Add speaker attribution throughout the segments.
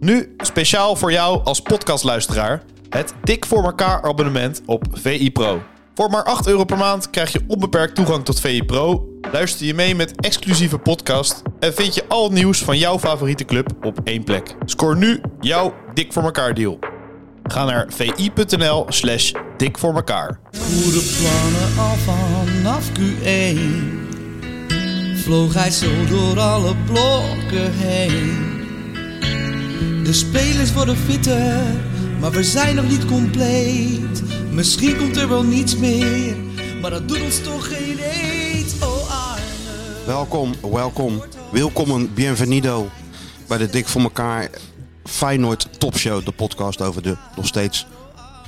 Speaker 1: Nu speciaal voor jou als podcastluisteraar het Dik voor elkaar abonnement op VI Pro. Voor maar 8 euro per maand krijg je onbeperkt toegang tot VI Pro, luister je mee met exclusieve podcast en vind je al het nieuws van jouw favoriete club op één plek. Scoor nu jouw Dik voor elkaar deal. Ga naar vi.nl slash dik voor elkaar.
Speaker 2: Goede plannen al vanaf Q1 Vloog hij zo door alle blokken heen De spelers worden fitter Maar we zijn nog niet compleet Misschien komt er wel niets meer Maar dat doet ons toch geen eet Oh Arne
Speaker 3: Welkom, welkom. Welkom, bienvenido bij de Dik voor elkaar Feyenoord Topshow. De podcast over de nog steeds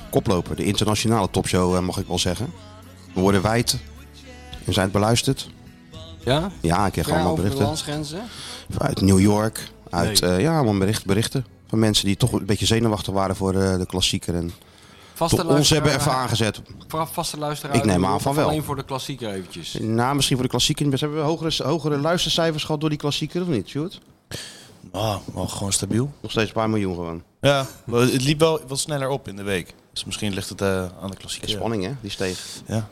Speaker 3: koploper. De internationale topshow, eh, mag ik wel zeggen. We worden wijd. We zijn beluisterd.
Speaker 4: Ja?
Speaker 3: Ja, ik krijg
Speaker 4: Ver
Speaker 3: allemaal
Speaker 4: over de
Speaker 3: berichten.
Speaker 4: landsgrenzen?
Speaker 3: Uit New York. Uit, eh, ja, allemaal bericht, berichten. Van mensen die toch een beetje zenuwachtig waren voor eh, de klassieker. En
Speaker 4: Vaste
Speaker 3: toch ons hebben even
Speaker 4: luisteraar- eh,
Speaker 3: aangezet.
Speaker 4: Vooraf vaste luisteraar.
Speaker 3: Ik neem aan
Speaker 4: of
Speaker 3: van wel.
Speaker 4: Alleen voor de klassieker eventjes.
Speaker 3: Nou, misschien voor de klassieker. niet best. Hebben we hogere, hogere luistercijfers gehad door die klassieker of niet, Sjoerd?
Speaker 1: Ah, wel gewoon stabiel.
Speaker 3: Nog steeds een paar miljoen gewoon.
Speaker 1: Ja, maar het liep wel wat sneller op in de week. Dus misschien ligt het eh, aan de klassieke
Speaker 3: De spanning, hè? Die steeg.
Speaker 1: Ja.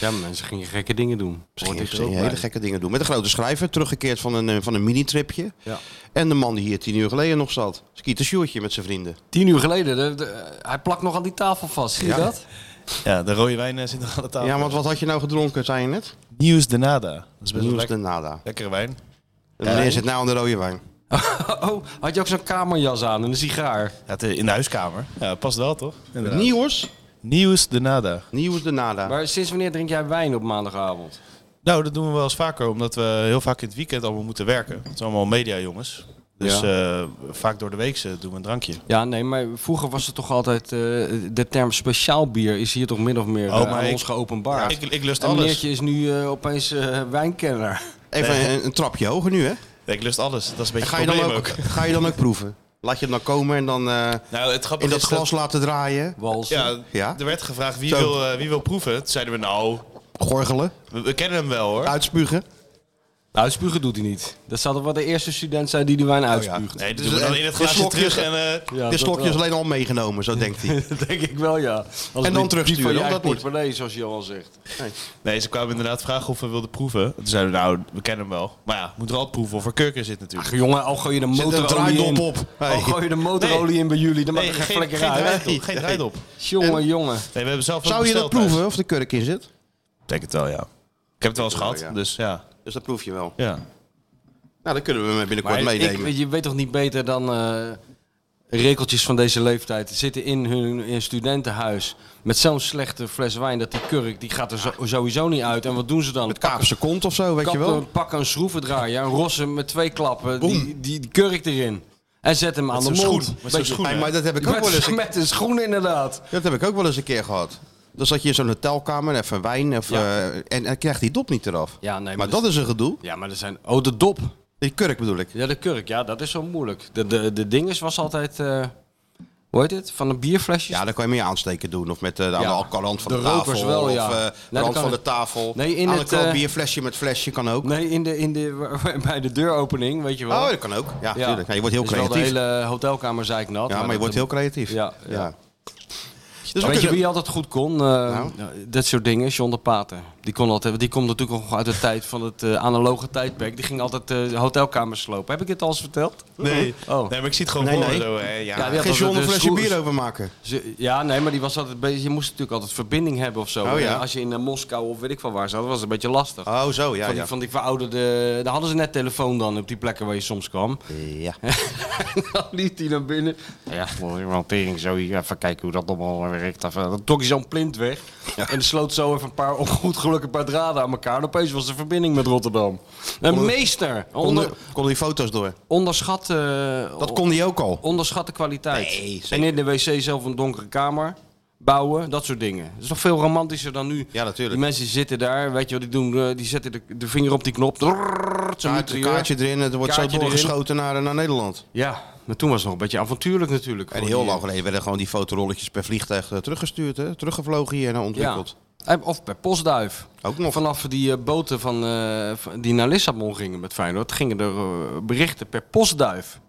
Speaker 4: Ja, maar mensen gingen gekke dingen doen. Hoort
Speaker 3: Ging,
Speaker 4: ik er
Speaker 3: ging
Speaker 4: ook
Speaker 3: hele
Speaker 4: bij.
Speaker 3: gekke dingen doen. Met een grote schrijver, teruggekeerd van een, eh, van een mini-tripje.
Speaker 4: Ja.
Speaker 3: En de man die hier tien uur geleden nog zat. Skieten Sjoertje met zijn vrienden.
Speaker 4: Tien uur geleden, de- de- hij plakt nog aan die tafel vast. Zie je
Speaker 3: Ja.
Speaker 4: dat?
Speaker 1: ja, de rode wijn eh, zit nog aan de tafel.
Speaker 3: Ja, want wat had je nou gedronken, zei je net?
Speaker 1: Nieuws de nada. Dat is best wel
Speaker 3: Nieuws de
Speaker 1: lekker.
Speaker 3: nada.
Speaker 1: Lekkere wijn.
Speaker 3: En meneer zit nou aan de rode wijn.
Speaker 4: Oh, had je ook zo'n kamerjas aan en een sigaar?
Speaker 1: Ja, het, eh, in de huiskamer. Ja, past wel toch? Inderdaad.
Speaker 3: Nieuws?
Speaker 1: Nieuws de nada.
Speaker 3: Nieuws de nada.
Speaker 4: Maar sinds wanneer drink jij wijn op maandagavond?
Speaker 1: Nou, dat doen we wel eens vaker, omdat we heel vaak in het weekend allemaal moeten werken. Het zijn allemaal media jongens. Dus eh, vaak door de week eh, doen we een drankje.
Speaker 4: Ja, nee, maar vroeger was het toch altijd... eh, de term speciaal bier is hier toch min of meer
Speaker 1: Oh,
Speaker 4: eh,
Speaker 1: maar
Speaker 4: aan
Speaker 1: ik-
Speaker 4: ons geopenbaard.
Speaker 1: ik, ik lust
Speaker 4: en
Speaker 1: alles.
Speaker 4: meneertje is nu eh, opeens eh, wijnkenner.
Speaker 3: Even een, een trapje hoger nu, hè?
Speaker 1: Ik lust alles. Dat is een beetje
Speaker 3: Ga
Speaker 1: het
Speaker 3: je dan
Speaker 1: probleem
Speaker 3: ook, ga je dan ook proeven? Laat je hem dan komen en dan eh,
Speaker 1: Nou, het
Speaker 3: in
Speaker 1: grappige
Speaker 3: dat
Speaker 1: is
Speaker 3: glas laten draaien.
Speaker 4: Walsen.
Speaker 1: Ja,
Speaker 3: Ja?
Speaker 1: er werd gevraagd wie
Speaker 3: Zo.
Speaker 1: wil, eh, wie wil proeven. Toen zeiden we nou,
Speaker 3: Gorgelen.
Speaker 1: we, we kennen hem wel hoor.
Speaker 3: Uitspugen.
Speaker 4: Nou, spugen doet hij niet. Dat zal toch wel de eerste student zijn die die wijn uitspuugt.
Speaker 1: Nee, dus
Speaker 3: Dus
Speaker 1: we doen
Speaker 3: en-
Speaker 1: alleen het
Speaker 3: de
Speaker 1: glaasje
Speaker 3: slokjes-
Speaker 1: terug en... eh,
Speaker 4: Ja,
Speaker 3: Dit
Speaker 4: dat
Speaker 3: slokje is
Speaker 4: wel.
Speaker 3: alleen al meegenomen, zo denkt hij.
Speaker 4: Dat denk ik wel, ja. Als
Speaker 3: dan terugsturen,
Speaker 4: Niet
Speaker 3: of
Speaker 4: van
Speaker 3: dat
Speaker 4: dat niet. Nee, zoals Johan zegt.
Speaker 1: nee, ze kwamen inderdaad vragen of we wilden proeven. Toen zeiden we nou, we kennen hem wel. Maar ja, moet er altijd proeven of er kurk in zit natuurlijk.
Speaker 4: Ach, jongen, al gooi je de
Speaker 3: Zit een
Speaker 4: motorolie in.
Speaker 3: draaidop op.
Speaker 4: Al
Speaker 3: Hey.
Speaker 4: gooi je de motorolie in bij jullie, dan mag
Speaker 1: nee,
Speaker 4: je geen
Speaker 1: geen, geen
Speaker 4: flikker uit.
Speaker 1: draad op. Geen draad op. Nee,
Speaker 4: Jongen, jongen.
Speaker 1: we hebben zelf ook
Speaker 3: Zou je dat
Speaker 1: besteld thuis.
Speaker 3: proeven of de kurk in zit?
Speaker 1: Ik denk het wel, ja. Ik heb het wel eens
Speaker 3: Ja,
Speaker 1: gehad,
Speaker 3: ja.
Speaker 1: dus ja.
Speaker 3: Dus dat proef je wel.
Speaker 1: ja.
Speaker 3: Nou, dan kunnen we hem binnenkort
Speaker 4: Maar ik,
Speaker 3: meenemen.
Speaker 4: weet- je weet toch niet beter dan eh, rekeltjes van deze leeftijd zitten in hun in een studentenhuis met zo'n slechte fles wijn dat die kurk die gaat er zo- sowieso niet uit. En wat doen ze dan?
Speaker 3: Met Kaapse kont of zo, weet je
Speaker 4: Kappen,
Speaker 3: wel.
Speaker 4: pakken een schroevendraaier, een rossen met twee klappen, die, die, die kurk erin. En zet hem aan
Speaker 1: zo'n
Speaker 4: de mond.
Speaker 1: schoen, met zo'n
Speaker 4: Beetje-
Speaker 1: schoen.
Speaker 3: Hey, maar dat heb ik ook
Speaker 4: Met,
Speaker 3: wel eens.
Speaker 4: met een schoen inderdaad.
Speaker 3: Dat heb ik ook wel eens een keer gehad. Dan zat je in zo'n hotelkamer, even wijn, even, eh, en, en krijgt die dop niet eraf.
Speaker 4: Ja, nee, maar
Speaker 3: maar
Speaker 4: dat-
Speaker 3: dat is een gedoe.
Speaker 4: Ja, maar er zijn... Oh, de dop.
Speaker 3: Die kurk bedoel ik.
Speaker 4: Ja, de kurk. Ja, dat is zo moeilijk. De, de, de dinges was altijd... eh hoe heet het? Van een bierflesje?
Speaker 3: Ja, daar kan je mee aansteken doen. Of met eh, aan de
Speaker 4: Ja.
Speaker 3: alkalant van de,
Speaker 4: De
Speaker 3: tafel.
Speaker 4: rokers wel, ja.
Speaker 3: Of eh,
Speaker 4: Nee, dat
Speaker 3: rand
Speaker 4: kan
Speaker 3: van de
Speaker 4: het.
Speaker 3: tafel.
Speaker 4: Nee, in
Speaker 3: aan
Speaker 4: het,
Speaker 3: de kant
Speaker 4: eh,
Speaker 3: bierflesje met flesje kan ook.
Speaker 4: Nee, in de, in de, bij de deuropening, weet je wel.
Speaker 3: Oh, dat kan ook. Ja, natuurlijk.
Speaker 4: natuurlijk
Speaker 3: je wordt heel
Speaker 4: de
Speaker 3: creatief.
Speaker 4: hele hotelkamer zeiknat.
Speaker 3: Ja, maar je wordt heel creatief.
Speaker 4: Ja, ja.
Speaker 3: Dus
Speaker 4: Dus
Speaker 3: we
Speaker 4: weet je
Speaker 3: kunnen- Nou.
Speaker 4: wie altijd goed kon? Eh, Dat soort dingen, John de Paten. Die kon altijd, die komt natuurlijk nog uit de tijd van het eh, analoge tijdperk. Die ging altijd eh, hotelkamers slopen. Heb ik het al eens verteld?
Speaker 1: Nee.
Speaker 4: Oh.
Speaker 1: nee, maar ik zie het gewoon
Speaker 3: Nee,
Speaker 1: voor me
Speaker 3: nee.
Speaker 1: zo. eh, ja.
Speaker 4: Ja,
Speaker 1: ja,
Speaker 4: die had
Speaker 3: Geen John
Speaker 4: altijd
Speaker 3: een
Speaker 4: de
Speaker 3: flesje
Speaker 4: schoes-
Speaker 3: bier overmaken.
Speaker 4: Ze- Ja, nee, maar die was altijd bezig. Je moest natuurlijk altijd verbinding hebben of zo.
Speaker 3: Oh, ja.
Speaker 4: En Als je in eh, Moskou of weet ik van waar zat, dat was een beetje lastig.
Speaker 3: Oh, zo. Ja,
Speaker 4: van, die,
Speaker 3: ja.
Speaker 4: van die verouderde. Daar hadden ze net telefoon dan op die plekken waar je soms kwam.
Speaker 3: ja.
Speaker 4: Dan liep die naar binnen. Ja, voor een hantering zo. hier, Even kijken hoe dat allemaal werkt. Even- Dan trok hij zo'n plint weg. En die sloot zo even een paar ongoed gelukkig paar draden aan elkaar. En opeens was de verbinding met Rotterdam. Een meester. Onder,
Speaker 3: Konden, konden die foto's door.
Speaker 4: onderschat, eh,
Speaker 3: Dat kon die ook al.
Speaker 4: onderschat de kwaliteit.
Speaker 3: Nee, zeker.
Speaker 4: en in de wc zelf een donkere kamer bouwen, dat soort dingen. Dat is toch veel romantischer dan nu.
Speaker 3: Ja, natuurlijk.
Speaker 4: Die mensen zitten daar, weet je wat die doen? eh, Die zetten de, de vinger op die knop. Drrrr, zo'n
Speaker 3: Kaartje,
Speaker 4: mitrailleur.
Speaker 3: kaartje erin, het wordt
Speaker 4: Kaartje
Speaker 3: zo
Speaker 4: erin.
Speaker 3: doorgeschoten naar, naar Nederland.
Speaker 4: Ja, maar toen was het nog een beetje avontuurlijk natuurlijk.
Speaker 3: En
Speaker 4: voor
Speaker 3: heel
Speaker 4: die- eh,
Speaker 3: lang geleden werden gewoon die fotorolletjes per vliegtuig eh, teruggestuurd, hè? teruggevlogen hier en
Speaker 4: Ja.
Speaker 3: ontwikkeld.
Speaker 4: En- Of per postduif.
Speaker 3: Ook nog.
Speaker 4: Vanaf die eh, boten van, eh, van- die naar Lissabon gingen met Feyenoord, gingen er eh, berichten per postduif.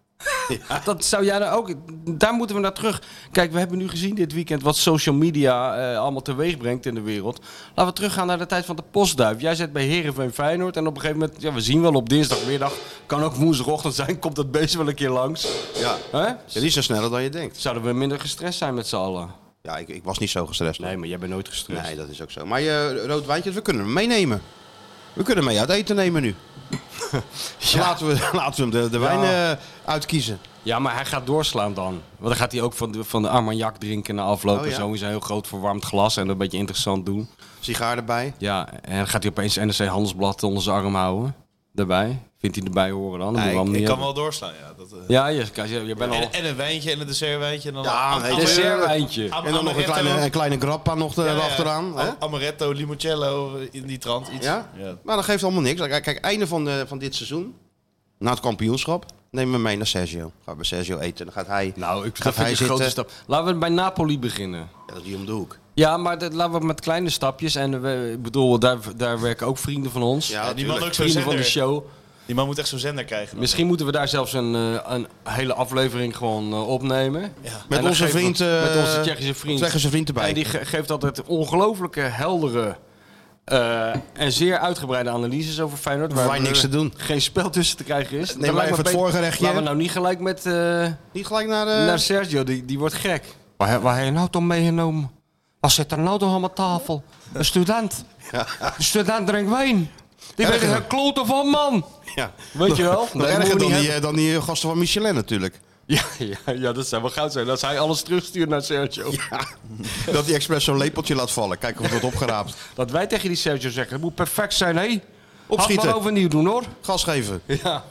Speaker 4: Dat zou jij nou ook. Daar moeten we naar terug. Kijk, we hebben nu gezien dit weekend wat social media eh, allemaal teweeg brengt in de wereld. Laten we teruggaan naar de tijd van de postduif. Jij zit bij Herenveen Feyenoord en op een gegeven moment, ja, we zien wel op dinsdagmiddag, kan ook woensdagochtend zijn, komt dat beest wel een keer langs.
Speaker 3: Ja.
Speaker 4: Hè?
Speaker 3: Ja, die zijn sneller dan je denkt.
Speaker 4: Zouden we minder gestrest zijn met z'n allen?
Speaker 3: Ja, ik, ik was niet zo gestrest.
Speaker 4: Nee, maar dus- jij bent nooit gestrest.
Speaker 3: Nee, dat is ook zo. Maar je rood wijntje, we kunnen hem meenemen. We kunnen hem mee uit eten nemen nu. laten, we, laten we hem de, de wijn
Speaker 4: Ja.
Speaker 3: eh, uitkiezen.
Speaker 4: Ja, maar hij gaat doorslaan dan. Want dan gaat hij ook van de, van de Armagnac drinken na afloop.
Speaker 3: Oh,
Speaker 4: en
Speaker 3: ja.
Speaker 4: Zo is een heel groot verwarmd glas en een beetje interessant doen.
Speaker 3: Sigaar erbij.
Speaker 4: Ja, en dan gaat hij opeens NRC Handelsblad onder zijn arm houden. Daarbij. Vindt hij erbij horen dan?
Speaker 3: Nee,
Speaker 4: Nee,
Speaker 3: ik- Eh,
Speaker 1: Ik kan wel doorslaan, ja. Dat, eh.
Speaker 4: Ja, je, je, je bent al...
Speaker 1: en, en een wijntje en een dessertwijntje. En dan
Speaker 3: Ja,
Speaker 1: am-
Speaker 3: nee,
Speaker 1: am-
Speaker 3: dessert-
Speaker 4: Dessertwijntje.
Speaker 1: am-
Speaker 3: En dan nog een
Speaker 1: amaretto.
Speaker 3: kleine, een kleine grappa nog
Speaker 1: Ja, ja, ja.
Speaker 3: achteraan. Hè?
Speaker 1: Am- Amaretto, limoncello, eh, in die trant iets.
Speaker 3: Ja? Maar dat geeft allemaal niks. Kijk, kijk, einde van, de, van dit seizoen, na het kampioenschap, nemen we mee naar Sergio. Gaan we Sergio eten. Dan gaat hij,
Speaker 4: Nou, ik,
Speaker 3: gaat
Speaker 4: dat vind
Speaker 3: hij
Speaker 4: ik een grote
Speaker 3: zitten.
Speaker 4: stap. Laten we bij Napoli beginnen.
Speaker 3: Ja, dat is die om de hoek.
Speaker 4: Ja, maar dat, laten we met kleine stapjes. En we, ik bedoel, daar, daar werken ook vrienden van ons.
Speaker 3: Ja,
Speaker 1: die man
Speaker 3: tuurlijk.
Speaker 1: ook zo'n
Speaker 4: vrienden van de
Speaker 1: zender.
Speaker 4: show.
Speaker 1: Die man moet echt zo'n zender krijgen. dan.
Speaker 4: Misschien moeten we daar zelfs een, eh, een hele aflevering gewoon eh, opnemen. En
Speaker 3: Met
Speaker 4: dan
Speaker 3: onze
Speaker 4: geven we-
Speaker 3: vriend, eh,
Speaker 4: met onze Tsjechische vriend.
Speaker 3: Tsjechische vriend erbij.
Speaker 4: En die ge- geeft altijd ongelooflijke heldere eh, en zeer uitgebreide analyses over Feyenoord.
Speaker 3: Hoeven wij
Speaker 4: er
Speaker 3: niks te doen.
Speaker 4: Geen spel tussen te krijgen is. Dan
Speaker 3: maar
Speaker 4: lijkt me
Speaker 3: even het
Speaker 4: beter-
Speaker 3: voorgerechtje.
Speaker 4: Laten we nou niet gelijk met eh,
Speaker 3: Niet gelijk naar... eh,
Speaker 4: naar Sergio, die, die wordt gek. Waar, he- waar heb je nou toch meegenomen? Wat zit er nou toch aan mijn tafel? Een student. Een student drinkt wijn. Die weet er
Speaker 3: Erger.
Speaker 4: een klote van, man.
Speaker 3: ja.
Speaker 4: Weet je wel?
Speaker 3: Nog
Speaker 4: Nee, moeten we
Speaker 3: erger dan
Speaker 4: niet
Speaker 3: die, eh, dan die eh, gasten van Michelin natuurlijk.
Speaker 4: Ja, ja, ja, dat zou wel goud zijn. Als hij alles terugstuurt naar Sergio.
Speaker 3: Dat hij expres zo'n lepeltje laat vallen. Kijk of het opgeraapt.
Speaker 4: Dat wij tegen die Sergio zeggen, het moet perfect zijn, hé. Had
Speaker 3: Opschieten.
Speaker 4: maar overnieuw doen, hoor.
Speaker 3: Gas geven.
Speaker 4: Ja.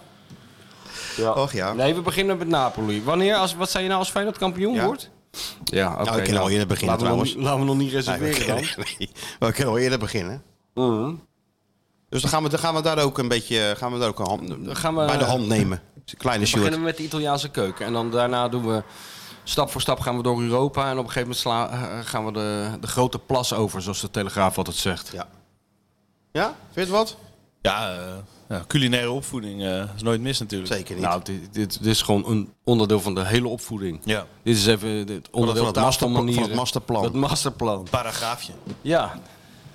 Speaker 3: Och ja.
Speaker 4: Nee, we beginnen met Napoli. Wanneer, als, wat zei je nou, als Feyenoord kampioen
Speaker 3: Ja.
Speaker 4: wordt? Ja, oké.
Speaker 3: we kunnen al eerder beginnen,
Speaker 4: laten we nog
Speaker 3: trouwens.
Speaker 4: niet- laten we nog niet
Speaker 3: Nee, we,
Speaker 4: reserveren
Speaker 3: kunnen, nee, we kunnen al eerder beginnen.
Speaker 4: dan. Mhm.
Speaker 3: Dus dan gaan we, dan gaan we daar ook een beetje eh, gaan we daar ook een hand,
Speaker 4: gaan we-
Speaker 3: bij de hand nemen. Kleine
Speaker 4: We beginnen
Speaker 3: Stuart.
Speaker 4: met de Italiaanse keuken. En dan daarna doen we... Stap voor stap gaan we door Europa. En op een gegeven moment sla- eh, gaan we de, de grote plas over, zoals de Telegraaf altijd zegt.
Speaker 3: Ja. ja, vind je het wat?
Speaker 1: Ja, eh, ja, culinaire opvoeding eh, is nooit mis natuurlijk.
Speaker 3: Zeker niet.
Speaker 4: Nou, dit, dit, dit is gewoon een onderdeel van de hele opvoeding.
Speaker 1: Ja,
Speaker 4: Dit is even
Speaker 3: Oh,
Speaker 4: het onderdeel
Speaker 3: het
Speaker 4: taal
Speaker 3: masterpla-
Speaker 4: van manieren.
Speaker 3: van het masterplan.
Speaker 4: Het masterplan.
Speaker 1: paragraafje.
Speaker 4: Ja.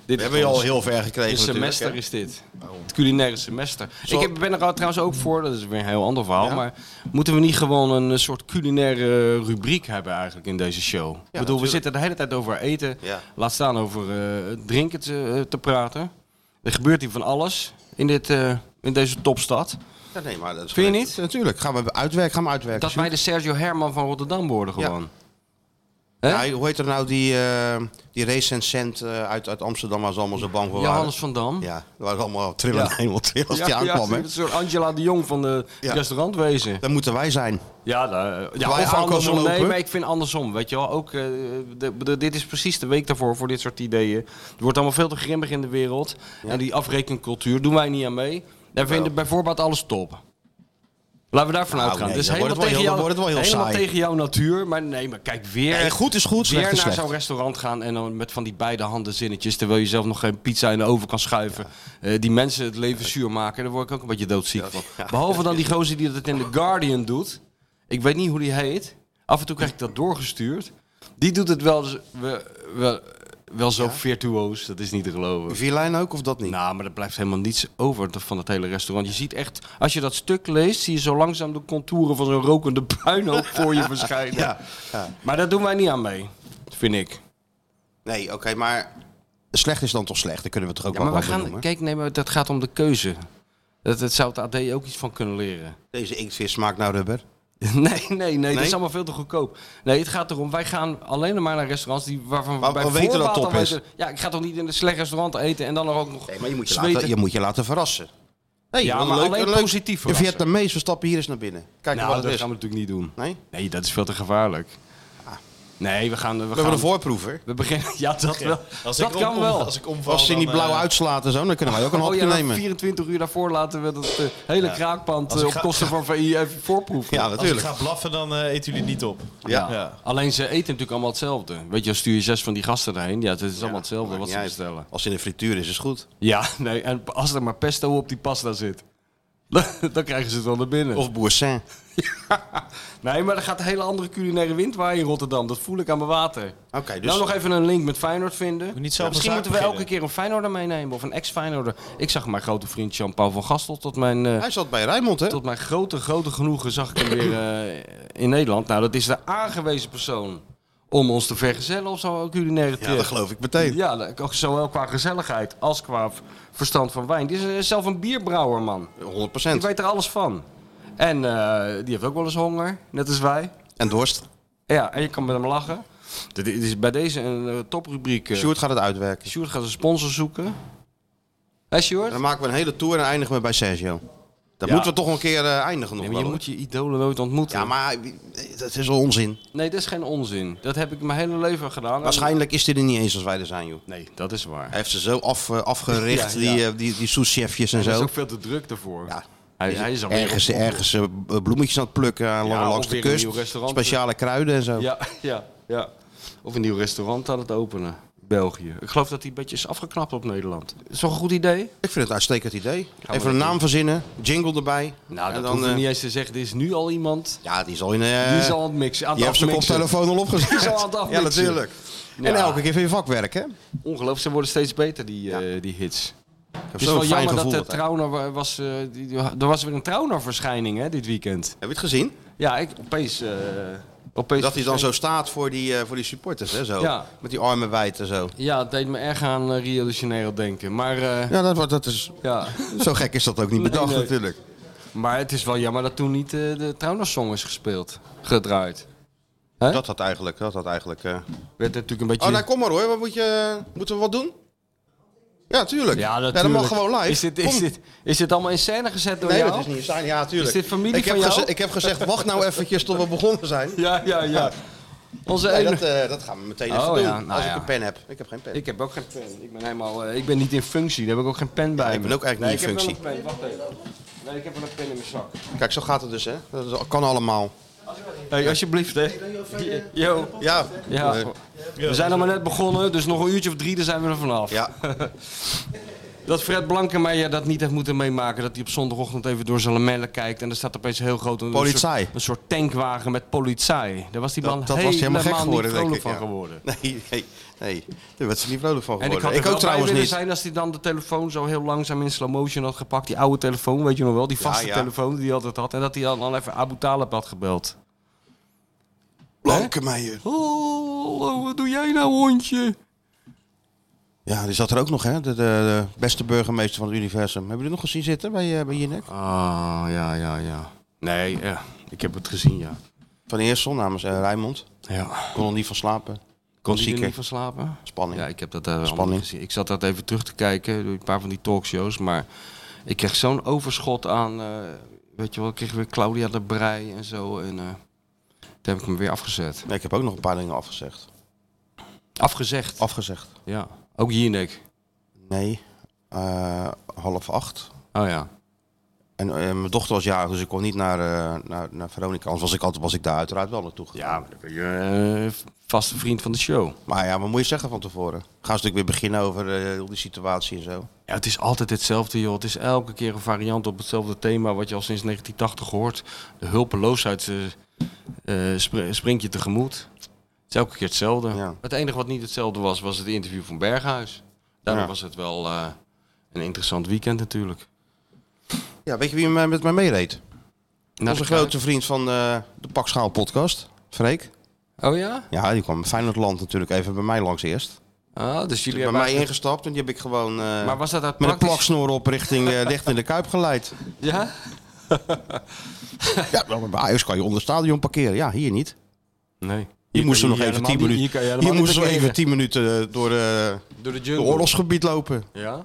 Speaker 4: Dit
Speaker 3: we
Speaker 4: is
Speaker 3: hebben je
Speaker 4: gewoon
Speaker 3: al heel ver gekregen
Speaker 4: Een
Speaker 3: natuurlijk,
Speaker 4: semester
Speaker 3: hè?
Speaker 4: is dit. Het culinaire semester. Ik heb, ben er al trouwens ook voor, dat is weer een heel ander verhaal.
Speaker 3: Ja?
Speaker 4: Maar moeten we niet gewoon een eh, soort culinaire eh, rubriek hebben eigenlijk in deze show? Ik bedoel, we
Speaker 3: natuurlijk.
Speaker 4: zitten de hele tijd over eten.
Speaker 3: Ja.
Speaker 4: Laat staan over eh, drinken te, eh, te praten. Er gebeurt hier van alles in, dit, eh, in deze topstad.
Speaker 3: Ja, nee, maar dat is
Speaker 4: Vind je
Speaker 3: gewoon-
Speaker 4: niet?
Speaker 3: Natuurlijk. Gaan we uitwerken. Gaan we uitwerken.
Speaker 4: Dat wij de Sergio Herman van Rotterdam worden
Speaker 3: Ja.
Speaker 4: gewoon.
Speaker 3: Sjoerd.
Speaker 4: hè?
Speaker 3: Ja, hoe heet er nou die, eh, die recensent eh, uit, uit Amsterdam waar ze allemaal zo bang voor waren?
Speaker 4: Johannes van Dam.
Speaker 3: Ja, daar waren allemaal trillende
Speaker 4: Ja.
Speaker 3: hemels als die aankwam. hè?
Speaker 4: een soort Angela de Jong van de
Speaker 3: Ja.
Speaker 4: restaurantwezen.
Speaker 3: Daar moeten wij zijn.
Speaker 4: Ja, daar-
Speaker 3: Wij
Speaker 4: ja of
Speaker 3: aankomen
Speaker 4: andersom. Nee,
Speaker 3: lopen.
Speaker 4: maar ik vind andersom. Weet je wel, ook, eh, de, de- dit is precies de week daarvoor voor dit soort ideeën. Het wordt allemaal veel te grimmig in de wereld. En die afrekencultuur doen wij niet aan mee. Daar vinden bijvoorbeeld alles top. Laten we daarvan
Speaker 3: Nou,
Speaker 4: uitgaan.
Speaker 3: nee,
Speaker 4: Het is
Speaker 3: dan wordt
Speaker 4: Dus helemaal,
Speaker 3: het
Speaker 4: tegen,
Speaker 3: wel heel-
Speaker 4: jou,
Speaker 3: dan wordt het wel heel
Speaker 4: helemaal
Speaker 3: saai.
Speaker 4: tegen jouw natuur. Maar nee, maar kijk, weer,
Speaker 3: Nee, goed is goed,
Speaker 4: weer
Speaker 3: slecht is
Speaker 4: naar
Speaker 3: slecht.
Speaker 4: zo'n restaurant gaan en dan met van die beide handen zinnetjes. Terwijl je zelf nog geen pizza in de oven kan schuiven. Eh, die mensen het leven zuur maken. Daar word ik ook een beetje doodziek van. Behalve dan die gozer die dat in The Guardian doet. Ik weet niet hoe die heet. Af en toe krijg ik dat doorgestuurd. Die doet het wel, z- wel, wel, wel zo virtuoos. Dat is niet te geloven.
Speaker 3: Vierlijn ook of dat niet?
Speaker 4: Nou, maar er blijft helemaal niets over van het hele restaurant. Je ziet echt, als je dat stuk leest, zie je zo langzaam de contouren van zo'n rokende puinhoop voor je verschijnen.
Speaker 3: Ja, ja.
Speaker 4: Maar daar doen wij niet aan mee, vind ik.
Speaker 3: Nee, oké, maar slecht is dan toch slecht. Dan kunnen we het toch ook
Speaker 4: Ja, maar
Speaker 3: wel
Speaker 4: we
Speaker 3: wat
Speaker 4: gaan,
Speaker 3: benoemen.
Speaker 4: kijk, nee, maar dat gaat om de keuze. Dat, dat zou het AD ook iets van kunnen leren.
Speaker 3: Deze inktvis smaakt nou rubber.
Speaker 4: Nee, nee, nee, dat
Speaker 3: Nee?
Speaker 4: is allemaal veel te goedkoop. Nee, het gaat erom, wij gaan alleen maar naar restaurants die, waarvan
Speaker 3: Waar-
Speaker 4: bij
Speaker 3: we weten dat
Speaker 4: voorbaat
Speaker 3: top
Speaker 4: al
Speaker 3: is.
Speaker 4: ja, ik ga toch niet in een slecht restaurant eten en dan nog ook nog
Speaker 3: Nee, maar je moet je,
Speaker 4: zweten?
Speaker 3: laten, je, moet je laten verrassen. Nee,
Speaker 4: Ja,
Speaker 3: wel
Speaker 4: maar alleen positief
Speaker 3: Een
Speaker 4: verrassen.
Speaker 3: Vietnamees, we stappen hier eens naar binnen. Kijk
Speaker 4: Nou,
Speaker 3: wat
Speaker 4: dat
Speaker 3: het is.
Speaker 4: gaan we natuurlijk niet doen.
Speaker 3: Nee?
Speaker 4: Nee, dat is veel te gevaarlijk. Nee, we gaan... We,
Speaker 3: Ah. We
Speaker 4: gaan,
Speaker 3: hebben een voorproever.
Speaker 4: we beginnen... Ja, dat wel.
Speaker 1: Als
Speaker 4: dat
Speaker 1: ik om-
Speaker 4: kan
Speaker 1: om-
Speaker 4: wel.
Speaker 1: Als ik omval,
Speaker 3: Als ze
Speaker 1: dan,
Speaker 3: niet blauw
Speaker 1: eh,
Speaker 3: uitslaat en zo, dan kunnen wij ook een
Speaker 4: Oh
Speaker 3: hapje
Speaker 4: ja, dan
Speaker 3: nemen.
Speaker 4: 24 uur daarvoor laten we dat eh, hele kraakpand
Speaker 1: Als
Speaker 4: eh,
Speaker 1: ik
Speaker 4: op
Speaker 1: ga-
Speaker 4: kosten van VI even voorproeven.
Speaker 3: Ja,
Speaker 1: Als ik
Speaker 3: natuurlijk.
Speaker 1: ga blaffen, dan eh, eten jullie niet op.
Speaker 4: Ja.
Speaker 1: Ja.
Speaker 4: Alleen ze eten natuurlijk allemaal hetzelfde. Weet je, dan stuur je zes van die gasten erheen. Ja, het is allemaal hetzelfde
Speaker 3: Maakt
Speaker 4: wat
Speaker 3: niet
Speaker 4: ze
Speaker 3: uit.
Speaker 4: bestellen.
Speaker 3: Als het in de frituur is, is het goed.
Speaker 4: Ja, nee. En als er maar pesto op die pasta zit. Dan krijgen ze het wel naar binnen.
Speaker 3: Of Boursin.
Speaker 4: Nee, maar er gaat een hele andere culinaire wind waaien in Rotterdam. Dat voel ik aan mijn water.
Speaker 3: Oké, dus-
Speaker 4: Nou nog even een link met Feyenoord vinden.
Speaker 1: niet zelf
Speaker 4: Misschien
Speaker 1: een zaak
Speaker 4: moeten we
Speaker 1: beginnen.
Speaker 4: elke keer een Feyenoorder meenemen of een ex-Feyenoorder. Ik zag mijn grote vriend Jean-Paul van Gastel tot mijn... eh,
Speaker 3: Hij zat bij Rijnmond, hè?
Speaker 4: tot mijn grote, grote genoegen zag ik hem weer eh, in Nederland. Nou, dat is de aangewezen persoon om ons te vergezellen op zo'n culinaire trip.
Speaker 3: Ja, dat geloof ik meteen.
Speaker 4: Ja, dat- ook zowel qua gezelligheid als qua v- verstand van wijn. Die is eh, zelf een bierbrouwer, man.
Speaker 3: 100
Speaker 4: Die weet er alles van. En eh, die heeft ook wel eens honger, net als wij.
Speaker 3: En Dorst.
Speaker 4: Ja, en je kan met hem lachen. Dit dit is bij deze een eh, toprubriek. eh.
Speaker 3: Sjoerd gaat het uitwerken.
Speaker 4: Sjoerd gaat een sponsor zoeken. Hé, Sjoerd?
Speaker 3: Dan maken we een hele tour en dan eindigen we bij Sergio. Dan
Speaker 4: Ja.
Speaker 3: moeten we toch een keer eh, eindigen nog
Speaker 4: Nee,
Speaker 3: wel.
Speaker 4: maar je
Speaker 3: hoor.
Speaker 4: moet Oh, je idolen nooit ontmoeten.
Speaker 3: Ja, maar wie- dat is wel onzin.
Speaker 4: Nee, dat is geen onzin. Dat heb ik mijn hele leven gedaan.
Speaker 3: Waarschijnlijk is dit er niet eens als wij er zijn, joh.
Speaker 4: Nee, dat is waar.
Speaker 3: Hij heeft ze zo af, eh, afgericht,
Speaker 4: Ja, ja.
Speaker 3: die, eh, die, die souschefjes en
Speaker 4: Hij is
Speaker 3: zo.
Speaker 4: ook veel te druk daarvoor.
Speaker 3: Ja.
Speaker 4: Hij, hij is alweer-
Speaker 3: Ergens, ergens eh, bloemetjes aan het plukken eh, lang-
Speaker 4: of
Speaker 3: langs de
Speaker 4: weer een nieuw
Speaker 3: kust.
Speaker 4: restaurant. eh.
Speaker 3: Speciale kruiden en zo.
Speaker 4: Ja, ja, ja. Of een nieuw restaurant aan het openen. België. Ik geloof dat hij een beetje is afgeknapt op Nederland. Is toch een goed idee?
Speaker 3: Ik vind het een uitstekend idee.
Speaker 4: we
Speaker 3: Even
Speaker 4: dat
Speaker 3: een naam verzinnen, jingle erbij.
Speaker 4: Nou,
Speaker 3: En
Speaker 4: dat
Speaker 3: dan,
Speaker 4: hoef je
Speaker 3: eh,
Speaker 4: niet eens te zeggen. Er is nu al iemand
Speaker 3: Ja, die zal in. eh
Speaker 4: die is al aan het mixen. Aan
Speaker 3: Je
Speaker 4: het
Speaker 3: hebt zijn
Speaker 4: afmixen.
Speaker 3: koptelefoon al opgezet.
Speaker 4: Zo aan het afmixen.
Speaker 3: ja, natuurlijk. En
Speaker 4: Ja.
Speaker 3: elke keer van je vakwerk, hè?
Speaker 4: Ongelooflijk, ze worden steeds beter, die, eh, die hits.
Speaker 3: Het
Speaker 4: Het is wel jammer dat de Trauner wa- was... eh, die, die- er was weer een Trauner-verschijning hè, dit weekend.
Speaker 3: Heb je het gezien?
Speaker 4: Ja, ik opeens... eh, opeens
Speaker 3: Dat hij dan zo staat voor die, eh, voor die supporters, hè? Zo.
Speaker 4: Ja.
Speaker 3: Met die armen wijd en zo.
Speaker 4: Ja, het deed me erg aan eh, Rio de Janeiro denken. Maar, eh,
Speaker 3: Ja, dat, wordt- dat is,
Speaker 4: ja.
Speaker 3: zo gek is dat ook niet bedacht,
Speaker 4: Nee, nee.
Speaker 3: natuurlijk.
Speaker 4: maar het is wel jammer dat toen niet eh, de Trauner-song is gespeeld. Gedraaid. Hè?
Speaker 3: Dat had eigenlijk. Dat had eigenlijk eh.
Speaker 4: Werd natuurlijk een beetje...
Speaker 3: Oh, nou kom maar hoor. Wat moet je, moeten we wat doen? Ja, tuurlijk.
Speaker 4: ja, natuurlijk.
Speaker 3: dat mag gewoon live.
Speaker 4: Is dit, is,
Speaker 3: Kom.
Speaker 4: dit, is dit allemaal in scène gezet door
Speaker 3: Nee,
Speaker 4: jou?
Speaker 3: dat is niet saai. Ja, tuurlijk.
Speaker 4: Is dit familie
Speaker 3: ik heb
Speaker 4: van jou?
Speaker 3: geze- Ik heb gezegd, wacht nou eventjes tot we begonnen zijn.
Speaker 4: Ja, ja, ja. Onze
Speaker 3: Nee,
Speaker 4: ene...
Speaker 3: dat, eh, dat gaan we meteen even
Speaker 4: Oh,
Speaker 3: doen.
Speaker 4: ja, nou
Speaker 3: als
Speaker 4: ja.
Speaker 3: ik een pen heb. Ik heb geen pen.
Speaker 4: Ik heb ook geen pen. Ik ben, helemaal, eh, ik ben niet in functie. Daar heb ik ook geen pen bij
Speaker 3: ik ben
Speaker 4: me.
Speaker 3: ook eigenlijk
Speaker 4: nee,
Speaker 3: niet in
Speaker 4: ik heb wel een pen. Wacht even. Nee, ik heb wel een pen in mijn zak.
Speaker 3: Kijk, zo gaat het dus, hè? Dat is- kan allemaal.
Speaker 4: Hey, alsjeblieft, hè. Yo.
Speaker 3: Ja.
Speaker 4: Ja.
Speaker 3: Eh,
Speaker 4: We zijn nog maar net begonnen, dus nog een uurtje of drie, dan zijn we er vanaf.
Speaker 3: ja.
Speaker 4: Dat Fred Blankenmeijer dat niet heeft moeten meemaken. Dat hij op zondagochtend even door zijn lamellen kijkt. En er staat opeens heel groot een,
Speaker 3: Politie.
Speaker 4: soort, een soort tankwagen met politie. Daar was die man
Speaker 3: Dat, dat was helemaal gek geworden, denk
Speaker 4: niet vrolijk
Speaker 3: ik.
Speaker 4: van
Speaker 3: ja.
Speaker 4: geworden.
Speaker 3: Nee, nee, nee. Daar werd ze niet vrolijk van
Speaker 4: En ik
Speaker 3: geworden. Ik,
Speaker 4: had er wel
Speaker 3: ook trouwens
Speaker 4: bij
Speaker 3: niet.
Speaker 4: willen zijn als hij dan de telefoon zo heel langzaam in slow motion had gepakt. Die oude telefoon, weet je nog wel? Die vaste
Speaker 3: ja.
Speaker 4: telefoon die hij altijd had. En dat hij dan al even Abu Talib had gebeld.
Speaker 3: Blankenmeijer.
Speaker 4: Oh, wat doe jij nou, hondje?
Speaker 3: Ja, die zat er ook nog, hè? De, de, de beste burgemeester van het universum. Hebben jullie nog gezien zitten bij, eh bij Jinek?
Speaker 4: Ah, ja, ja, ja. Nee, ja, ik heb het gezien, ja.
Speaker 3: Van Eersel namens eh Rijnmond.
Speaker 4: Ja.
Speaker 3: Kon er niet van slapen.
Speaker 4: Kon je er
Speaker 3: Klassieker.
Speaker 4: niet van slapen?
Speaker 3: Spanning.
Speaker 4: Ja, ik heb dat eh, allemaal
Speaker 3: Spanning.
Speaker 4: gezien. Ik zat dat even terug te kijken, door een paar van die talkshows. Maar ik kreeg zo'n overschot aan, eh, weet je wel, ik kreeg weer Claudia de Brij en zo. En eh toen heb ik me weer afgezet.
Speaker 3: Nee, ik heb ook nog een paar dingen afgezegd.
Speaker 4: Afgezegd.
Speaker 3: Afgezegd?
Speaker 4: Ja. Ook Jinek.
Speaker 3: Nee. Eh, half acht.
Speaker 4: Oh ja.
Speaker 3: En eh, mijn dochter was jarig, dus ik kon niet naar, eh, naar, naar Veronica. Anders was ik, altijd, was ik daar uiteraard wel naartoe gegaan.
Speaker 4: Ja, dan ben je eh, vaste vriend van de show.
Speaker 3: Maar ja, wat moet je zeggen van tevoren? Gaan ze natuurlijk weer beginnen over eh, heel die situatie en zo.
Speaker 4: Ja, het is altijd hetzelfde, joh. Het is elke keer een variant op hetzelfde thema wat je al sinds 1980 hoort. De hulpeloosheid eh, eh, spr- springt je tegemoet. Het is elke keer hetzelfde.
Speaker 3: Ja.
Speaker 4: Het enige wat niet hetzelfde was, was het interview van Berghuis. Daarom
Speaker 3: Ja.
Speaker 4: was het wel eh, een interessant weekend natuurlijk.
Speaker 3: Ja, weet je wie mij- met mij meereed?
Speaker 4: Nou, Naar
Speaker 3: Onze
Speaker 4: de Kuip.
Speaker 3: grote vriend van eh, de Pakschaal podcast, Freek.
Speaker 4: Oh ja?
Speaker 3: Ja, die kwam Feyenoordland natuurlijk even bij mij langs eerst.
Speaker 4: Ah, dus jullie
Speaker 3: bij
Speaker 4: hebben...
Speaker 3: mij
Speaker 4: eigenlijk-
Speaker 3: ingestapt en die heb ik gewoon eh,
Speaker 4: Maar was dat uit
Speaker 3: met een
Speaker 4: praktisch-
Speaker 3: plaksnoer op richting eh dicht in de Kuip geleid.
Speaker 4: Ja?
Speaker 3: Ja, maar bij Ajax kan je onder het stadion parkeren. Ja, hier niet.
Speaker 4: Nee.
Speaker 3: Hier moesten we nog
Speaker 4: kan je
Speaker 3: even
Speaker 4: helemaal
Speaker 3: 10 minuten,
Speaker 4: niet- Hier kan je
Speaker 3: hier
Speaker 4: helemaal niet
Speaker 3: moesten we even
Speaker 4: parkeren.
Speaker 3: 10 minuten eh, door eh,
Speaker 4: Door de
Speaker 3: het
Speaker 4: jungle.
Speaker 3: oorlogsgebied lopen.
Speaker 4: Ja?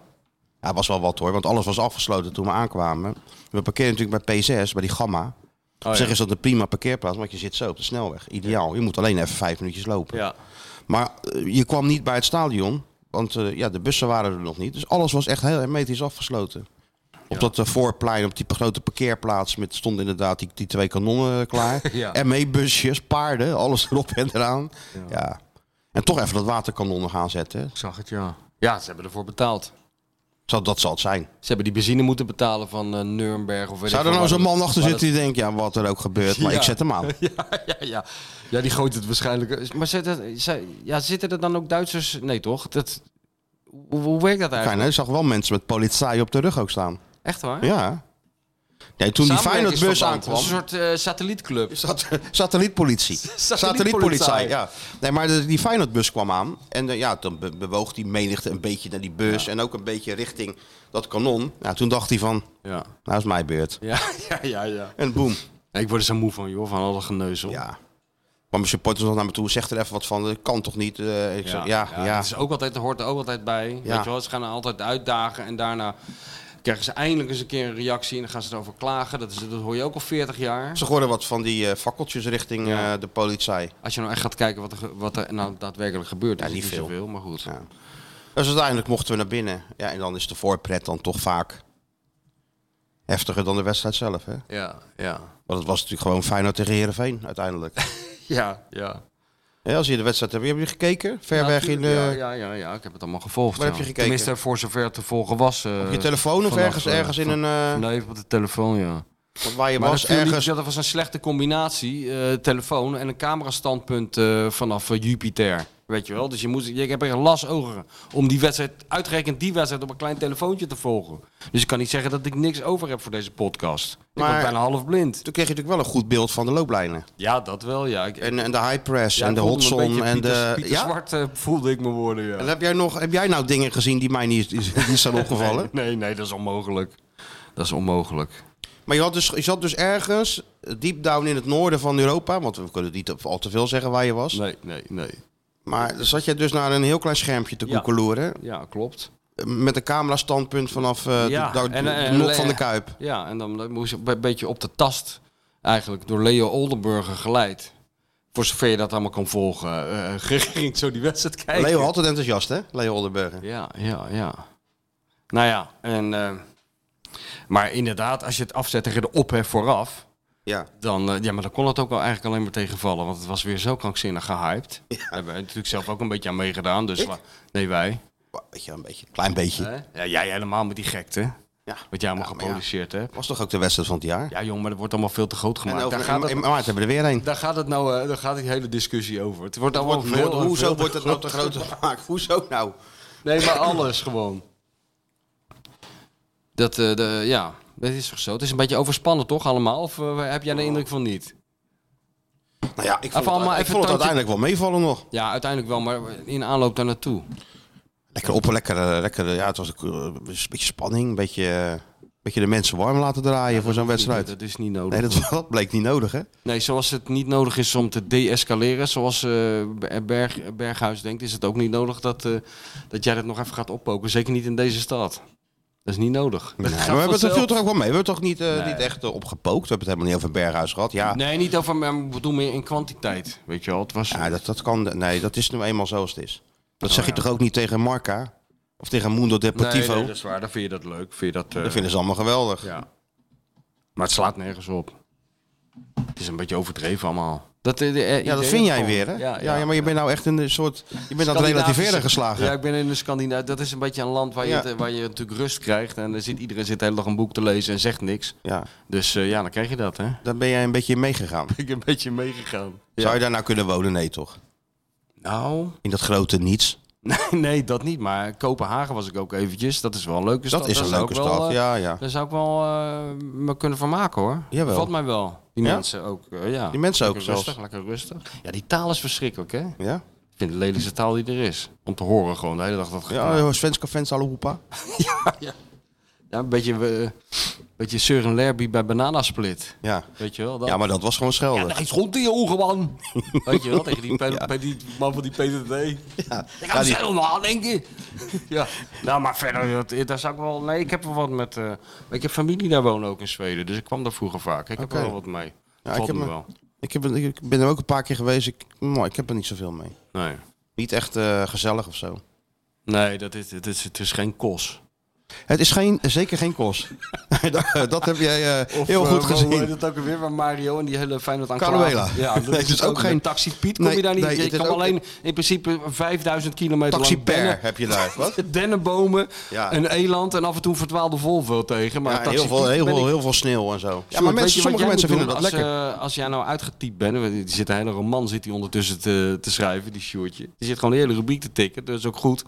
Speaker 3: Ja, was wel wat hoor, want alles was afgesloten toen we aankwamen. We parkeren natuurlijk bij P6, bij die Gamma.
Speaker 4: Oh ja.
Speaker 3: Op zich is dat een prima parkeerplaats, want je zit zo op de snelweg. Ideaal. Je moet alleen even vijf minuutjes lopen.
Speaker 4: Ja.
Speaker 3: Maar eh, je kwam niet bij het stadion, want eh, ja, de bussen waren er nog niet. Dus alles was echt heel hermetisch afgesloten. Op dat eh, voorplein, op die grote parkeerplaats, met, stonden inderdaad die, die twee kanonnen eh, klaar.
Speaker 4: Ja.
Speaker 3: ME-busjes, paarden, alles erop en eraan. Ja. En toch even dat waterkanon nog aanzetten. hè.
Speaker 4: Ik zag het, ja. Ja, ze hebben ervoor betaald.
Speaker 3: Zou, dat zal het zijn.
Speaker 4: Ze hebben die benzine moeten betalen van eh Nuremberg of weet
Speaker 3: Zou
Speaker 4: ik
Speaker 3: er nou
Speaker 4: veel
Speaker 3: zo'n
Speaker 4: waar.
Speaker 3: man achter
Speaker 4: Maar
Speaker 3: zitten die denkt, ja, wat er ook gebeurt, maar
Speaker 4: Ja.
Speaker 3: ik zet hem aan.
Speaker 4: dat- Ja, ja, ja. ja, die gooit het waarschijnlijk. eh, Maar zitten, zij- ja, zitten er dan ook Duitsers? Nee, toch? Dat, hoe, hoe werkt dat
Speaker 3: Fijn,
Speaker 4: eigenlijk?
Speaker 3: hè? Ik nou, zag wel mensen met politie op de rug ook staan.
Speaker 4: Echt waar?
Speaker 3: Ja. Nee, toen die Feyenoordbus
Speaker 4: Samenwerkingsverband.
Speaker 3: aankwam,
Speaker 4: Een soort eh, satellietclub.
Speaker 3: Sat- satellietpolitie.
Speaker 4: Satellietpolitie,
Speaker 3: Satellietpolitie, ja. Nee, maar de, die Feyenoordbus kwam aan. En eh, ja, dan be- bewoog die menigte een beetje naar die bus. En ook een beetje richting dat kanon. Ja, toen dacht hij van,
Speaker 4: Ja.
Speaker 3: nou is mijn beurt.
Speaker 4: Ja, ja, ja, ja.
Speaker 3: En boem.
Speaker 4: Ik word er zo moe van, joh, van alle geneuzel.
Speaker 3: Ja. Maar mijn supporters nog naar me toe. Zeg er even wat van, dat kan toch niet? Eh, ik zeg, ja, ja.
Speaker 4: Het is ook altijd, hoort er ook altijd bij. Weet je wel, ze gaan er altijd uitdagen en daarna krijgen ze eindelijk eens een keer een reactie en dan gaan ze erover klagen. Dat, is, dat hoor je ook al 40 jaar.
Speaker 3: Ze gooiden wat van die eh, fakkeltjes richting eh, de politie.
Speaker 4: Als je nou echt gaat kijken wat er, ge- wat er nou daadwerkelijk gebeurt,
Speaker 3: Ja,
Speaker 4: is het
Speaker 3: niet veel.
Speaker 4: zoveel, maar goed.
Speaker 3: Ja. Dus uiteindelijk mochten we naar binnen. Ja, en dan is de voorpret dan toch vaak heftiger dan de wedstrijd zelf, hè?
Speaker 4: Ja, ja,
Speaker 3: Want het was natuurlijk gewoon Feyenoord tegen Heerenveen uiteindelijk.
Speaker 4: ja. ja.
Speaker 3: Ja, als je de wedstrijd hebt, heb je gekeken? Ver
Speaker 4: Ja,
Speaker 3: weg in de,
Speaker 4: tuurlijk. ja, ja, ja, ja, ik heb het allemaal gevolgd.
Speaker 3: Waar heb
Speaker 4: ja.
Speaker 3: je gekeken?
Speaker 4: Tenminste, voor zover te volgen was. eh,
Speaker 3: op je telefoon of
Speaker 4: vanaf,
Speaker 3: ergens,
Speaker 4: eh,
Speaker 3: ergens in een... eh,
Speaker 4: Nee, op de telefoon, ja.
Speaker 3: waar je
Speaker 4: Maar
Speaker 3: was,
Speaker 4: dat, viel niet-
Speaker 3: ergens...
Speaker 4: dat was een slechte combinatie. eh, telefoon en een camerastandpunt eh, vanaf eh, Jupiter. Weet je wel? Dus je, moet, je hebt echt last ogen om die wedstrijd, uitgerekend die wedstrijd, op een klein telefoontje te volgen. Dus ik kan niet zeggen dat ik niks over heb voor deze podcast. ik
Speaker 3: Maar-
Speaker 4: ben bijna half blind.
Speaker 3: Toen kreeg je natuurlijk wel een goed beeld van de looplijnen.
Speaker 4: Ja, dat wel, ja. Ik,
Speaker 3: En, en de high press
Speaker 4: ja,
Speaker 3: en
Speaker 4: ik
Speaker 3: de
Speaker 4: voelde
Speaker 3: hot
Speaker 4: me een
Speaker 3: zone
Speaker 4: beetje
Speaker 3: en de...
Speaker 4: Pieter, Pieter
Speaker 3: ja?
Speaker 4: Zwart eh, voelde ik me worden, ja.
Speaker 3: En heb, jij nog, heb jij nou dingen gezien die mij niet, niet zijn opgevallen?
Speaker 4: Nee, nee, nee, dat is onmogelijk. Dat is onmogelijk.
Speaker 3: Maar je, had dus, je zat dus ergens, deep down in het noorden van Europa... want we kunnen niet al te veel zeggen waar je was.
Speaker 4: Nee, nee, nee.
Speaker 3: Maar dan zat je dus naar een heel klein schermpje te
Speaker 4: Ja.
Speaker 3: koekeloeren...
Speaker 4: Ja, klopt.
Speaker 3: met een camerastandpunt vanaf eh,
Speaker 4: Ja,
Speaker 3: de, de,
Speaker 4: en, eh,
Speaker 3: de nok
Speaker 4: en-
Speaker 3: van de Kuip.
Speaker 4: Ja, en dan moest je een beetje op de tast eigenlijk door Leo Oldenburger geleid. Voor zover je dat allemaal kon volgen, eh, ging zo die wedstrijd kijken.
Speaker 3: Leo altijd enthousiast, hè? Leo Oldenburger.
Speaker 4: Ja, ja, ja. Nou ja, en, eh, maar inderdaad, als je het afzet tegen de ophef vooraf,
Speaker 3: Ja.
Speaker 4: dan, eh, ja, maar dan kon het ook wel eigenlijk alleen maar tegenvallen. Want het was weer zo krankzinnig gehyped. Daar hebben we natuurlijk zelf ook een beetje aan meegedaan. Dus wa- nee, wij.
Speaker 3: Weet je, een beetje, klein beetje.
Speaker 4: Hè? Ja, jij helemaal met die gekte.
Speaker 3: Ja.
Speaker 4: Wat jij allemaal
Speaker 3: Ja, maar ja.
Speaker 4: geproduceerd hebt.
Speaker 3: Was toch ook de wedstrijd van het jaar?
Speaker 4: Ja, jong, maar dat wordt allemaal veel te groot
Speaker 3: en
Speaker 4: gemaakt.
Speaker 3: over,
Speaker 4: Daar gaat het
Speaker 3: in maart hebben we er weer een.
Speaker 4: Daar gaat het nou, eh, daar gaat die hele discussie over. Het wordt allemaal
Speaker 3: Wordt-
Speaker 4: veel,
Speaker 3: wordt- hoezo
Speaker 4: veel-
Speaker 3: wordt het nou te groot gemaakt? Hoezo nou?
Speaker 4: Nee, maar alles gewoon. Dat, eh, de, ja, dat is toch zo. Het is een beetje overspannen toch allemaal? Of eh, heb jij de indruk van niet?
Speaker 3: Nou ja, ik vond,
Speaker 4: Even
Speaker 3: het,
Speaker 4: allemaal
Speaker 3: ik
Speaker 4: even
Speaker 3: vond het
Speaker 4: tandje-
Speaker 3: uiteindelijk wel meevallen nog.
Speaker 4: Ja, uiteindelijk wel, maar in aanloop daar naartoe.
Speaker 3: Lekker op, lekker, eh, lekker eh, ja, het was ook, eh, een beetje spanning, een beetje, eh, een beetje de mensen warm laten draaien voor zo'n wedstrijd.
Speaker 4: Dat is niet nodig.
Speaker 3: Nee,
Speaker 4: Nee,
Speaker 3: dat, dat bleek niet nodig, hè?
Speaker 4: zoals het niet nodig is om te deescaleren, zoals eh, Ber- Berg, Berghuis denkt, is het ook niet nodig dat, eh, dat jij dat nog even gaat oppoken. Zeker niet in deze stad. Dat is niet nodig.
Speaker 3: Nee,
Speaker 4: Dat
Speaker 3: maar
Speaker 4: gaat
Speaker 3: we hebben het er
Speaker 4: vanzelf.
Speaker 3: veel toch ook wel mee. We hebben het toch niet, eh,
Speaker 4: Nee.
Speaker 3: niet echt eh, opgepookt. We hebben het helemaal niet over een berghuis gehad. Ja,
Speaker 4: Nee, niet over, maar ik bedoel meer in kwantiteit. Weet je wel, het was...
Speaker 3: ja dat, dat kan. Nee, dat is nu eenmaal zoals het is. Dat
Speaker 4: Oh,
Speaker 3: zeg je
Speaker 4: ja.
Speaker 3: toch ook niet tegen Marca? Of tegen Mundo Deportivo?
Speaker 4: Nee, nee, dat is waar. Dan vind je dat leuk. Vind je dat, eh,
Speaker 3: Dat vinden ze allemaal geweldig.
Speaker 4: ja. Maar het slaat nergens op. Het is een beetje overdreven allemaal. Dat, eh, de, eh,
Speaker 3: Ja, dat
Speaker 4: idee
Speaker 3: vind jij
Speaker 4: van-
Speaker 3: weer, hè?
Speaker 4: Ja,
Speaker 3: Ja, ja, maar je bent nou echt in een soort... Je bent aan het
Speaker 4: Scandinavische-
Speaker 3: relativeren geslagen.
Speaker 4: Ja, ik ben in de Scandinavië. Dat is een beetje een land waar,
Speaker 3: Ja.
Speaker 4: je, het- waar je natuurlijk rust krijgt. En er zit, iedereen zit de hele dag een boek te lezen en zegt niks.
Speaker 3: Ja,
Speaker 4: Dus eh, ja, dan krijg je dat, hè?
Speaker 3: daar ben jij een beetje in meegegaan.
Speaker 4: Ik ben een beetje meegegaan.
Speaker 3: Zou je daar nou kunnen wonen? Nee, toch?
Speaker 4: Nou,
Speaker 3: In dat grote niets.
Speaker 4: nee, nee, dat niet. Maar Kopenhagen was ik ook eventjes. Dus Dat is wel een leuke stad.
Speaker 3: Dat is een
Speaker 4: Daar zou
Speaker 3: leuke
Speaker 4: ik wel,
Speaker 3: stad.
Speaker 4: eh,
Speaker 3: Ja, ja.
Speaker 4: Daar zou ik wel eh, me kunnen van maken hoor.
Speaker 3: Jawel.
Speaker 4: Valt mij wel. Die
Speaker 3: Ja?
Speaker 4: mensen ook. eh, ja.
Speaker 3: Die mensen ook
Speaker 4: lekker
Speaker 3: zelfs.
Speaker 4: Rustig, lekker rustig. Ja, die taal is verschrikkelijk hè. Ik
Speaker 3: Ja?
Speaker 4: vind het de lelijkste taal die er is. Om te horen gewoon de hele dag dat
Speaker 3: Ja,
Speaker 4: gepraat.
Speaker 3: eh, Svenska fans alle hoepa.
Speaker 4: Ja, een beetje, eh, een beetje Sir en Lerby bij Bananasplit.
Speaker 3: Ja.
Speaker 4: Weet je wel? Dat...
Speaker 3: ja, maar dat was gewoon
Speaker 4: Ja,
Speaker 3: schelden.
Speaker 4: dat is goed in je ogen, man. Weet je wel, tegen die, pe- bij die man van die PTT. Ja, ik ga
Speaker 3: Ja, die-
Speaker 4: zelf nog aan denken. ja. Nou, maar verder, dat, daar zou ik wel... Nee, ik heb wel wat met... eh, ik heb familie daar wonen ook in Zweden, dus ik kwam daar vroeger vaak. Ik heb
Speaker 3: Oké.
Speaker 4: er wel wat mee.
Speaker 3: Ja,
Speaker 4: Valt
Speaker 3: ik heb
Speaker 4: me
Speaker 3: me-
Speaker 4: wel.
Speaker 3: Ik, heb, ik ben er ook een paar keer geweest. Ik, nou, ik heb er niet zoveel mee.
Speaker 4: Nee.
Speaker 3: Niet echt eh, gezellig of zo.
Speaker 4: Nee, dat is, het, is, het is geen kos.
Speaker 3: Het is geen, zeker geen kos. dat, dat heb jij eh,
Speaker 4: Of,
Speaker 3: heel
Speaker 4: eh,
Speaker 3: goed
Speaker 4: hoe heet
Speaker 3: gezien.
Speaker 4: het ook weer van Mario en die hele Feyenoord aan
Speaker 3: Caruela.
Speaker 4: Ja, dat
Speaker 3: Nee,
Speaker 4: is, ook geen... Taxi Piet kom
Speaker 3: Nee,
Speaker 4: je daar niet.
Speaker 3: nee,
Speaker 4: je
Speaker 3: het is
Speaker 4: kan
Speaker 3: ook-
Speaker 4: alleen in principe 5000 kilometer
Speaker 3: Taxi
Speaker 4: lang dennen-
Speaker 3: per heb je daar. Wat?
Speaker 4: dennenbomen,
Speaker 3: Ja.
Speaker 4: een eland en af en toe een verdwaalde Volvo tegen. Maar
Speaker 3: Ja,
Speaker 4: Taxi
Speaker 3: heel, veel,
Speaker 4: Piet
Speaker 3: heel,
Speaker 4: ben
Speaker 3: veel,
Speaker 4: ik-
Speaker 3: heel veel sneeuw en zo. Ja,
Speaker 4: Sjoerd,
Speaker 3: maar
Speaker 4: weet
Speaker 3: mensen,
Speaker 4: je
Speaker 3: sommige
Speaker 4: wat jij
Speaker 3: mensen
Speaker 4: moet
Speaker 3: vinden dat
Speaker 4: doen
Speaker 3: lekker.
Speaker 4: als, eh, als jij nou uitgetypt bent, want die zit een hele roman zit die ondertussen te, te schrijven, die Sjoerdje. Die zit gewoon de hele rubriek te tikken, dat is ook goed.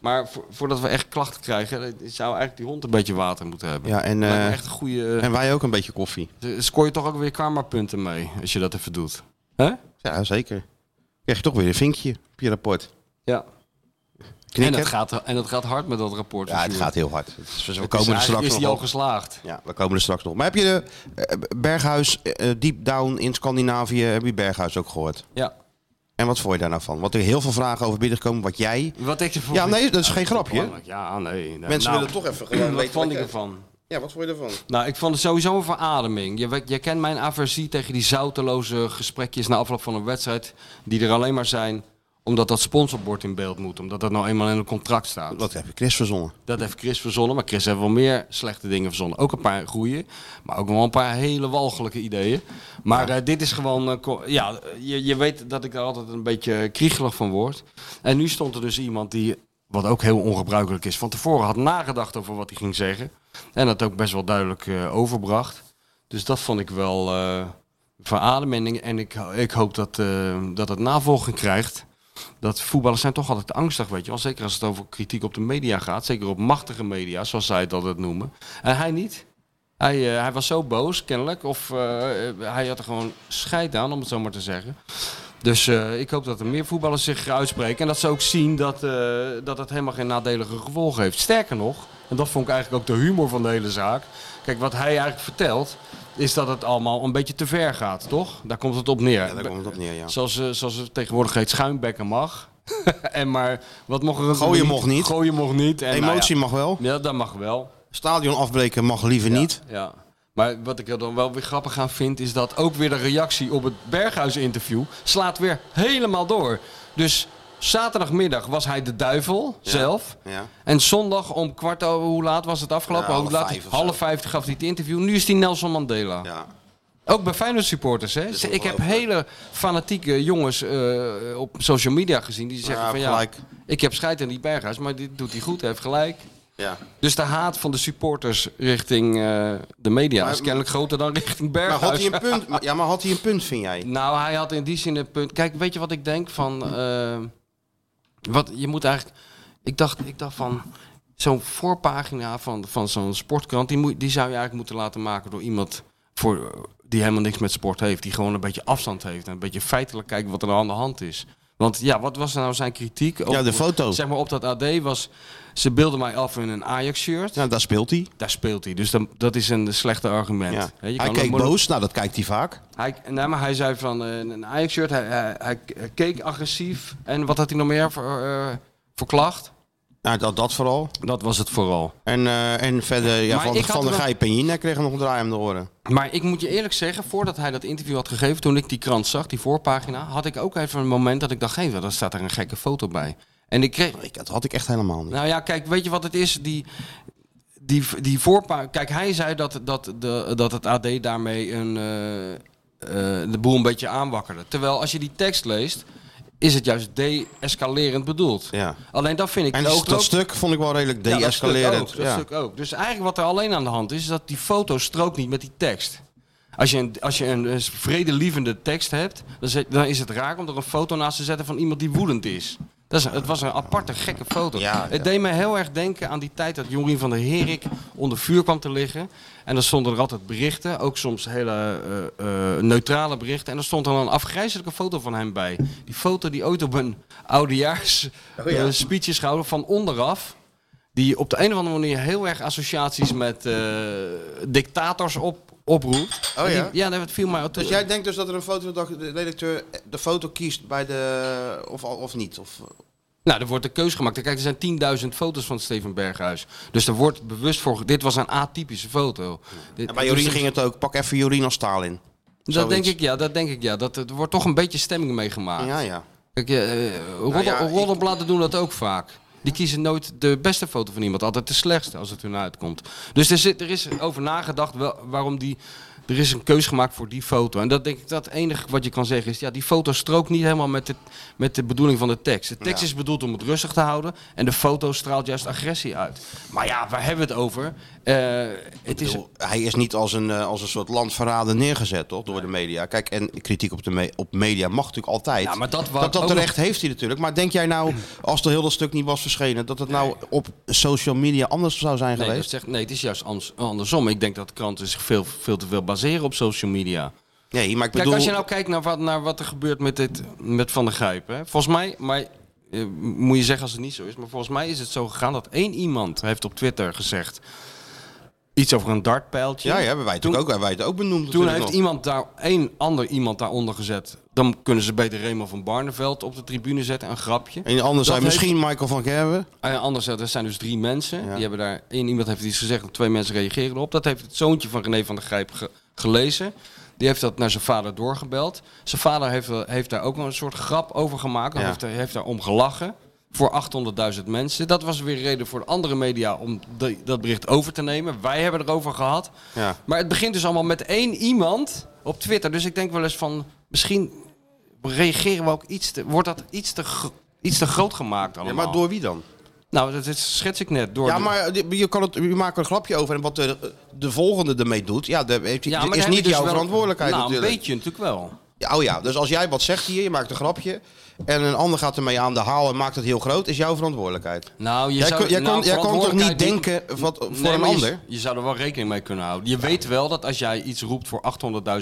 Speaker 4: Maar vo- voordat we echt klachten krijgen, eh, zou eigenlijk die hond een beetje water moeten hebben.
Speaker 3: Ja, en,
Speaker 4: Lijkt me
Speaker 3: eh,
Speaker 4: echt een goede...
Speaker 3: en wij ook een beetje koffie.
Speaker 4: Dan scoor je toch ook weer karmapunten mee als je dat even doet. Hè?
Speaker 3: Ja, zeker. Krijg je toch weer een vinkje op je rapport.
Speaker 4: Ja. En dat,
Speaker 3: Knikken.
Speaker 4: gaat, en dat gaat hard met dat rapport.
Speaker 3: Ja, het
Speaker 4: natuurlijk.
Speaker 3: gaat heel hard. Het is- We
Speaker 4: Het
Speaker 3: komen
Speaker 4: is,
Speaker 3: er straks
Speaker 4: eigenlijk- is
Speaker 3: nog
Speaker 4: die al
Speaker 3: op.
Speaker 4: geslaagd?
Speaker 3: Ja, we komen er straks nog. op. Maar heb je de eh, Berghuis, eh, deep down in Scandinavië, heb je Berghuis ook gehoord?
Speaker 4: Ja.
Speaker 3: En wat vond je daar nou van? Want er heel veel vragen over binnenkomen, wat jij...
Speaker 4: Wat ik ervan
Speaker 3: Ja,
Speaker 4: vind-
Speaker 3: nee, dat is geen grapje.
Speaker 4: Belangrijk. Ja, nee. nee.
Speaker 3: Mensen
Speaker 4: Nou,
Speaker 3: willen toch even gewoon
Speaker 4: Wat
Speaker 3: weten
Speaker 4: vond
Speaker 3: wat
Speaker 4: ik
Speaker 3: je-
Speaker 4: ervan?
Speaker 3: Ja, wat vond je ervan?
Speaker 4: Nou, ik vond het sowieso een verademing. Je, weet- je kent mijn aversie tegen die zouteloze gesprekjes na afloop van een wedstrijd. Die er alleen maar zijn omdat dat sponsorbord in beeld moet. Omdat dat nou eenmaal in een contract staat.
Speaker 3: Dat heb je Chris verzonnen.
Speaker 4: Dat heeft Chris verzonnen, maar Chris heeft wel meer slechte dingen verzonnen. Ook een paar goede, maar ook wel een paar hele walgelijke ideeën. Maar eh, dit is gewoon, eh, ko- ja, je, je weet dat ik daar altijd een beetje kriegelig van word. En nu stond er dus iemand die, wat ook heel ongebruikelijk is, van tevoren had nagedacht over wat hij ging zeggen. En dat ook best wel duidelijk eh, overbracht. Dus dat vond ik wel eh verademing. En ik, ik hoop dat, eh, dat het navolging krijgt dat voetballers zijn toch altijd angstig, weet je wel. Zeker als het over kritiek op de media gaat. Zeker op machtige media, zoals zij het altijd noemen. En hij niet. Hij, eh, hij was zo boos, kennelijk. Of eh, eh, hij had er gewoon scheid aan, om het zo maar te zeggen. Dus eh, ik hoop dat er meer voetballers zich uitspreken. En dat ze ook zien dat, eh, dat het helemaal geen nadelige gevolgen heeft. Sterker nog, en dat vond ik eigenlijk ook de humor van de hele zaak. Kijk, wat hij eigenlijk vertelt, is dat het allemaal een beetje te ver gaat, toch? Daar komt het op neer.
Speaker 3: Ja, daar komt het op neer, ja.
Speaker 4: Zoals, eh, zoals het tegenwoordig heet, schuimbekken mag. en maar, wat mocht er...
Speaker 3: Gooien mocht niet.
Speaker 4: Gooien mocht niet. En, nou
Speaker 3: Emotie mag wel.
Speaker 4: ja. ja, dat mag wel.
Speaker 3: Stadion afbreken mag liever niet.
Speaker 4: Ja. Maar wat ik er dan wel weer grappig aan vind, is dat ook weer de reactie op het Berghuis-interview slaat weer helemaal door. Dus zaterdagmiddag was hij de duivel zelf.
Speaker 3: Ja.
Speaker 4: En zondag om kwart over, hoe laat was het afgelopen?
Speaker 3: Ja,
Speaker 4: Hoe
Speaker 3: half
Speaker 4: laat-
Speaker 3: vijf of zo.
Speaker 4: half vijf gaf hij het interview. Nu is hij Nelson Mandela.
Speaker 3: Ja.
Speaker 4: Ook bij Feyenoord supporters, hè?
Speaker 3: is
Speaker 4: Ik heb
Speaker 3: ongelooflijk.
Speaker 4: hele fanatieke jongens eh, op social media gezien die zeggen
Speaker 3: Ja,
Speaker 4: van
Speaker 3: gelijk.
Speaker 4: ja, ik heb scheid aan die Berghuis, maar dit doet hij goed, hij heeft gelijk.
Speaker 3: ja.
Speaker 4: Dus de haat van de supporters richting eh, de media
Speaker 3: Maar-
Speaker 4: is kennelijk groter dan richting
Speaker 3: Maar
Speaker 4: Berghuis.
Speaker 3: had hij een punt? maar- Ja, maar had hij een punt, vind jij?
Speaker 4: Nou, hij had in die zin een punt. Kijk, weet je wat ik denk van. eh, wat je moet eigenlijk. Ik dacht, ik dacht van. Zo'n voorpagina van, van zo'n sportkrant. Die, moet, die zou je eigenlijk moeten laten maken door iemand. Voor, eh, die helemaal niks met sport heeft. Die gewoon een beetje afstand heeft. En een beetje feitelijk kijkt wat er aan de hand is. Want ja, wat was nou zijn kritiek? Op,
Speaker 3: Ja, de foto.
Speaker 4: Zeg maar op dat AD was. Ze beelden mij af in een Ajax-shirt.
Speaker 3: Nou, daar speelt hij.
Speaker 4: Daar speelt hij. Dus dan, dat is een slechte argument.
Speaker 3: Ja.
Speaker 4: Hè, je
Speaker 3: Hij
Speaker 4: kan
Speaker 3: keek
Speaker 4: ook moeilijk-
Speaker 3: boos. Nou, dat kijkt hij vaak.
Speaker 4: hij, nee, maar hij zei van eh, een Ajax-shirt, hij, hij, hij keek agressief. En wat had hij nog meer voor, eh, voor klacht?
Speaker 3: Nou, dat, dat vooral.
Speaker 4: Dat was het vooral.
Speaker 3: En, eh, en verder, ja,
Speaker 4: Maar
Speaker 3: van,
Speaker 4: ik had
Speaker 3: van de
Speaker 4: wel-
Speaker 3: Gijp en Jina kregen nog een draai om de oren.
Speaker 4: Maar ik moet je eerlijk zeggen, voordat hij dat interview had gegeven, toen ik die krant zag, die voorpagina, had ik ook even een moment dat ik dacht, hé, hey, daar staat er een gekke foto bij. En ik kreeg,
Speaker 3: Ik, dat had ik echt helemaal niet.
Speaker 4: Nou ja, kijk, weet je wat het is? Die, die, die voorpa- Kijk, hij zei dat, dat, de, dat het AD daarmee een, eh, eh, de boel een beetje aanwakkerde. Terwijl als je die tekst leest, is het juist de-escalerend bedoeld.
Speaker 3: Ja.
Speaker 4: Alleen dat vind ik...
Speaker 3: En
Speaker 4: die
Speaker 3: ook dat
Speaker 4: strook-
Speaker 3: stuk vond ik wel redelijk
Speaker 4: Ja, dat stuk
Speaker 3: de-escalerend.
Speaker 4: ook,
Speaker 3: Ja,
Speaker 4: Dat stuk ook. Dus eigenlijk wat er alleen aan de hand is, is dat die foto strookt niet met die tekst. Als je een, als je een, een vredelievende tekst hebt, dan, zet- dan is het raar om er een foto naast te zetten van iemand die woedend is. Dat is, het was een aparte, gekke foto.
Speaker 3: Ja,
Speaker 4: het deed me heel erg denken aan die tijd dat Jorien van der Herik onder vuur kwam te liggen. En dan stonden er altijd berichten, ook soms hele eh, eh, neutrale berichten. En er stond dan een afgrijzelijke foto van hem bij. Die foto die ooit op een oudejaars
Speaker 3: Oh ja.
Speaker 4: eh, speech is gehouden van onderaf die op de een of andere manier heel erg associaties met eh, dictators op, oproept.
Speaker 3: Oh
Speaker 4: En die-
Speaker 3: ja?
Speaker 4: ja, nee, dat viel mij ook
Speaker 3: Dus jij denkt dus dat er een fotoredacteur de foto kiest bij de... of, of niet? Of,
Speaker 4: Nou, er wordt een keus gemaakt. Kijk, er zijn 10.000 foto's van Steven Berghuis. Dus er wordt bewust voor... ge- Dit was een atypische foto. Dit-
Speaker 3: en bij Jorien
Speaker 4: dus-
Speaker 3: ging het ook. Pak even Jorien als Stalin.
Speaker 4: Dat
Speaker 3: zoiets.
Speaker 4: denk ik, ja. Dat denk ik, ja. Dat, er wordt toch een beetje stemming mee gemaakt.
Speaker 3: Ja, ja.
Speaker 4: Kijk, eh, eh, rodde-
Speaker 3: Nou ja, ik-
Speaker 4: roddelbladen doen dat ook vaak. Die kiezen nooit de beste foto van iemand. Altijd de slechtste als het hun uitkomt. Dus er, zit, er is over nagedacht wel, waarom die. Er is een keus gemaakt voor die foto. En dat denk ik dat het enige wat je kan zeggen is. Ja, die foto strookt niet helemaal met de, met de bedoeling van de tekst. De tekst
Speaker 3: Ja.
Speaker 4: is bedoeld om het rustig te houden. En de foto straalt juist agressie uit. Maar ja, waar hebben we het over? Eh, het is,
Speaker 3: bedoel, hij is niet als een, eh, als een soort landverrader neergezet, toch? Door de media. Kijk, en kritiek op, de me- op media mag natuurlijk altijd.
Speaker 4: Ja, maar dat wou
Speaker 3: dat,
Speaker 4: ik ook
Speaker 3: terecht heeft hij natuurlijk. Maar denk jij nou, als er heel dat stuk niet was verschenen, dat het nou op social media anders zou zijn
Speaker 4: Nee, dat
Speaker 3: geweest?
Speaker 4: zegt, nee, het is juist anders- andersom. Ik denk dat kranten zich veel, veel te veel baseren op social media.
Speaker 3: Nee, maar ik
Speaker 4: Kijk,
Speaker 3: bedoel...
Speaker 4: als je nou kijkt naar wat, naar wat er gebeurt met, dit, met Van der Grijp. Hè? Volgens mij, maar eh, moet je zeggen als het niet zo is. Maar volgens mij is het zo gegaan dat één iemand heeft op Twitter gezegd. Iets over een dartpijltje.
Speaker 3: Ja, ja, hebben wij,
Speaker 4: Toen-
Speaker 3: natuurlijk ook, hebben wij het ook benoemd
Speaker 4: Toen
Speaker 3: natuurlijk
Speaker 4: heeft
Speaker 3: nog.
Speaker 4: iemand daar één ander iemand daaronder gezet. Dan kunnen ze beter Raymond van Barneveld op de tribune zetten. Een grapje.
Speaker 3: En anders
Speaker 4: Dat
Speaker 3: zijn
Speaker 4: heeft-
Speaker 3: misschien Michael van Gerwen.
Speaker 4: Ah ja, anders, eh, er zijn dus drie mensen.
Speaker 3: Ja.
Speaker 4: Die hebben daar, één iemand heeft iets gezegd en twee mensen reageren erop. Dat heeft het zoontje van René van der Grijp ge- gelezen. Die heeft dat naar zijn vader doorgebeld. Zijn vader heeft, eh, heeft daar ook wel een soort grap over gemaakt. Hij
Speaker 3: Ja.
Speaker 4: Heeft, daar- heeft daar om gelachen. Voor 800.000 mensen. Dat was weer reden voor de andere media om de- dat bericht over te nemen. Wij hebben erover gehad.
Speaker 3: Ja.
Speaker 4: Maar het begint dus allemaal met één iemand op Twitter. Dus ik denk wel eens van, misschien reageren we ook iets te... Wordt dat iets te, gro- iets te groot gemaakt allemaal?
Speaker 3: maar door wie dan?
Speaker 4: Nou, dat, dat schets ik net. Door
Speaker 3: Ja,
Speaker 4: de-
Speaker 3: maar die- je, kan het, je maakt er een grapje over. En wat de, de volgende ermee doet, ja, dat heeft,
Speaker 4: Ja, maar daar
Speaker 3: is
Speaker 4: heb je
Speaker 3: niet
Speaker 4: dus
Speaker 3: jouw
Speaker 4: wel-
Speaker 3: verantwoordelijkheid
Speaker 4: nou,
Speaker 3: natuurlijk.
Speaker 4: een beetje natuurlijk wel.
Speaker 3: Ja, Oh ja, dus als jij wat zegt hier, je maakt een grapje. En een ander gaat ermee aan de haal en maakt het heel groot, is jouw verantwoordelijkheid.
Speaker 4: Nou, je
Speaker 3: Jij,
Speaker 4: zou,
Speaker 3: kun- jij
Speaker 4: nou,
Speaker 3: kan, jij kan toch niet
Speaker 4: verantwoordelijkheid
Speaker 3: denken wat, voor
Speaker 4: Nee,
Speaker 3: een
Speaker 4: maar je-
Speaker 3: ander?
Speaker 4: Je, zou er wel rekening mee kunnen houden. Je weet wel dat als jij iets roept voor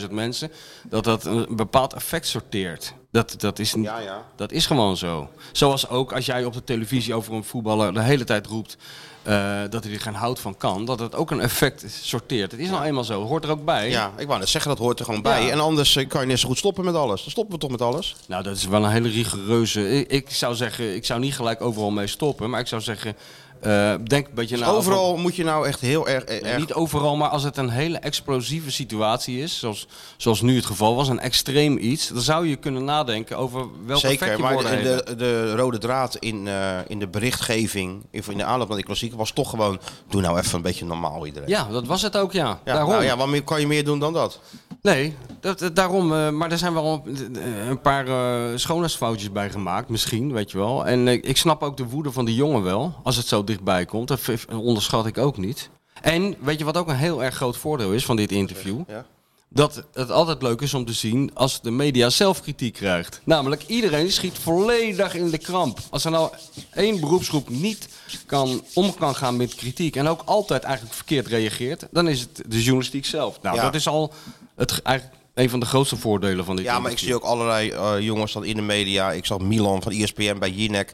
Speaker 4: 800.000 mensen, dat dat een bepaald effect sorteert. Dat, dat, is, niet-
Speaker 3: Ja, ja.
Speaker 4: dat is gewoon zo. Zoals ook als jij op de televisie over een voetballer de hele tijd roept eh, dat hij er geen hout van kan, dat dat ook een effect sorteert. Het is nou eenmaal zo, hoort er ook bij.
Speaker 3: Ja, ik wou net zeggen, dat hoort er gewoon bij.
Speaker 4: Ja.
Speaker 3: En anders eh, kan je net zo goed stoppen met alles. Dan stoppen we toch met alles?
Speaker 4: Nou, dat is wel een hele rigoureuze. Ik, ik zou zeggen, ik zou niet gelijk overal mee stoppen, maar ik zou zeggen, eh, denk een beetje na. over-
Speaker 3: Overal moet je nou echt heel erg... eh,
Speaker 4: Nee,
Speaker 3: erg-
Speaker 4: Niet overal, maar als het een hele explosieve situatie is, zoals, zoals nu het geval was, een extreem iets, dan zou je kunnen nadenken over welk effect
Speaker 3: Zeker,
Speaker 4: je
Speaker 3: maar
Speaker 4: woorden
Speaker 3: de,
Speaker 4: hebben.
Speaker 3: de, de rode draad in, eh, in de berichtgeving, in de aanloop naar die klassiek, was toch gewoon... Doe nou even een beetje normaal iedereen.
Speaker 4: Ja, dat was het ook, ja.
Speaker 3: Ja,
Speaker 4: daarom.
Speaker 3: nou ja, wat meer- kan je meer doen dan dat?
Speaker 4: Nee, dat, dat- daarom. eh, maar er zijn wel een, een paar eh, schoonheidsfoutjes bij gemaakt, misschien, weet je wel. En eh, ik snap ook de woede van de jongen wel, als het zo dichtbij komt. Dat v- onderschat ik ook niet. En weet je wat ook een heel erg groot voordeel is van dit interview?
Speaker 3: Ja.
Speaker 4: dat het altijd leuk is om te zien als de media zelf kritiek krijgt. Namelijk, iedereen schiet volledig in de kramp. Als er nou één beroepsgroep niet kan, om kan gaan met kritiek en ook altijd eigenlijk verkeerd reageert, dan is het de journalistiek zelf. Nou,
Speaker 3: Ja.
Speaker 4: dat is al het, ge- eigenlijk een van de grootste voordelen van dit
Speaker 3: Ja, maar ik zie ook allerlei eh, jongens dan in de media. Ik zag Milan van E ESPN bij Jinek.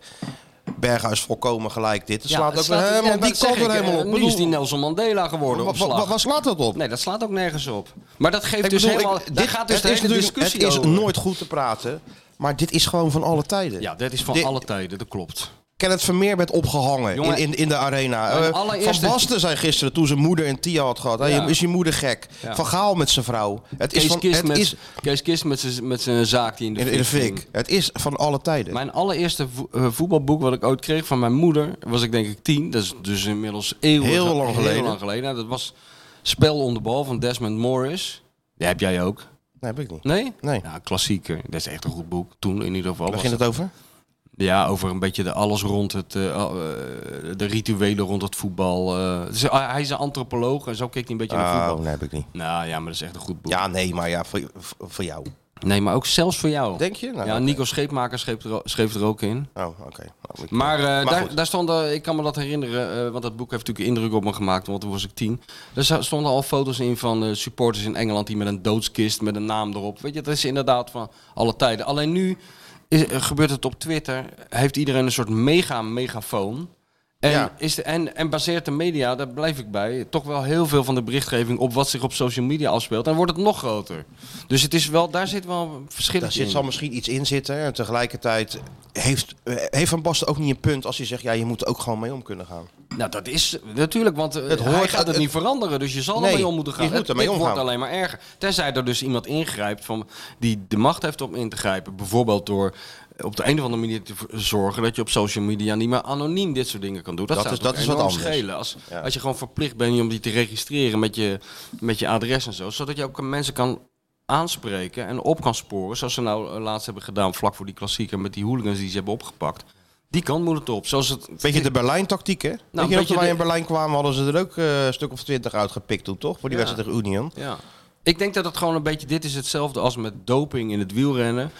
Speaker 3: Berghuis volkomen gelijk dit. Het slaat ook helemaal die kant er helemaal op.
Speaker 4: eh, Nu is
Speaker 3: Bedoel,
Speaker 4: die nou Nelson Mandela geworden
Speaker 3: wat,
Speaker 4: op
Speaker 3: wat,
Speaker 4: slag.
Speaker 3: wat, wat slaat dat op?
Speaker 4: Nee, dat slaat ook nergens op. Maar dat geeft
Speaker 3: Ik
Speaker 4: dus
Speaker 3: bedoel, ik-
Speaker 4: helemaal... daar
Speaker 3: dit-
Speaker 4: gaat dus
Speaker 3: het
Speaker 4: de
Speaker 3: is
Speaker 4: hele
Speaker 3: natuurlijk-
Speaker 4: discussie
Speaker 3: Het is
Speaker 4: over.
Speaker 3: nooit goed te praten. Maar dit is gewoon van alle tijden.
Speaker 4: Ja, dat is van
Speaker 3: Dit-
Speaker 4: alle tijden, dat klopt.
Speaker 3: Kenneth Vermeer werd opgehangen
Speaker 4: Jongen,
Speaker 3: in, in, in de arena.
Speaker 4: mijn
Speaker 3: Eh,
Speaker 4: allereerste-
Speaker 3: Van Basten zei gisteren toen zijn moeder en Tia had gehad. hey,
Speaker 4: Ja.
Speaker 3: Is je moeder gek?
Speaker 4: Ja.
Speaker 3: Van Gaal met zijn vrouw. Het is,
Speaker 4: Kees,
Speaker 3: van,
Speaker 4: Kist
Speaker 3: het
Speaker 4: met,
Speaker 3: is
Speaker 4: Kees Kist met zijn- met zijn zaak die in de,
Speaker 3: in, in de
Speaker 4: ging.
Speaker 3: fik. Het is van alle tijden.
Speaker 4: Mijn allereerste vo- eh, voetbalboek wat ik ooit kreeg van mijn moeder, was ik denk ik tien. Dat is dus inmiddels eeuwen
Speaker 3: Heel lang
Speaker 4: Heel
Speaker 3: geleden.
Speaker 4: lang geleden. Nou, dat was Spel onder bal van Desmond Morris. Die heb jij ook.
Speaker 3: Nee, heb ik niet.
Speaker 4: Nee?
Speaker 3: Nee.
Speaker 4: Ja, klassieker. Dat is echt een goed boek. Toen in ieder geval.
Speaker 3: Waar
Speaker 4: was
Speaker 3: ging
Speaker 4: dat-
Speaker 3: het over?
Speaker 4: Ja, over een beetje de alles rond het, eh, al- eh, de rituelen rond het voetbal. eh. Dus, ah, hij is een antropoloog en zo keek hij een beetje naar
Speaker 3: Oh,
Speaker 4: voetbal.
Speaker 3: nee, heb ik niet.
Speaker 4: Nou ja, maar dat is echt een goed boek.
Speaker 3: Ja, nee, maar ja, voor, voor voor jou.
Speaker 4: Nee, maar ook zelfs voor jou.
Speaker 3: Denk je? Nou,
Speaker 4: ja,
Speaker 3: oké.
Speaker 4: Nico Scheepmaker schreef er, o- schreef er ook in.
Speaker 3: Oh, oké. Nou, ik-
Speaker 4: Maar, eh, daar,
Speaker 3: goed.
Speaker 4: daar stonden, ik kan me dat herinneren, eh, want dat boek heeft natuurlijk indruk op me gemaakt, want toen was ik tien. Daar za- stonden al foto's in van eh, supporters in Engeland die met een doodskist met een naam erop. Weet je, dat is inderdaad van alle tijden. Alleen nu is- eh, gebeurt het op Twitter, heeft iedereen een soort mega-megafoon. En,
Speaker 3: Ja.
Speaker 4: is de, en, en baseert de media, daar blijf ik bij, toch wel heel veel van de berichtgeving op wat zich op social media afspeelt. En wordt het nog groter. Dus het is wel, daar zit wel een verschil
Speaker 3: daar
Speaker 4: in.
Speaker 3: zit, zal misschien iets in zitten. En tegelijkertijd heeft, eh, heeft Van Basten ook niet een punt als hij zegt... ja, je moet er ook gewoon mee om kunnen gaan.
Speaker 4: Nou, dat is natuurlijk, want het
Speaker 3: Het
Speaker 4: hoort, hij
Speaker 3: hoort-
Speaker 4: gaat het,
Speaker 3: het-
Speaker 4: niet veranderen. Dus je zal
Speaker 3: Nee,
Speaker 4: ermee om moeten gaan.
Speaker 3: je moet
Speaker 4: Het-
Speaker 3: ermee
Speaker 4: dit
Speaker 3: omgaan.
Speaker 4: wordt alleen maar erger. Tenzij er dus iemand ingrijpt van, die de macht heeft om in te grijpen. Bijvoorbeeld door eh, op de een of andere manier te v- zorgen dat je op social media niet meer anoniem dit soort dingen kan doen. Dat,
Speaker 5: Dat
Speaker 4: zou
Speaker 5: is- dat
Speaker 4: toch
Speaker 5: is wat
Speaker 4: enorm
Speaker 5: anders.
Speaker 4: schelen. Als,
Speaker 5: Ja.
Speaker 4: als je gewoon verplicht bent om die te registreren met je, met je adres en zo. Zodat je ook mensen kan aanspreken en op kan sporen. Zoals ze nou eh, laatst hebben gedaan vlak voor die klassieker met die hooligans die ze hebben opgepakt. Die kant moet het op. Zoals het,
Speaker 3: Beetje de Berlijn-tactiek, hè? Weet je
Speaker 4: Nou, beetje
Speaker 3: nog, toen wij
Speaker 4: de-
Speaker 3: in Berlijn kwamen, hadden ze er ook eh, een stuk of twintig uitgepikt toen, toch? Voor die
Speaker 4: Ja.
Speaker 3: wedstrijd tegen Union.
Speaker 4: Ja. Ik denk dat het gewoon een beetje, dit is hetzelfde als met doping in het wielrennen.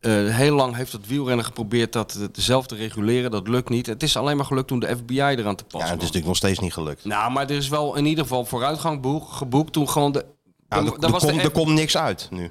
Speaker 4: Eh, heel lang heeft het wielrennen geprobeerd dat eh, zelf te reguleren. Dat lukt niet. Het is alleen maar gelukt toen de FBI eraan te
Speaker 3: Ja, dus het
Speaker 4: passen.
Speaker 3: is
Speaker 4: kwam.
Speaker 3: natuurlijk nog steeds niet gelukt.
Speaker 4: Nou, maar er is wel in ieder geval vooruitgang boek- geboekt toen gewoon de...
Speaker 3: Ja,
Speaker 4: dan-
Speaker 3: er,
Speaker 4: dan
Speaker 3: er komt-
Speaker 4: de-
Speaker 3: er komt niks uit nu.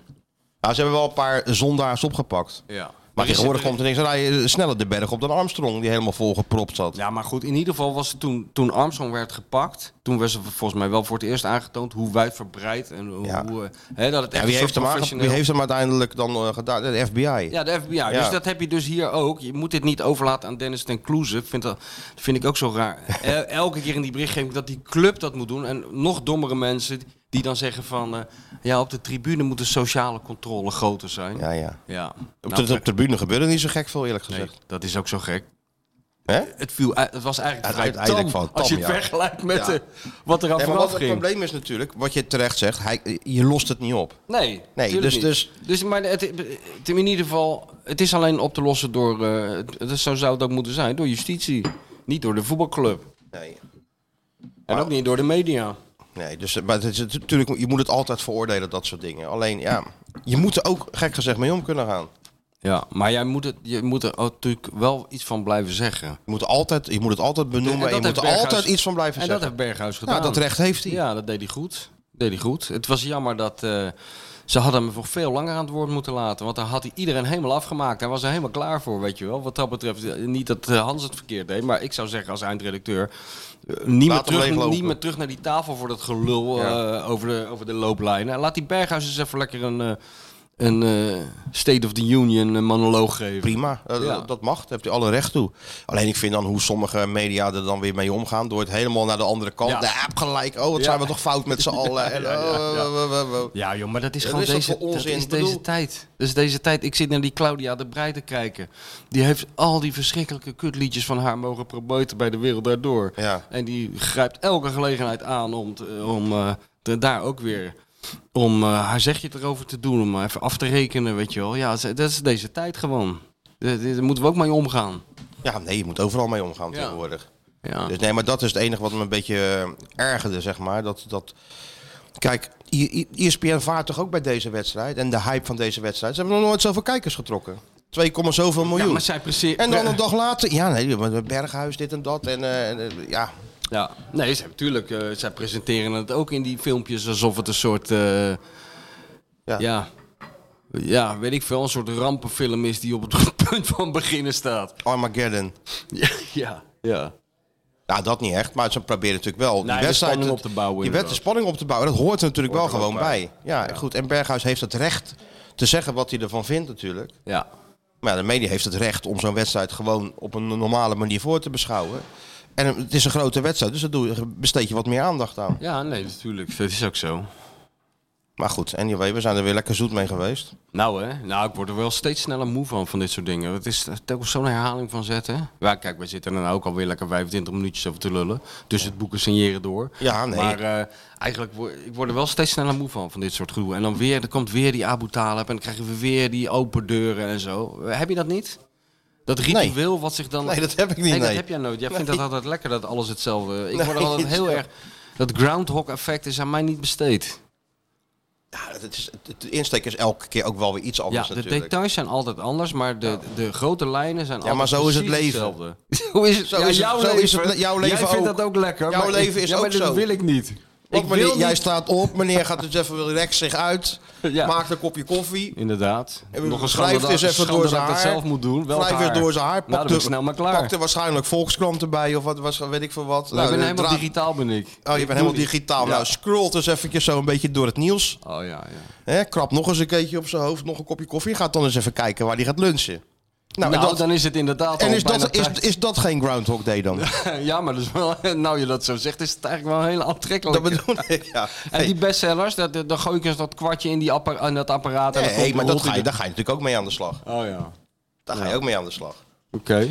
Speaker 3: Nou, ze hebben wel een paar zondaars opgepakt.
Speaker 4: Ja.
Speaker 3: Maar
Speaker 4: Er is-
Speaker 3: tegenwoordig komt er niks. Dan rij je sneller de berg op dan Armstrong, die helemaal volgepropt zat.
Speaker 4: Ja, maar goed, in ieder geval was het toen, toen Armstrong werd gepakt... toen werd ze volgens mij wel voor het eerst aangetoond hoe wijdverbreid en hoe...
Speaker 3: Ja.
Speaker 4: hoe, eh, hè, dat het
Speaker 3: Ja,
Speaker 4: echt een
Speaker 3: wie,
Speaker 4: soort
Speaker 3: heeft hem aange-
Speaker 4: professioneel-
Speaker 3: wie heeft hem uiteindelijk dan eh, gedaan? De FBI.
Speaker 4: Ja, de FBI. Dus dat heb je dus hier ook. Je moet dit niet overlaten aan Dennis ten Kloeze. Ik Vind dat, dat vind ik ook zo raar. El- Elke keer in die berichtgeving dat die club dat moet doen. En nog dommere mensen die dan zeggen van... eh, ja, op de tribune moet de sociale controle groter zijn. Ja.
Speaker 3: ja, ja. Op
Speaker 4: Nou,
Speaker 3: de, op de tribune gebeurde niet zo gek veel, eerlijk
Speaker 4: nee,
Speaker 3: gezegd.
Speaker 4: dat is ook zo gek.
Speaker 3: Hè?
Speaker 4: Het, viel, uit- het was eigenlijk
Speaker 3: Ja,
Speaker 4: vrij
Speaker 3: uiteindelijk
Speaker 4: tam,
Speaker 3: van tam,
Speaker 4: Als je het
Speaker 3: ja.
Speaker 4: vergelijkt met
Speaker 3: Ja.
Speaker 4: eh, wat er aan
Speaker 3: Nee, maar wat
Speaker 4: vooraf
Speaker 3: het
Speaker 4: ging.
Speaker 3: probleem is natuurlijk, wat je terecht zegt, hij, je lost het niet op.
Speaker 4: Nee,
Speaker 3: Nee,
Speaker 4: tuurlijk
Speaker 3: dus-
Speaker 4: niet.
Speaker 3: dus-
Speaker 4: dus maar het, het- in ieder geval, het is alleen op te lossen door, eh, het- het- zo zou het ook moeten zijn, door justitie. Niet door de voetbalclub.
Speaker 3: Nee.
Speaker 4: En
Speaker 3: Maar-
Speaker 4: ook niet door de media.
Speaker 3: Nee, dus, eh, maar het is natuurlijk, je moet het altijd veroordelen, dat soort dingen. Alleen, ja, je moet er ook, gek gezegd, mee om kunnen gaan.
Speaker 4: Ja, maar jij moet het, je moet er ook natuurlijk wel iets van blijven zeggen.
Speaker 3: Je moet, altijd, je moet het altijd benoemen
Speaker 4: En
Speaker 3: en
Speaker 4: dat
Speaker 3: je moet
Speaker 4: heeft
Speaker 3: er
Speaker 4: Berghuis-
Speaker 3: altijd iets van blijven
Speaker 4: en Nou, dat
Speaker 3: zeggen.
Speaker 4: heeft Berghuis gedaan.
Speaker 3: ja, dat recht heeft hij.
Speaker 4: Ja, dat deed hij goed. Deed hij goed. Het was jammer dat eh, ze hadden hem nog veel langer aan het woord moeten laten. Want dan had hij iedereen helemaal afgemaakt. Hij was er helemaal klaar voor, weet je wel. Wat dat betreft, eh, niet dat eh, Hans het verkeerd deed. Maar ik zou zeggen als eindredacteur, eh, niet, meer
Speaker 3: hem
Speaker 4: terug,
Speaker 3: leeglopen.
Speaker 4: niet meer terug naar die tafel voor dat gelul eh, over, de, over de looplijnen. En laat die Berghuis eens even lekker een, eh, een eh, State of the Union eh, monoloog geven.
Speaker 3: Prima, eh,
Speaker 4: Ja.
Speaker 3: dat mag, daar heeft hij alle recht toe. Alleen ik vind dan hoe sommige media er dan weer mee omgaan, door het helemaal naar de andere kant.
Speaker 4: Ja.
Speaker 3: Ja, heb gelijk, oh wat
Speaker 4: Ja.
Speaker 3: zijn we toch fout met z'n allen. En, oh, oh, oh, oh, oh.
Speaker 4: Ja, joh, maar dat is
Speaker 3: Dat
Speaker 4: gewoon
Speaker 3: is toch
Speaker 4: deze,
Speaker 3: voor onzin?
Speaker 4: dat is
Speaker 3: Ik bedoel-
Speaker 4: deze tijd. Dus deze tijd. Ik zit naar die Claudia de Breij te kijken. Die heeft al die verschrikkelijke kutliedjes van haar mogen promoten bij de wereld daardoor.
Speaker 3: Ja.
Speaker 4: En die grijpt elke gelegenheid aan om, te- om eh, te- daar ook weer om eh, haar zegje erover te doen, om even af te rekenen, weet je wel. Ja, ze- dat is deze tijd gewoon. Eh, Daar moeten we ook mee omgaan.
Speaker 3: Ja, nee, je moet overal mee omgaan
Speaker 4: Ja.
Speaker 3: tegenwoordig.
Speaker 4: Ja.
Speaker 3: Dus nee, maar dat is het enige wat me een beetje eh, ergerde, zeg maar. Dat, dat... Kijk, I- I- E ESPN vaart toch ook bij deze wedstrijd en de hype van deze wedstrijd. Ze hebben nog nooit zoveel kijkers getrokken. 2, zoveel miljoen.
Speaker 4: Ja, maar zij precies.
Speaker 3: En dan een dag later, ja, nee, maar Berghuis, dit en dat. En eh, en, eh, ja,
Speaker 4: Ja, nee, ze, natuurlijk. eh, zij presenteren het ook in die filmpjes alsof het een soort. eh, ja.
Speaker 3: Ja.
Speaker 4: ja. weet ik veel. Een soort rampenfilm is die op het punt van beginnen staat.
Speaker 3: Armageddon.
Speaker 4: Ja, ja. ja.
Speaker 3: Nou, dat niet echt, maar ze proberen natuurlijk wel
Speaker 4: Nee, de spanning op te bouwen,
Speaker 3: Die wet de
Speaker 4: inderdaad.
Speaker 3: spanning op te bouwen, dat hoort er natuurlijk wel gewoon bij. Ja, goed. En Berghuis heeft het recht te zeggen wat hij ervan vindt, natuurlijk.
Speaker 4: ja.
Speaker 3: Maar ja, de media heeft het recht om zo'n wedstrijd gewoon op een normale manier voor te beschouwen. En het is een grote wedstrijd, dus daar doe je- besteed je wat meer aandacht aan.
Speaker 4: Ja, nee, natuurlijk. Dat is ook zo.
Speaker 3: Maar goed, anyway, we zijn er weer lekker zoet mee geweest.
Speaker 4: Nou, hè? Nou, ik word er wel steeds sneller moe van, van dit soort dingen. Het is telkens zo'n herhaling van zetten. Ja, kijk, we zitten er nou ook alweer lekker 25 minuutjes over te lullen. Dus het boeken signeren door.
Speaker 3: Ja, nee.
Speaker 4: Maar eh, eigenlijk, word, ik word er wel steeds sneller moe van, van dit soort gedoe. En dan weer, er komt weer die Abu Talib en dan krijgen we weer die open deuren en zo. Eh, Heb je dat niet? Dat ritueel wat zich dan...
Speaker 3: Nee, dat heb ik niet,
Speaker 4: Nee, dat
Speaker 3: nee.
Speaker 4: heb jij nooit. Jij vindt dat altijd lekker, dat alles hetzelfde... Ik
Speaker 3: Nee,
Speaker 4: word er altijd heel
Speaker 3: ja.
Speaker 4: erg... Dat groundhog effect is aan mij niet besteed.
Speaker 3: Ja, het is, het- de insteek is elke keer ook wel weer iets anders
Speaker 4: Ja, de
Speaker 3: natuurlijk.
Speaker 4: details zijn altijd anders, maar de, de grote lijnen zijn
Speaker 3: maar
Speaker 4: altijd
Speaker 3: zo is het
Speaker 4: precies
Speaker 3: leven.
Speaker 4: hetzelfde. hoe is het?
Speaker 3: Zo
Speaker 4: ja,
Speaker 3: is het-
Speaker 4: jouw
Speaker 3: zo
Speaker 4: leven.
Speaker 3: is het le- jouw leven
Speaker 4: Jij vindt
Speaker 3: ook.
Speaker 4: dat ook lekker.
Speaker 3: Jouw
Speaker 4: maar
Speaker 3: leven is
Speaker 4: ja, maar
Speaker 3: ook
Speaker 4: dat
Speaker 3: zo.
Speaker 4: wil ik niet.
Speaker 3: Want
Speaker 4: ik
Speaker 3: meneer,
Speaker 4: wil
Speaker 3: Jij
Speaker 4: niet.
Speaker 3: staat op, meneer gaat dus even relax zich uit,
Speaker 4: Ja.
Speaker 3: maakt een kopje koffie.
Speaker 4: Inderdaad.
Speaker 3: En
Speaker 4: Nog een
Speaker 3: wrijft
Speaker 4: schande,
Speaker 3: eens
Speaker 4: dat-
Speaker 3: dus even
Speaker 4: schande
Speaker 3: door zijn
Speaker 4: dat ik
Speaker 3: haar.
Speaker 4: dat zelf moet doen. Welk
Speaker 3: Wrijf weer
Speaker 4: haar?
Speaker 3: door zijn haar.
Speaker 4: Nou, dan ben ik snel maar klaar.
Speaker 3: Pakte waarschijnlijk Volkskrant erbij of wat, was, weet ik veel wat.
Speaker 4: Nou, ik ben
Speaker 3: eh,
Speaker 4: helemaal
Speaker 3: draad-
Speaker 4: digitaal ben ik.
Speaker 3: Oh, je bent helemaal digitaal.
Speaker 4: Ja.
Speaker 3: Nou, scrolt dus eventjes zo een beetje door het nieuws.
Speaker 4: Oh ja, ja.
Speaker 3: Hè, krap nog eens een keertje op zijn hoofd, nog een kopje koffie. Gaat dan eens even kijken waar hij gaat lunchen. Nou,
Speaker 4: Nou,
Speaker 3: en dat,
Speaker 4: dan is het inderdaad
Speaker 3: en
Speaker 4: al
Speaker 3: is,
Speaker 4: bijna
Speaker 3: dat, is,
Speaker 4: tijd.
Speaker 3: is dat geen Groundhog Day dan?
Speaker 4: Ja, maar dus wel, nou je dat zo zegt, is het eigenlijk wel heel aantrekkelijk.
Speaker 3: dat bedoel ik, ja.
Speaker 4: En
Speaker 3: Nee.
Speaker 4: die bestsellers, dat- dat- dan gooi ik eens dat kwartje in, die appara- in dat apparaat. en
Speaker 3: Nee,
Speaker 4: dan komt
Speaker 3: maar
Speaker 4: de
Speaker 3: dat ga je,
Speaker 4: hottie-
Speaker 3: daar ga je natuurlijk ook mee aan de slag.
Speaker 4: Oh ja.
Speaker 3: Daar ga je ook mee aan de slag.
Speaker 4: Oké.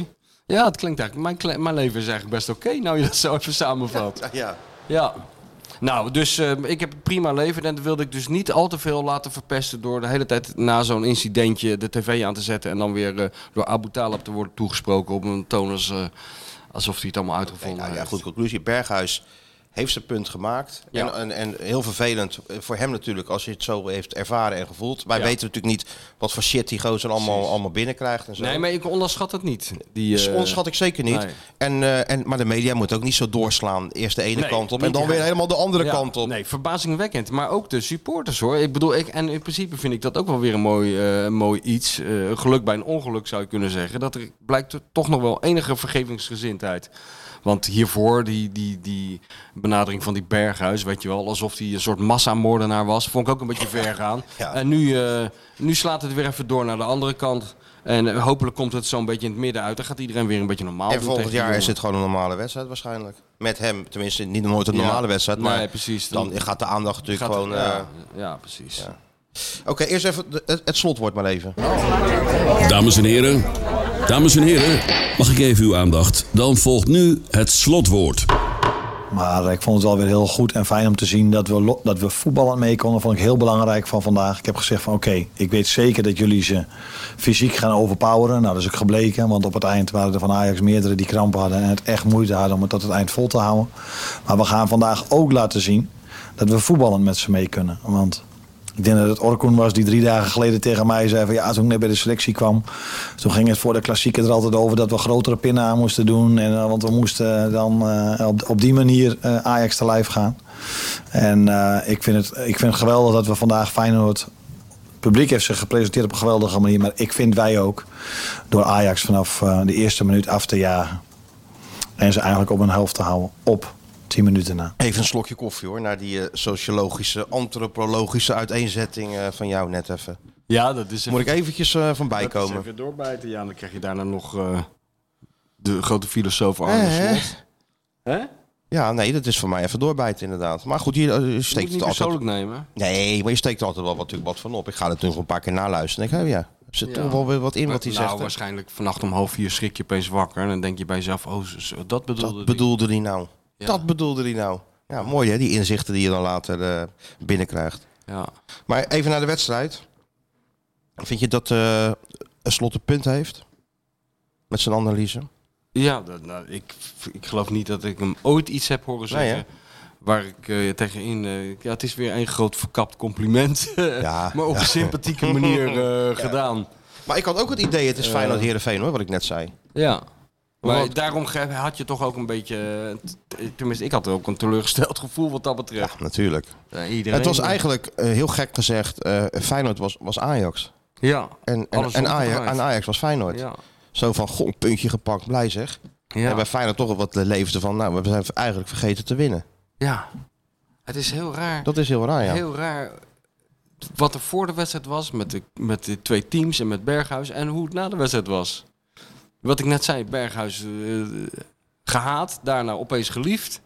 Speaker 4: Ja, het klinkt eigenlijk... Mijn, kle- mijn leven is eigenlijk best oké, nou je dat zo even samenvat. Ja.
Speaker 3: Ja.
Speaker 4: Nou, dus eh, ik heb een prima leven en dat wilde ik dus niet al te veel laten verpesten... door de hele tijd na zo'n incidentje de tv aan te zetten... en dan weer eh, door Abu Talib te worden toegesproken op een toon als, eh, alsof hij het allemaal uitgevonden
Speaker 3: Nou ja,
Speaker 4: heeft.
Speaker 3: goed, conclusie. Berghuis heeft zijn punt gemaakt.
Speaker 4: Ja.
Speaker 3: En, en, en heel vervelend eh, voor hem natuurlijk, als je het zo heeft ervaren en gevoeld. Wij
Speaker 4: Ja.
Speaker 3: weten natuurlijk niet wat voor shit die gozer allemaal, allemaal binnenkrijgt en zo.
Speaker 4: Nee, maar ik onderschat het niet. Die,
Speaker 3: Dus
Speaker 4: eh,
Speaker 3: onderschat ik zeker niet.
Speaker 4: nee.
Speaker 3: En, eh, en, maar de media moet ook niet zo doorslaan. Eerst de ene
Speaker 4: Nee,
Speaker 3: kant op en
Speaker 4: niet
Speaker 3: dan weer
Speaker 4: helemaal.
Speaker 3: helemaal de andere
Speaker 4: Ja,
Speaker 3: kant op.
Speaker 4: Nee, verbazingwekkend. Maar ook de supporters hoor. Ik bedoel, ik, en in principe vind ik dat ook wel weer een mooi, eh, mooi iets. Eh, een geluk bij een ongeluk zou je kunnen zeggen. Dat er blijkt er toch nog wel enige vergevingsgezindheid. Want hiervoor, die, die, die benadering van die Berghuis, weet je wel, alsof hij een soort massamoordenaar was, vond ik ook een beetje ver gaan.
Speaker 3: Ja.
Speaker 4: En nu, eh, nu slaat het weer even door naar de andere kant. En eh, hopelijk komt het zo'n beetje in het midden uit. Dan gaat iedereen weer een beetje normaal
Speaker 3: En
Speaker 4: doen
Speaker 3: volgend
Speaker 4: tegen die
Speaker 3: jaar is
Speaker 4: jongen.
Speaker 3: het gewoon een normale wedstrijd waarschijnlijk. Met hem, tenminste niet nooit een normale
Speaker 4: Ja.
Speaker 3: wedstrijd.
Speaker 4: Nee,
Speaker 3: Maar
Speaker 4: precies.
Speaker 3: dan gaat de aandacht natuurlijk
Speaker 4: gaat het-
Speaker 3: gewoon... eh,
Speaker 4: ja, ja, precies.
Speaker 3: Oké, eerst even de- het, het slotwoord maar even.
Speaker 6: Dames en heren, dames en heren, mag ik even uw aandacht? Dan volgt nu het slotwoord.
Speaker 7: Maar eh, ik vond het wel weer heel goed en fijn om te zien dat we, lo- dat we voetballend mee konden. Vond ik heel belangrijk van vandaag. Ik heb gezegd van oké, ik weet zeker dat jullie ze fysiek gaan overpoweren. Nou, dat is ook gebleken. Want op het eind waren er van Ajax meerdere die kramp hadden. En het echt moeite hadden om het tot het eind vol te houden. Maar we gaan vandaag ook laten zien dat we voetballend met ze mee kunnen. Want ik denk dat het Orkoen was die drie dagen geleden tegen mij zei van ja, toen ik net bij de selectie kwam, toen ging het voor de klassieker er altijd over dat we grotere pinnen aan moesten doen. En, eh, want we moesten dan eh, op, op die manier eh, Ajax te lijf gaan. En eh, ik, vind het, ik vind het geweldig dat we vandaag Feyenoord het publiek heeft zich gepresenteerd op een geweldige manier. Maar ik vind wij ook door Ajax vanaf eh, de eerste minuut af te jagen. En ze eigenlijk op een helft te houden op 10 minuten na.
Speaker 3: Even een slokje koffie hoor, naar die eh, sociologische, antropologische uiteenzetting eh, van jou net even.
Speaker 4: Ja, dat is
Speaker 3: Moet ik eventjes eh, van bijkomen.
Speaker 4: Even doorbijten, ja. En dan krijg je daarna nog eh, de grote filosoof Arne
Speaker 3: Eh, hè?
Speaker 4: Slot. Hè?
Speaker 3: Ja, nee, dat is voor mij even doorbijten inderdaad. Maar goed, hier eh, je
Speaker 4: Moet ik
Speaker 3: steekt
Speaker 4: niet
Speaker 3: het altijd...
Speaker 4: persoonlijk nemen.
Speaker 3: Nee, maar je steekt er altijd wel wat, natuurlijk wat van op. Ik ga er toen nog een paar keer naluisteren. Ik denk, oh ja, er zit
Speaker 4: Ja.
Speaker 3: toch wel weer wat in wat hij
Speaker 4: nou,
Speaker 3: zegt. hè?
Speaker 4: waarschijnlijk vannacht om half vier schrik je opeens wakker. En dan denk je bij jezelf, oh, zo- zo- dat bedoelde
Speaker 3: Dat
Speaker 4: die.
Speaker 3: bedoelde hij nou.
Speaker 4: Ja.
Speaker 3: Dat bedoelde hij nou. Ja, mooi hè, die inzichten die je dan later eh, binnenkrijgt.
Speaker 4: Ja.
Speaker 3: Maar even naar de wedstrijd. Vind je dat eh een slot een punt heeft? Met zijn analyse?
Speaker 4: Ja, dat, nou, ik, ik geloof niet dat ik hem ooit iets heb horen
Speaker 3: Nee,
Speaker 4: zeggen. Waar ik eh, tegenin... eh, ja, het is weer een groot verkapt compliment.
Speaker 3: Ja.
Speaker 4: Eh, maar op een sympathieke manier eh, gedaan.
Speaker 3: Maar ik had ook het idee,
Speaker 4: Eh.
Speaker 3: het is fijn dat Heerenveen hoor, wat ik net zei.
Speaker 4: Ja. Maar
Speaker 3: Want-
Speaker 4: daarom ge- had je toch ook een beetje... eh, t- Tenminste, ik had ook een teleurgesteld gevoel wat dat betreft.
Speaker 3: natuurlijk.
Speaker 4: Ja, iedereen.
Speaker 3: Het was eigenlijk, eh, heel gek gezegd, eh Feyenoord was, was Ajax.
Speaker 4: Ja.
Speaker 3: En, en,
Speaker 4: Alles
Speaker 3: en, Ajax,
Speaker 4: omgedraaid.
Speaker 3: en Ajax was Feyenoord.
Speaker 4: Ja.
Speaker 3: Zo van, goh, een puntje gepakt, blij zeg. En bij Feyenoord toch wat leefde van, nou, we zijn eigenlijk vergeten te winnen.
Speaker 4: ja. Het is heel raar.
Speaker 3: Dat is heel raar, ja.
Speaker 4: Heel raar. Wat er voor de wedstrijd was met de, met de twee teams en met Berghuis. En hoe het na de wedstrijd was. Wat ik net zei, Berghuis eh, gehaat, daarna opeens geliefd.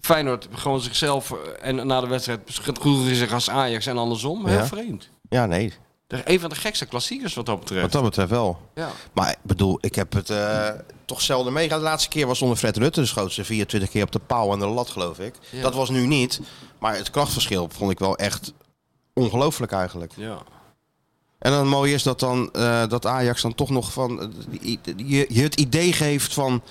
Speaker 4: Feyenoord gewoon zichzelf eh, en na de wedstrijd schudde zich als Ajax en andersom. Heel
Speaker 3: Ja.
Speaker 4: vreemd.
Speaker 3: Ja, nee,
Speaker 4: Een van de gekste klassiekers wat dat
Speaker 3: wat
Speaker 4: betreft.
Speaker 3: dat betreft wel.
Speaker 4: Ja.
Speaker 3: Maar ik bedoel, ik heb het eh, toch zelden meegemaakt. De laatste keer was onder Fred Rutte. Dus schoot ze 24 keer op de paal en de lat, geloof ik.
Speaker 4: Ja.
Speaker 3: Dat was nu niet. Maar het krachtverschil vond ik wel echt ongelooflijk eigenlijk.
Speaker 4: ja.
Speaker 3: En dan mooi is dat, dan, eh, dat Ajax dan toch nog van... eh, die- die- je, je het idee geeft van...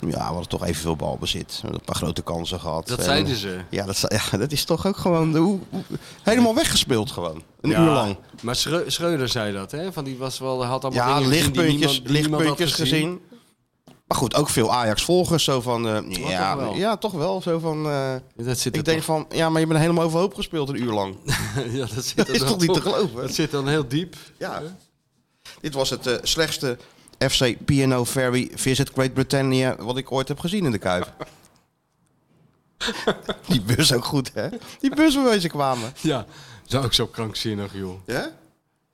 Speaker 3: Ja, we hadden toch evenveel balbezit. We hebben een paar grote kansen gehad.
Speaker 4: Dat
Speaker 3: En-
Speaker 4: zeiden ze.
Speaker 3: Ja dat, zei- ja, dat is toch ook gewoon... de- hoe- hoe- helemaal weggespeeld gewoon. Een
Speaker 4: Ja,
Speaker 3: uur lang.
Speaker 4: Maar Schreu- Schreuder zei dat, hè? Van die was wel, had allemaal
Speaker 3: Ja,
Speaker 4: dingen gezien die
Speaker 3: lichtpuntjes,
Speaker 4: niemand- die niemand had
Speaker 3: lichtpuntjes gezien. Maar goed, ook veel Ajax-volgers. Zo van, eh, ja,
Speaker 4: toch wel.
Speaker 3: ja, toch wel. Zo van, eh,
Speaker 4: Dat zit er
Speaker 3: ik denk van, ja, maar je bent helemaal overhoop gespeeld een uur lang.
Speaker 4: toch- ja, dat zit
Speaker 3: Dat
Speaker 4: er
Speaker 3: is
Speaker 4: dan
Speaker 3: toch niet te
Speaker 4: op.
Speaker 3: geloven?
Speaker 4: Dat zit dan heel diep.
Speaker 3: Ja. Dit was het eh, slechtste FC P&O Ferry Visit Great Britannia wat ik ooit heb gezien in de Kuip. Die bus ook goed, hè? Die bus waarmee ze kwamen.
Speaker 4: Ja, dat is ook zo krankzinnig, joh.
Speaker 3: Ja?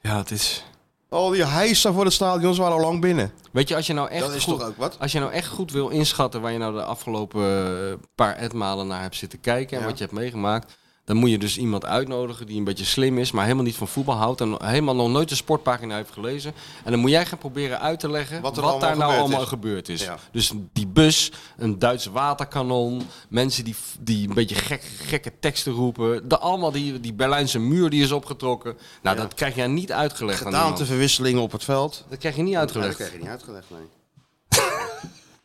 Speaker 4: Ja, het is...
Speaker 3: Al die hijsa voor het stadion, ze waren al lang binnen.
Speaker 4: Weet je, als je nou echt,
Speaker 3: Dat is
Speaker 4: goed,
Speaker 3: toch ook wat?
Speaker 4: als je nou echt goed wil inschatten waar je nou de afgelopen eh, paar etmalen naar hebt zitten kijken en
Speaker 3: Ja.
Speaker 4: wat je hebt meegemaakt, Dan moet je dus iemand uitnodigen die een beetje slim is, maar helemaal niet van voetbal houdt. En helemaal nog nooit de sportpagina heeft gelezen. En dan moet jij gaan proberen uit te leggen
Speaker 3: Wat
Speaker 4: wat,
Speaker 3: er allemaal
Speaker 4: daar nou
Speaker 3: gebeurd
Speaker 4: allemaal
Speaker 3: is.
Speaker 4: gebeurd is.
Speaker 3: Ja.
Speaker 4: Dus die bus, een Duitse waterkanon, mensen die, die een beetje gek, gekke teksten roepen. De, allemaal die, die Berlijnse muur die is opgetrokken. Nou, dat krijg jij niet uitgelegd aan iemand.
Speaker 3: verwisselingen op het veld.
Speaker 4: Dat krijg je niet
Speaker 3: Dat
Speaker 4: uitgelegd.
Speaker 3: krijg je niet uitgelegd, nee.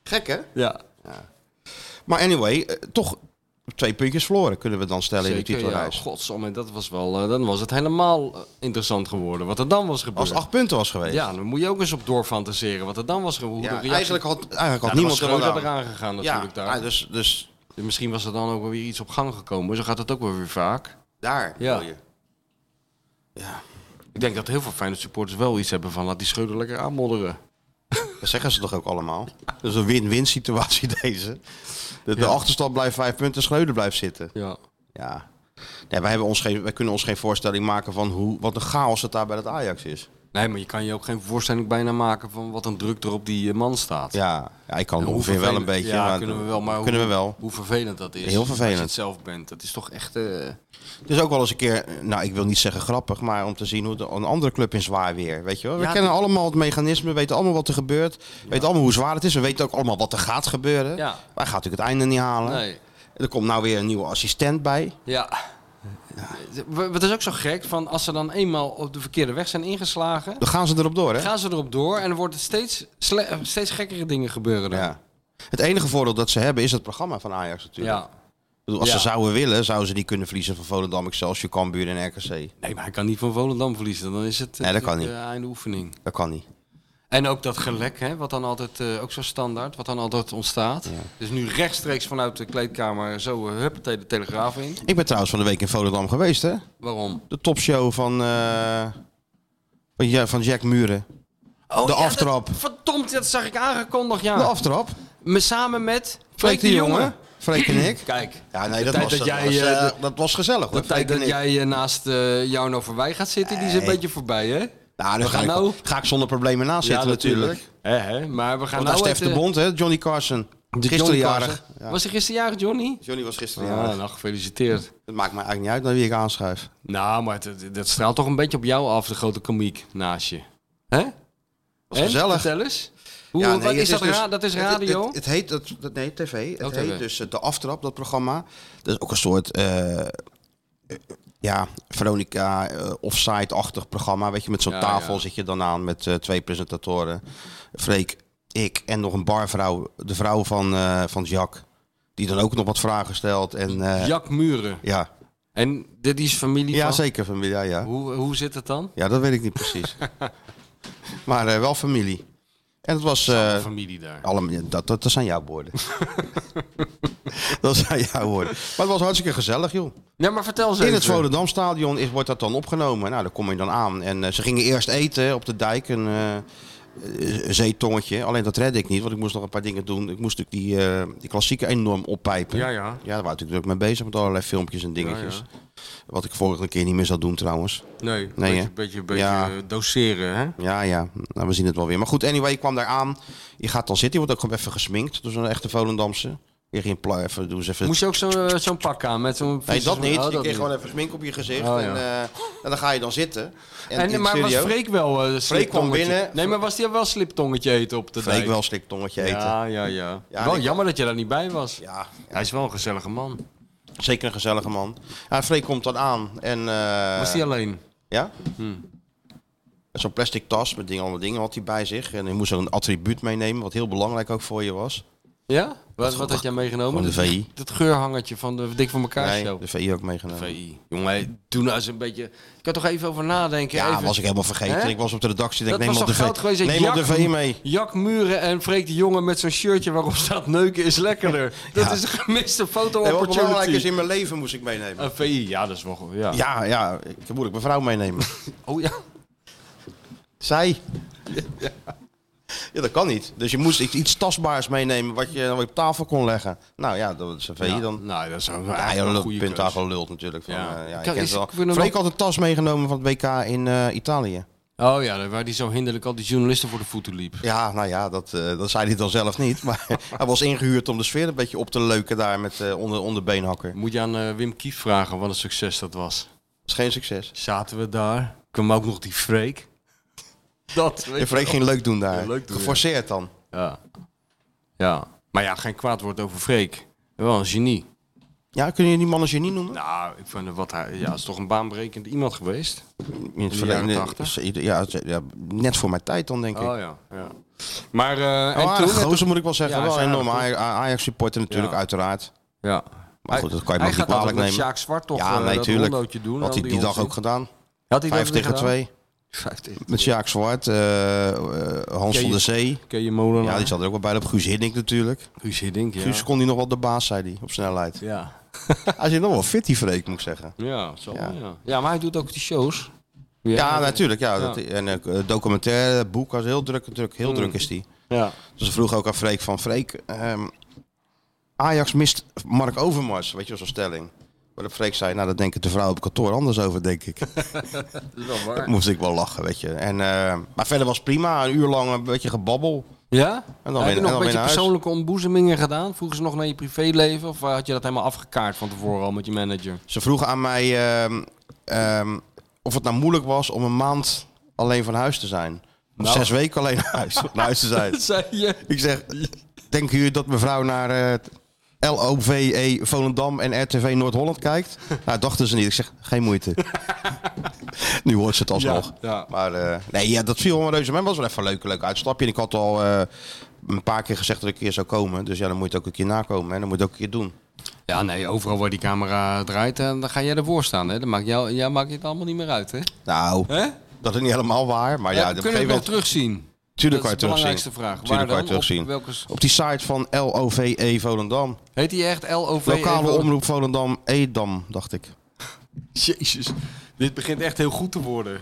Speaker 3: Gek, hè?
Speaker 4: Ja.
Speaker 3: Maar anyway, eh, toch twee puntjes verloren kunnen we dan stellen in de
Speaker 4: Zeker, ja.
Speaker 3: titelreis.
Speaker 4: Godsamme, dat was wel, eh, dan was het helemaal eh, interessant geworden wat er dan was gebeurd.
Speaker 3: Als het acht punten was geweest.
Speaker 4: Ja, dan moet je ook eens op doorfantaseren wat er dan was gebeurd.
Speaker 3: Ja, eigenlijk had, eigenlijk had
Speaker 4: niemand
Speaker 3: niemand
Speaker 4: was
Speaker 3: er
Speaker 4: Schreuder
Speaker 3: wat aan.
Speaker 4: eraan
Speaker 3: Ja,
Speaker 4: gegaan natuurlijk
Speaker 3: ah,
Speaker 4: daar.
Speaker 3: dus, dus
Speaker 4: Misschien was er dan ook wel weer iets op gang gekomen. Zo gaat het ook wel weer vaak.
Speaker 3: daar
Speaker 4: Ja.
Speaker 3: wil je.
Speaker 4: Ik denk dat heel veel Feyenoord supporters wel iets hebben van laat die Schreuder lekker aanmodderen.
Speaker 3: Dat zeggen ze toch ook allemaal? Dat is een win-win situatie deze. De, de
Speaker 4: Ja.
Speaker 3: achterstand blijft vijf punten, Schreuder blijft zitten.
Speaker 4: Ja.
Speaker 3: Ja. Nee, wij, hebben ons geen, wij kunnen ons geen voorstelling maken van hoe, wat een chaos het daar bij dat Ajax is.
Speaker 4: Nee, maar je kan je ook geen voorstelling bijna maken van wat een druk er op die eh, man staat.
Speaker 3: Ja, ja ik kan
Speaker 4: En hoe
Speaker 3: ongeveer wel een
Speaker 4: vervelend-
Speaker 3: beetje.
Speaker 4: Ja,
Speaker 3: maar-
Speaker 4: kunnen we wel. Maar
Speaker 3: kunnen we
Speaker 4: hoe,
Speaker 3: wel.
Speaker 4: hoe vervelend dat is.
Speaker 3: Heel vervelend.
Speaker 4: Als je het zelf bent. Dat is toch echt... eh,
Speaker 3: Het is ook wel eens een keer, nou ik wil niet zeggen grappig, maar om te zien hoe de, een andere club in zwaar weer. Weet je wel? We
Speaker 4: Ja,
Speaker 3: kennen
Speaker 4: dit-
Speaker 3: allemaal het mechanisme, we weten allemaal wat er gebeurt. We weten allemaal hoe zwaar het is. We weten ook allemaal wat er gaat gebeuren.
Speaker 4: Ja.
Speaker 3: Maar hij gaat natuurlijk het einde niet halen.
Speaker 4: nee.
Speaker 3: Er komt nou weer een nieuwe assistent bij.
Speaker 4: Ja. W- Wat is ook zo gek, van als ze dan eenmaal op de verkeerde weg zijn ingeslagen,
Speaker 3: Dan gaan ze erop door, hè?
Speaker 4: gaan ze erop door en er worden steeds, sle- eh, steeds gekkere dingen gebeuren. Dan.
Speaker 3: Ja. Het enige voordeel dat ze hebben is het programma van Ajax natuurlijk.
Speaker 4: Ja.
Speaker 3: Ik bedoel, als
Speaker 4: Ja.
Speaker 3: ze zouden willen, zouden ze die kunnen verliezen van Volendam, Excelsior, Cambuur en RKC.
Speaker 4: Nee, maar hij kan niet van Volendam verliezen, dan is het eh,
Speaker 3: Nee, dat kan niet.
Speaker 4: eh, einde oefening.
Speaker 3: Dat kan niet.
Speaker 4: En ook dat gelek, hè, wat dan altijd, eh, ook zo standaard, wat dan altijd ontstaat. Dus nu rechtstreeks vanuit de kleedkamer zo eh, huppatee de telegraaf in.
Speaker 3: Ik ben trouwens van de week in Volendam geweest, hè?
Speaker 4: Waarom?
Speaker 3: De topshow van, eh, van, Ja- van Jack Muren.
Speaker 4: Oh,
Speaker 3: De
Speaker 4: ja,
Speaker 3: aftrap.
Speaker 4: dat- verdomd, dat zag ik aangekondigd,
Speaker 3: De
Speaker 4: ja.
Speaker 3: aftrap.
Speaker 4: Me samen met
Speaker 3: Freek de Jonge. Freek en ik.
Speaker 4: Kijk,
Speaker 3: Ja, nee, dat
Speaker 4: tijd
Speaker 3: was,
Speaker 4: dat
Speaker 3: dat,
Speaker 4: jij,
Speaker 3: was, eh,
Speaker 4: eh,
Speaker 3: dat- dat was gezellig.
Speaker 4: De
Speaker 3: hoor.
Speaker 4: tijd
Speaker 3: Freek en
Speaker 4: dat
Speaker 3: ik.
Speaker 4: jij eh, naast eh jou nou voorbij gaat zitten, die is een
Speaker 3: Nee.
Speaker 4: beetje voorbij, hè?
Speaker 3: Nou,
Speaker 4: We
Speaker 3: daar ga,
Speaker 4: gaan
Speaker 3: ik,
Speaker 4: nou-
Speaker 3: ga ik zonder problemen naast zitten natuurlijk.
Speaker 4: Hè, hè? Maar we
Speaker 3: Want
Speaker 4: gaan
Speaker 3: daar
Speaker 4: nou
Speaker 3: Stef de
Speaker 4: even-
Speaker 3: Bond, hè? Johnny Carson. Gisteren
Speaker 4: Johnny
Speaker 3: jarig.
Speaker 4: Carson.
Speaker 3: Ja.
Speaker 4: Was hij gisteren jarig, Johnny?
Speaker 3: Johnny was gisteren
Speaker 4: Ja,
Speaker 3: jarig.
Speaker 4: nou, gefeliciteerd.
Speaker 3: Het maakt me eigenlijk niet uit naar wie ik aanschuif.
Speaker 4: Nou, maar het- het- dat straalt toch een beetje op jou af, de grote komiek naast je. Hè?
Speaker 3: Was
Speaker 4: Hè?
Speaker 3: gezellig.
Speaker 4: Vertel eens. Hoe,
Speaker 3: Ja,
Speaker 4: wat
Speaker 3: nee,
Speaker 4: is
Speaker 3: het
Speaker 4: dat,
Speaker 3: dus-
Speaker 4: ra- dat is
Speaker 3: het- het-
Speaker 4: radio?
Speaker 3: Het, het heet, dat, dat, nee, tv. Het
Speaker 4: Oh,
Speaker 3: heet
Speaker 4: TV.
Speaker 3: dus eh, De Aftrap, dat programma. Dat is ook een soort, eh, eh, ja, Veronica eh, offside-achtig programma. Weet je, met zo'n
Speaker 4: Ja,
Speaker 3: tafel
Speaker 4: ja.
Speaker 3: zit je dan aan met eh, twee presentatoren. Freek, ik en nog een barvrouw, de vrouw van, eh van Jack. Die dan ook nog wat vragen stelt. En, eh,
Speaker 4: Jack Muren.
Speaker 3: Ja,
Speaker 4: En dit is familie
Speaker 3: ja
Speaker 4: van...
Speaker 3: zeker familie, ja, ja.
Speaker 4: Hoe, hoe zit het dan?
Speaker 3: Ja, dat weet ik niet precies. maar eh, wel familie. En het was... eh,
Speaker 4: familie daar.
Speaker 3: Allem, dat, dat, dat zijn jouw woorden. dat zijn jouw woorden. Maar het was hartstikke gezellig, joh.
Speaker 4: Nee, maar vertel ze
Speaker 3: In het
Speaker 4: even.
Speaker 3: Volendamstadion is, wordt dat dan opgenomen. Nou, daar kom je dan aan. En eh, ze gingen eerst eten op de dijk, een eh, eh, zeetongetje. Alleen dat redde ik niet, want ik moest nog een paar dingen doen. Ik moest natuurlijk die, eh, die klassieke enorm oppijpen.
Speaker 4: Ja, ja.
Speaker 3: Ja, daar was ik natuurlijk mee bezig met allerlei filmpjes en dingetjes.
Speaker 4: Ja,
Speaker 3: Wat ik vorige keer niet meer zou doen trouwens.
Speaker 4: Nee, een
Speaker 3: Nee,
Speaker 4: beetje,
Speaker 3: hè?
Speaker 4: beetje, beetje
Speaker 3: Ja.
Speaker 4: eh, doseren, hè?
Speaker 3: Ja, ja. Nou, we zien het wel weer. Maar goed, anyway, je kwam daar aan. Je gaat dan zitten. Je wordt ook gewoon even gesminkt door zo'n echte Volendamse. Je ging pla- even, doen ze even...
Speaker 4: Moest je ook zo- eh, zo'n pak aan met zo'n...
Speaker 3: Nee, dat niet.
Speaker 4: Oh,
Speaker 3: je kreeg gewoon even smink op je gezicht.
Speaker 4: Oh, ja.
Speaker 3: en, eh, en dan ga je dan zitten. En,
Speaker 4: En,
Speaker 3: in
Speaker 4: maar was
Speaker 3: studio-
Speaker 4: Freek wel eh sliptongetje?
Speaker 3: binnen.
Speaker 4: Nee, maar was hij wel sliptongetje eten op de
Speaker 3: Freek
Speaker 4: dijk?
Speaker 3: wel een sliktongetje eten. Ja.
Speaker 4: Ja, ja, ja.
Speaker 3: Ja,
Speaker 4: wel
Speaker 3: ik-
Speaker 4: jammer dat je daar niet bij was.
Speaker 3: Ja,
Speaker 4: Hij is wel een gezellige man.
Speaker 3: zeker een gezellige man. Ja, Freek komt dan aan. En, eh,
Speaker 4: was Hmm. hij alleen?
Speaker 3: Ja? En Zo'n plastic tas met dingen, allemaal dingen had hij bij zich. En hij moest er een attribuut meenemen, wat heel belangrijk ook voor je was.
Speaker 4: Ja? Wat, wat had jij meegenomen?
Speaker 3: Van de VI.
Speaker 4: Dat geurhangertje van de Dik voor elkaar
Speaker 3: Nee,
Speaker 4: show.
Speaker 3: de VI ook meegenomen.
Speaker 4: VI. Jongen, toen nou eens een beetje... Ik kan toch even over nadenken.
Speaker 3: Ja,
Speaker 4: even.
Speaker 3: was ik helemaal vergeten.
Speaker 4: Hè?
Speaker 3: Ik was op de redactie.
Speaker 4: Dat
Speaker 3: ik neem
Speaker 4: was
Speaker 3: op de
Speaker 4: toch goud
Speaker 3: VI
Speaker 4: geweest?
Speaker 3: neem op de
Speaker 4: Jack-
Speaker 3: VI mee.
Speaker 4: Jack Muren en Freek de Jonge met zo'n shirtje waarop staat neuken is lekkerder. Dat is een gemiste
Speaker 3: Nee, wat belangrijk is
Speaker 4: foto-opportunity.
Speaker 3: in mijn leven moest ik meenemen.
Speaker 4: Een VI, Eh, ja, dat is wel goed. Ja.
Speaker 3: Ja, ja, ik moet ik mijn vrouw meenemen.
Speaker 4: Oh ja.
Speaker 3: Zij. Ja, dat kan niet. Dus je moest iets, iets tastbaars meenemen wat je wat je op tafel kon leggen. Nou ja, dat is een VI
Speaker 4: Ja,
Speaker 3: dan.
Speaker 4: Nou, dat is een,
Speaker 3: Ja, je
Speaker 4: eigenlijk een
Speaker 3: lult,
Speaker 4: goede
Speaker 3: punt
Speaker 4: keus.
Speaker 3: tafel lult natuurlijk. Van,
Speaker 4: Ja.
Speaker 3: eh, ja, je
Speaker 4: Kijk,
Speaker 3: kent
Speaker 4: is-
Speaker 3: het wel.
Speaker 4: ik wil nog-
Speaker 3: Freek had een tas meegenomen van het WK in eh, Italië.
Speaker 4: Oh ja, daar waar die zo hinderlijk al die journalisten voor de voeten liep.
Speaker 3: Ja, nou ja, dat, eh, dat zei hij dan zelf niet. Maar hij was ingehuurd om de sfeer een beetje op te leuken daar met eh onder, onderbeenhakker.
Speaker 4: Moet je aan eh, Wim Kief vragen wat een succes dat was.
Speaker 3: Dat is geen succes.
Speaker 4: Zaten we daar, kwam ook nog die Freek. Dat, weet
Speaker 3: En
Speaker 4: je
Speaker 3: Freek ging leuk doen daar.
Speaker 4: Ja, leuk doen,
Speaker 3: Geforceerd dan.
Speaker 4: wel. Ja. ja, maar ja, geen kwaad woord over Freek. Wel een genie.
Speaker 3: Ja, kun je die man een genie noemen?
Speaker 4: Nou, ik vind wat hij... Ja, is toch een baanbrekend iemand geweest.
Speaker 3: In het
Speaker 4: de
Speaker 3: verleden-
Speaker 4: jaren tachtig?
Speaker 3: is- Ja, het- ja, net voor mijn tijd dan, denk ik.
Speaker 4: Oh ja, ja. Maar, eh,
Speaker 3: en
Speaker 4: en toen...
Speaker 3: gozer moet ik wel zeggen.
Speaker 4: Ja, hij
Speaker 3: wel
Speaker 4: is
Speaker 3: een
Speaker 4: een
Speaker 3: enorme
Speaker 4: aardige
Speaker 3: Ajax-supporter natuurlijk,
Speaker 4: Ja.
Speaker 3: uiteraard.
Speaker 4: Ja.
Speaker 3: Maar goed, dat kan je
Speaker 4: Hij
Speaker 3: nog niet
Speaker 4: gaat altijd
Speaker 3: kwalijk
Speaker 4: met
Speaker 3: nemen.
Speaker 4: Sjaak Zwart toch
Speaker 3: ja,
Speaker 4: eh,
Speaker 3: nee,
Speaker 4: dat
Speaker 3: tuurlijk.
Speaker 4: rondootje doen.
Speaker 3: Had hij die, dag ook gedaan.
Speaker 4: Had hij dat
Speaker 3: Vijf
Speaker 4: weer
Speaker 3: tegen
Speaker 4: gedaan?
Speaker 3: twee.
Speaker 4: Vijf tegen
Speaker 3: Met Sjaak Zwart, eh, eh, Hans
Speaker 4: Ja,
Speaker 3: van
Speaker 4: je-
Speaker 3: der Zee.
Speaker 4: Ken je Molenaar?
Speaker 3: Ja, die zat er ook wel bij op Guus Hiddink natuurlijk.
Speaker 4: Guus Hiddink, ja.
Speaker 3: Guus kon die nog wel de baas, zei hij, op snelheid.
Speaker 4: Ja.
Speaker 3: Hij zit nog wel fit, die Freek, moet ik zeggen.
Speaker 4: Ja, zo,
Speaker 3: Ja.
Speaker 4: ja. Ja. maar hij doet ook die shows.
Speaker 3: Ja, natuurlijk. Ja, Dat, en eh, documentaire, boek, was heel druk, druk,
Speaker 4: Hmm.
Speaker 3: heel druk is die.
Speaker 4: Ja.
Speaker 3: Dus ze vroeg ook aan Freek van Freek, ehm, Ajax mist Mark Overmars, weet je wel, zo'n stelling. Waarop Freek zei, nou dat denken de vrouwen op kantoor anders over, denk ik.
Speaker 4: Dat is wel
Speaker 3: Daar
Speaker 4: waar.
Speaker 3: moest ik wel lachen, weet je. En, eh, maar verder was het prima, een uur lang een beetje gebabbel.
Speaker 4: Ja?
Speaker 3: En dan
Speaker 4: Heb
Speaker 3: weer-
Speaker 4: je
Speaker 3: en
Speaker 4: nog
Speaker 3: dan
Speaker 4: een
Speaker 3: weer
Speaker 4: beetje
Speaker 3: naar huis.
Speaker 4: persoonlijke ontboezemingen gedaan? Vroegen ze nog naar je privéleven? Of eh, had je dat helemaal afgekaart van tevoren al met je manager?
Speaker 3: Ze vroeg aan mij ehm, ehm, of het nou moeilijk was om een maand alleen van huis te zijn. Of
Speaker 4: Nou.
Speaker 3: zes weken alleen naar huis, van huis te zijn.
Speaker 4: Dat zei je.
Speaker 3: Ik zeg, denken jullie dat mevrouw naar eh, LOVE Volendam en RTV Noord-Holland kijkt? Nou, dachten ze niet. Ik zeg, geen moeite. nu hoort ze het alsnog.
Speaker 4: ja.
Speaker 3: Maar eh, nee, ja, dat viel me reuze. Maar het was wel even een leuk, leuk uitstapje. En ik had al eh, een paar keer gezegd dat ik een keer zou komen. Dus ja, dan moet je het ook een keer nakomen. En dan moet je het ook een keer doen.
Speaker 4: Ja, nee, overal waar die camera draait, eh, dan ga jij ervoor staan. Hè? Dan maakt jou, jij maakt het allemaal niet meer uit, hè?
Speaker 3: Nou,
Speaker 4: Hè?
Speaker 3: dat is niet helemaal waar. Maar ja, op
Speaker 4: we
Speaker 3: een
Speaker 4: kunnen
Speaker 3: gegeven
Speaker 4: het wel
Speaker 3: moment...
Speaker 4: terugzien.
Speaker 3: Tuurlijk
Speaker 4: dat
Speaker 3: kan
Speaker 4: is
Speaker 3: je
Speaker 4: de belangrijkste
Speaker 3: terugzien.
Speaker 4: vraag.
Speaker 3: Tuurlijk kan
Speaker 4: Waar
Speaker 3: je
Speaker 4: dan? Op
Speaker 3: terugzien.
Speaker 4: welke s-
Speaker 3: Op die site van LOVE E Volendam.
Speaker 4: Heet die echt LOV?
Speaker 3: Lokale omroep Volendam Edam, dacht ik.
Speaker 4: Jezus, dit begint echt heel goed te worden.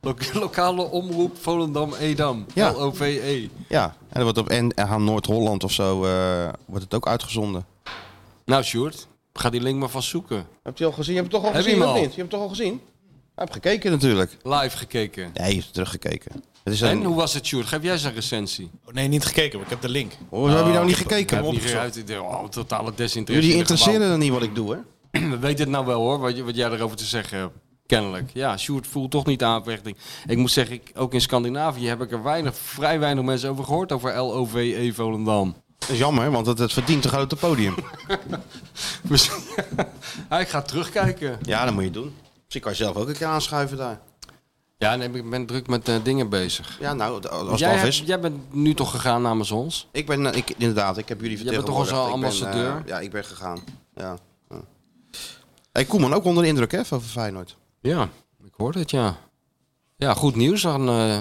Speaker 4: Lo- lokale omroep Volendam-Edam.
Speaker 3: Ja.
Speaker 4: LOVE.
Speaker 3: Ja, en dat wordt op NH Noord-Holland of zo eh, wordt het ook uitgezonden.
Speaker 4: Nou, Sjoerd, ga die link maar vast zoeken.
Speaker 3: Heb je al gezien? Je hebt het toch al
Speaker 4: Heb je
Speaker 3: gezien,
Speaker 4: hem
Speaker 3: of
Speaker 4: al?
Speaker 3: niet? Je hebt het toch al gezien? Hij heeft gekeken natuurlijk.
Speaker 4: Live gekeken.
Speaker 3: Nee, hij heeft teruggekeken. Het is
Speaker 4: En
Speaker 3: een...
Speaker 4: hoe was het, Sjoerd? Geef jij eens een recensie.
Speaker 1: Oh, nee, niet gekeken, maar ik heb de link.
Speaker 3: Hoezo heb je nou niet gekeken?
Speaker 4: Heb niet uit, oh, totale desinteresse.
Speaker 3: Jullie
Speaker 4: in het gebouw.
Speaker 3: interesseren dan niet wat ik doe, hè?
Speaker 4: We weten het nou wel hoor, wat, je- wat jij erover te zeggen hebt. Kennelijk. Ja, Sjoerd voelt toch niet de aanvechting. Ik moet zeggen, ik, ook in Scandinavië heb ik er weinig, vrij weinig mensen over gehoord over LOVE E Volendam.
Speaker 3: Dat is jammer, want het, het verdient een grote podium.
Speaker 4: Misschien- Ja, ik ga terugkijken.
Speaker 3: ja, dat moet je doen. Misschien kan je zelf ook een keer aanschuiven daar.
Speaker 4: Ja, nee, ik ben druk met eh, dingen bezig.
Speaker 3: Ja, nou, d- als het
Speaker 4: jij,
Speaker 3: af
Speaker 4: hebt-
Speaker 3: is.
Speaker 4: jij bent nu toch gegaan namens ons?
Speaker 3: Ik ben, eh, ik, inderdaad, ik heb jullie
Speaker 4: Jij bent toch
Speaker 3: vertegenwoordigd.
Speaker 4: onze
Speaker 3: Ik ben, eh,
Speaker 4: ambassadeur?
Speaker 3: ja, ik ben gegaan. Ja. ja. Hey, Koeman, ook onder de indruk, hè, van Feyenoord.
Speaker 4: Ja, ik hoor het, ja. Ja, goed nieuws. Dan eh,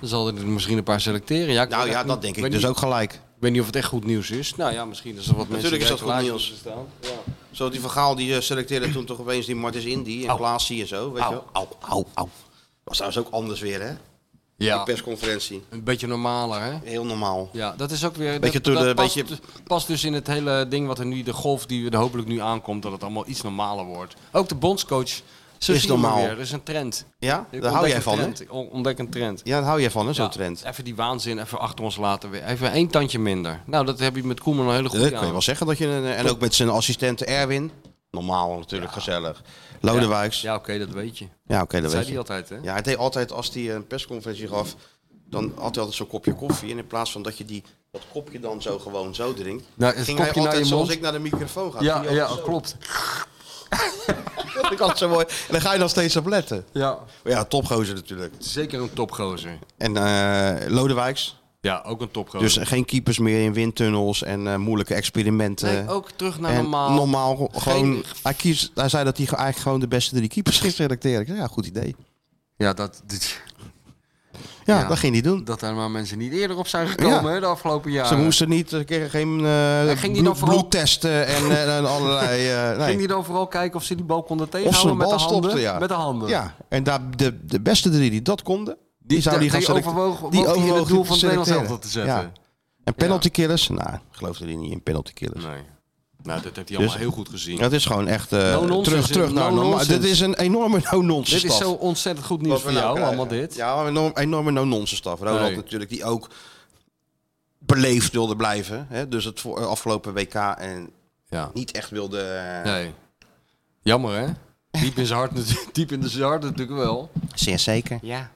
Speaker 4: zal hij er misschien een paar selecteren. Ja, ik
Speaker 3: Nou
Speaker 4: weet
Speaker 3: ja,
Speaker 4: echt
Speaker 3: dat
Speaker 4: niet-
Speaker 3: denk ik.
Speaker 4: weet
Speaker 3: Dus
Speaker 4: niet-
Speaker 3: ook gelijk.
Speaker 4: Ik weet niet of het echt goed nieuws is. Nou ja, misschien is er wat mensen...
Speaker 3: Natuurlijk is dat
Speaker 4: die uit de
Speaker 3: goed
Speaker 4: lijst staan. Ja.
Speaker 3: Zo die Vergaal die eh, selecteerde toen toch opeens die Martens Indy en Klaasie en zo, weet je wel? Au, au, au. Was trouwens ook anders weer, hè? Die
Speaker 4: ja,
Speaker 3: persconferentie.
Speaker 4: een beetje normaler, hè?
Speaker 3: Heel normaal.
Speaker 4: Ja, dat is ook weer...
Speaker 3: Beetje
Speaker 4: dat,
Speaker 3: door
Speaker 4: dat
Speaker 3: de-
Speaker 4: past,
Speaker 3: beetje-
Speaker 4: past dus in het hele ding wat er nu, de golf die er hopelijk nu aankomt, dat het allemaal iets normaler wordt. Ook de bondscoach... Zo
Speaker 3: Is
Speaker 4: zie je maar
Speaker 3: normaal.
Speaker 4: weer. Dat is een trend.
Speaker 3: Ja?
Speaker 4: Ik
Speaker 3: Daar hou
Speaker 4: ontdek
Speaker 3: jij
Speaker 4: een
Speaker 3: van, hè?
Speaker 4: trend. Ik on- Ontdek een trend.
Speaker 3: Ja, daar hou jij van, hè, zo'n
Speaker 4: Ja,
Speaker 3: trend.
Speaker 4: Even die waanzin even achter ons laten. weer. Even één tandje minder. Nou, dat heb je met Koeman een hele
Speaker 3: Dat
Speaker 4: goede
Speaker 3: kun
Speaker 4: aan.
Speaker 3: je wel zeggen dat je... een- eh, en ook met zijn assistente Erwin. Normaal natuurlijk, gezellig. Lodewijks. Ja,
Speaker 4: Ja, oké, dat weet je.
Speaker 3: oké, dat
Speaker 4: Dat zei
Speaker 3: weet
Speaker 4: hij
Speaker 3: je.
Speaker 4: altijd, hè?
Speaker 3: Ja, hij deed altijd, als hij eh, een persconferentie gaf, dan had hij altijd zo'n kopje koffie. En in plaats van dat je die, dat kopje dan zo gewoon zo drinkt,
Speaker 4: Nou, het
Speaker 3: ging hij
Speaker 4: kopje naar
Speaker 3: altijd
Speaker 4: je
Speaker 3: zoals
Speaker 4: mond.
Speaker 3: ik naar de microfoon ga.
Speaker 4: Ja,
Speaker 3: Ging
Speaker 4: ja,
Speaker 3: hij altijd zo.
Speaker 4: klopt.
Speaker 3: Ik had zo mooi. En dan ga je nog steeds op letten.
Speaker 4: Ja.
Speaker 3: Maar Ja, topgozer natuurlijk.
Speaker 4: Zeker een topgozer.
Speaker 3: En eh, Lodewijks.
Speaker 4: Ja, ook een topgozer.
Speaker 3: Dus geen keepers meer in windtunnels en eh, moeilijke experimenten.
Speaker 4: nee, ook terug naar
Speaker 3: en
Speaker 4: normaal.
Speaker 3: normaal ge- gewoon.
Speaker 4: Geen-
Speaker 3: Hij, kiest, hij zei dat hij ge- eigenlijk gewoon de beste drie keepers ging selecteren. Ik zei, ja, goed idee.
Speaker 4: Ja, dat, dit-
Speaker 3: Ja,
Speaker 4: Ja.
Speaker 3: dat ging hij doen.
Speaker 4: dat er maar mensen niet eerder op zijn gekomen
Speaker 3: Ja.
Speaker 4: hè, de afgelopen jaren.
Speaker 3: Ze moesten niet, ze kregen geen eh
Speaker 4: ging die
Speaker 3: bloed-
Speaker 4: dan vooral-
Speaker 3: bloedtesten en, eh, en allerlei. eh, nee.
Speaker 4: Ging hij dan vooral kijken of ze die bal konden
Speaker 3: Of ze
Speaker 4: tegenhouden
Speaker 3: een bal
Speaker 4: met de handen?
Speaker 3: stopte, ja.
Speaker 4: Met de handen.
Speaker 3: Ja, en daar, de, de beste drie die dat konden, die zouden die gaan selecteren.
Speaker 4: overwoog, die overwoog in het doel van het Nederlands
Speaker 3: selecteren.
Speaker 4: elftal te zetten.
Speaker 3: Ja. En penalty killers? Nou, geloofde hij niet in penalty killers.
Speaker 4: Nee.
Speaker 8: Nou, dat heeft hij allemaal
Speaker 3: Dus-
Speaker 8: heel goed gezien.
Speaker 3: Dat is gewoon echt eh,
Speaker 4: No-nonsense
Speaker 3: terug,
Speaker 4: is-
Speaker 3: terug naar normaal.
Speaker 4: no-nonsense.
Speaker 3: Dit is een enorme no-nonsense
Speaker 4: Dit is
Speaker 3: staf.
Speaker 4: zo ontzettend goed nieuws
Speaker 3: Wat we
Speaker 4: voor
Speaker 3: nou
Speaker 4: jou,
Speaker 3: krijgen.
Speaker 4: allemaal dit.
Speaker 3: Ja, maar een enorm- enorme no-nonsense staf. Ronald
Speaker 4: Nee.
Speaker 3: natuurlijk, die ook beleefd wilde blijven. Hè? Dus het voor, afgelopen WK en
Speaker 8: Ja.
Speaker 3: niet echt wilde... eh,
Speaker 4: Nee. Jammer, hè? Diep in zijn hart, natu- diep in zijn hart natuurlijk wel.
Speaker 3: Zeer zeker.
Speaker 4: Ja.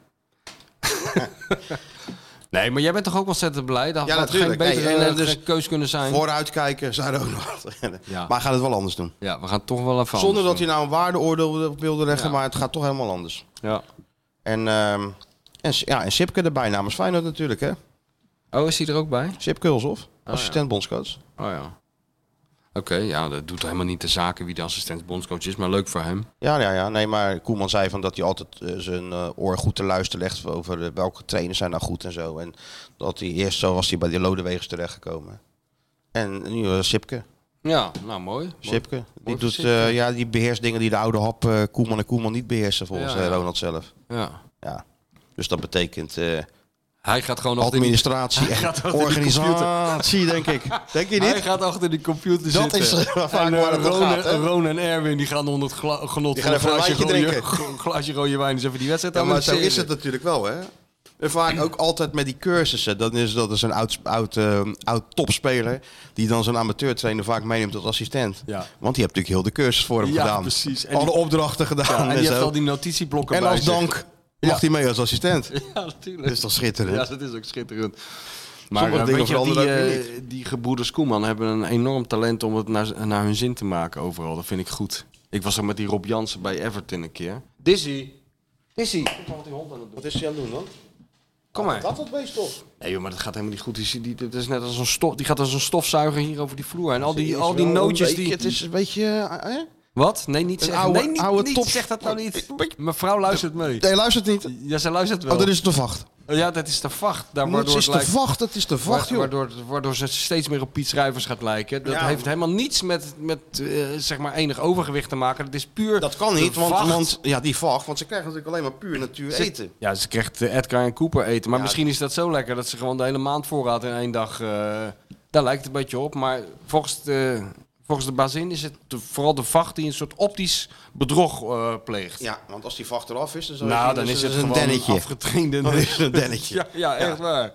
Speaker 4: nee, maar jij bent toch ook ontzettend blij? Dat
Speaker 3: Ja,
Speaker 4: had geen
Speaker 3: natuurlijk.
Speaker 4: betere
Speaker 3: Nee, eh,
Speaker 4: eh,
Speaker 3: dus-
Speaker 4: keus kunnen zijn.
Speaker 3: Vooruitkijken, zei Ronald.
Speaker 4: Ja.
Speaker 3: Maar hij gaat het wel anders doen.
Speaker 4: Ja, we gaan toch wel even
Speaker 3: Zonder dat
Speaker 4: anders
Speaker 3: hij nou een waardeoordeel op wilde leggen,
Speaker 4: Ja.
Speaker 3: maar het gaat toch helemaal anders.
Speaker 4: doen. Ja.
Speaker 3: En, ehm en, S- ja, en Sipke erbij namens Feyenoord natuurlijk, hè?
Speaker 4: Oh, is hij er ook bij?
Speaker 3: Sipke
Speaker 4: Oh,
Speaker 3: Hulshoff, assistent bondscoach.
Speaker 8: Oh ja. Oké, ja, dat doet helemaal niet de zaken wie de assistent bondscoach is, maar leuk voor hem.
Speaker 3: Ja, ja, ja. Nee, maar Koeman zei van dat hij altijd eh, zijn eh, oor goed te luisteren legt over eh, welke trainers zijn nou goed en zo. En dat hij eerst zo was hij bij de Lodewegens terechtgekomen. En nu eh, Sipke.
Speaker 4: Ja, nou mooi.
Speaker 3: Sipke. Die,
Speaker 4: mooi
Speaker 3: doet,
Speaker 4: voor Sipke.
Speaker 3: eh, ja, die beheerst dingen die de oude hap eh, Koeman en Koeman niet beheersen volgens
Speaker 4: Ja, ja.
Speaker 3: eh, Ronald zelf.
Speaker 4: Ja.
Speaker 3: Ja. Dus dat betekent eh,
Speaker 4: Hij gaat gewoon achter die,
Speaker 3: administratie en
Speaker 4: achter die
Speaker 3: organisatie, denk ik. Denk je
Speaker 4: hij
Speaker 3: niet?
Speaker 4: gaat achter die computer
Speaker 3: Dat
Speaker 4: zitten.
Speaker 3: is waar vaak
Speaker 4: en, eh,
Speaker 3: waar het om
Speaker 4: Ron,
Speaker 3: gaat, hè?
Speaker 4: Ron en Erwin die gaan onder het gla- genot
Speaker 3: Die
Speaker 4: van
Speaker 3: gaan
Speaker 4: een
Speaker 3: even een
Speaker 4: glaasje
Speaker 3: wijntje
Speaker 4: rode,
Speaker 3: drinken.
Speaker 4: gro- glaasje rode wijn. Dus even die wedstrijd
Speaker 3: Ja, maar zo
Speaker 4: analyseren.
Speaker 3: is het natuurlijk wel, hè? En vaak ook altijd met die cursussen. Dan is dat is een oud, oud, eh, oud topspeler die dan zo'n amateurtrainer vaak meeneemt als assistent.
Speaker 4: Ja.
Speaker 3: Want die hebt natuurlijk heel de cursus voor hem
Speaker 4: Ja,
Speaker 3: gedaan.
Speaker 4: precies. En
Speaker 3: Alle
Speaker 4: die-
Speaker 3: opdrachten gedaan.
Speaker 4: Ja, en
Speaker 3: en,
Speaker 4: die
Speaker 3: zo.
Speaker 4: heeft al die notitieblokken
Speaker 3: en
Speaker 4: bij
Speaker 3: als
Speaker 4: zich.
Speaker 3: dank mag hij mee als assistent.
Speaker 4: Ja, natuurlijk.
Speaker 3: Dat is toch schitterend?
Speaker 4: Ja, dat is ook schitterend. Maar
Speaker 3: Sommige
Speaker 4: eh,
Speaker 3: dingen
Speaker 4: weet je, die,
Speaker 3: veranderen ook
Speaker 4: eh, die gebroeders Koeman hebben een enorm talent om het naar, naar hun zin te maken overal. Dat vind ik goed. Ik was er met die Rob Jansen bij Everton een keer. Dizzy. Dizzy.
Speaker 3: Wat is hij aan het doen dan?
Speaker 4: Kom maar.
Speaker 3: wat beest op.
Speaker 4: Nee joh, maar dat gaat helemaal niet goed. Die, die, dat is net als een stof, die gaat als een stofzuiger hier over die vloer. En al die, al die nootjes die...
Speaker 3: Het is een beetje... eh, hè?
Speaker 4: Wat? Nee, niet
Speaker 3: Een
Speaker 4: zeggen.
Speaker 3: oude-
Speaker 4: nee, niet,
Speaker 3: oude
Speaker 4: niet.
Speaker 3: top-
Speaker 4: Zeg dat nou niet.
Speaker 3: Een beetje-
Speaker 4: Mevrouw luistert mee.
Speaker 3: Nee, luistert niet.
Speaker 4: Ja, zij luistert wel.
Speaker 3: Oh, dat is de vacht.
Speaker 4: Ja, dat is de vacht. Daar
Speaker 3: Het
Speaker 4: waardoor
Speaker 3: is
Speaker 4: het
Speaker 3: de
Speaker 4: lijkt...
Speaker 3: vacht, het is de vacht,
Speaker 4: Wa-
Speaker 3: joh.
Speaker 4: Waardoor, waardoor ze steeds meer op Piet Schrijvers gaat lijken. Dat heeft helemaal niets met, met eh, zeg maar enig overgewicht te maken. Het is puur.
Speaker 3: Dat kan
Speaker 4: de
Speaker 3: niet, want,
Speaker 4: vacht.
Speaker 3: want ja, die vacht, want ze krijgen natuurlijk alleen maar puur natuur eten.
Speaker 4: Ja, ze krijgt eh, Edgar en Cooper eten. Maar misschien is dat zo lekker dat ze gewoon de hele maand voorraad in één dag. eh, daar lijkt het een beetje op. Maar volgens de, volgens de bazin is het de- vooral de vacht die een soort optisch bedrog eh, pleegt.
Speaker 3: Ja, want als die vacht eraf is, dan, zou je
Speaker 4: nou,
Speaker 3: zien,
Speaker 4: dan
Speaker 3: dat
Speaker 4: is het
Speaker 3: een
Speaker 4: gewoon
Speaker 3: dennetje. Oh,
Speaker 4: afgetrainde.
Speaker 3: Dan is het een dennetje.
Speaker 4: Ja, ja, echt waar.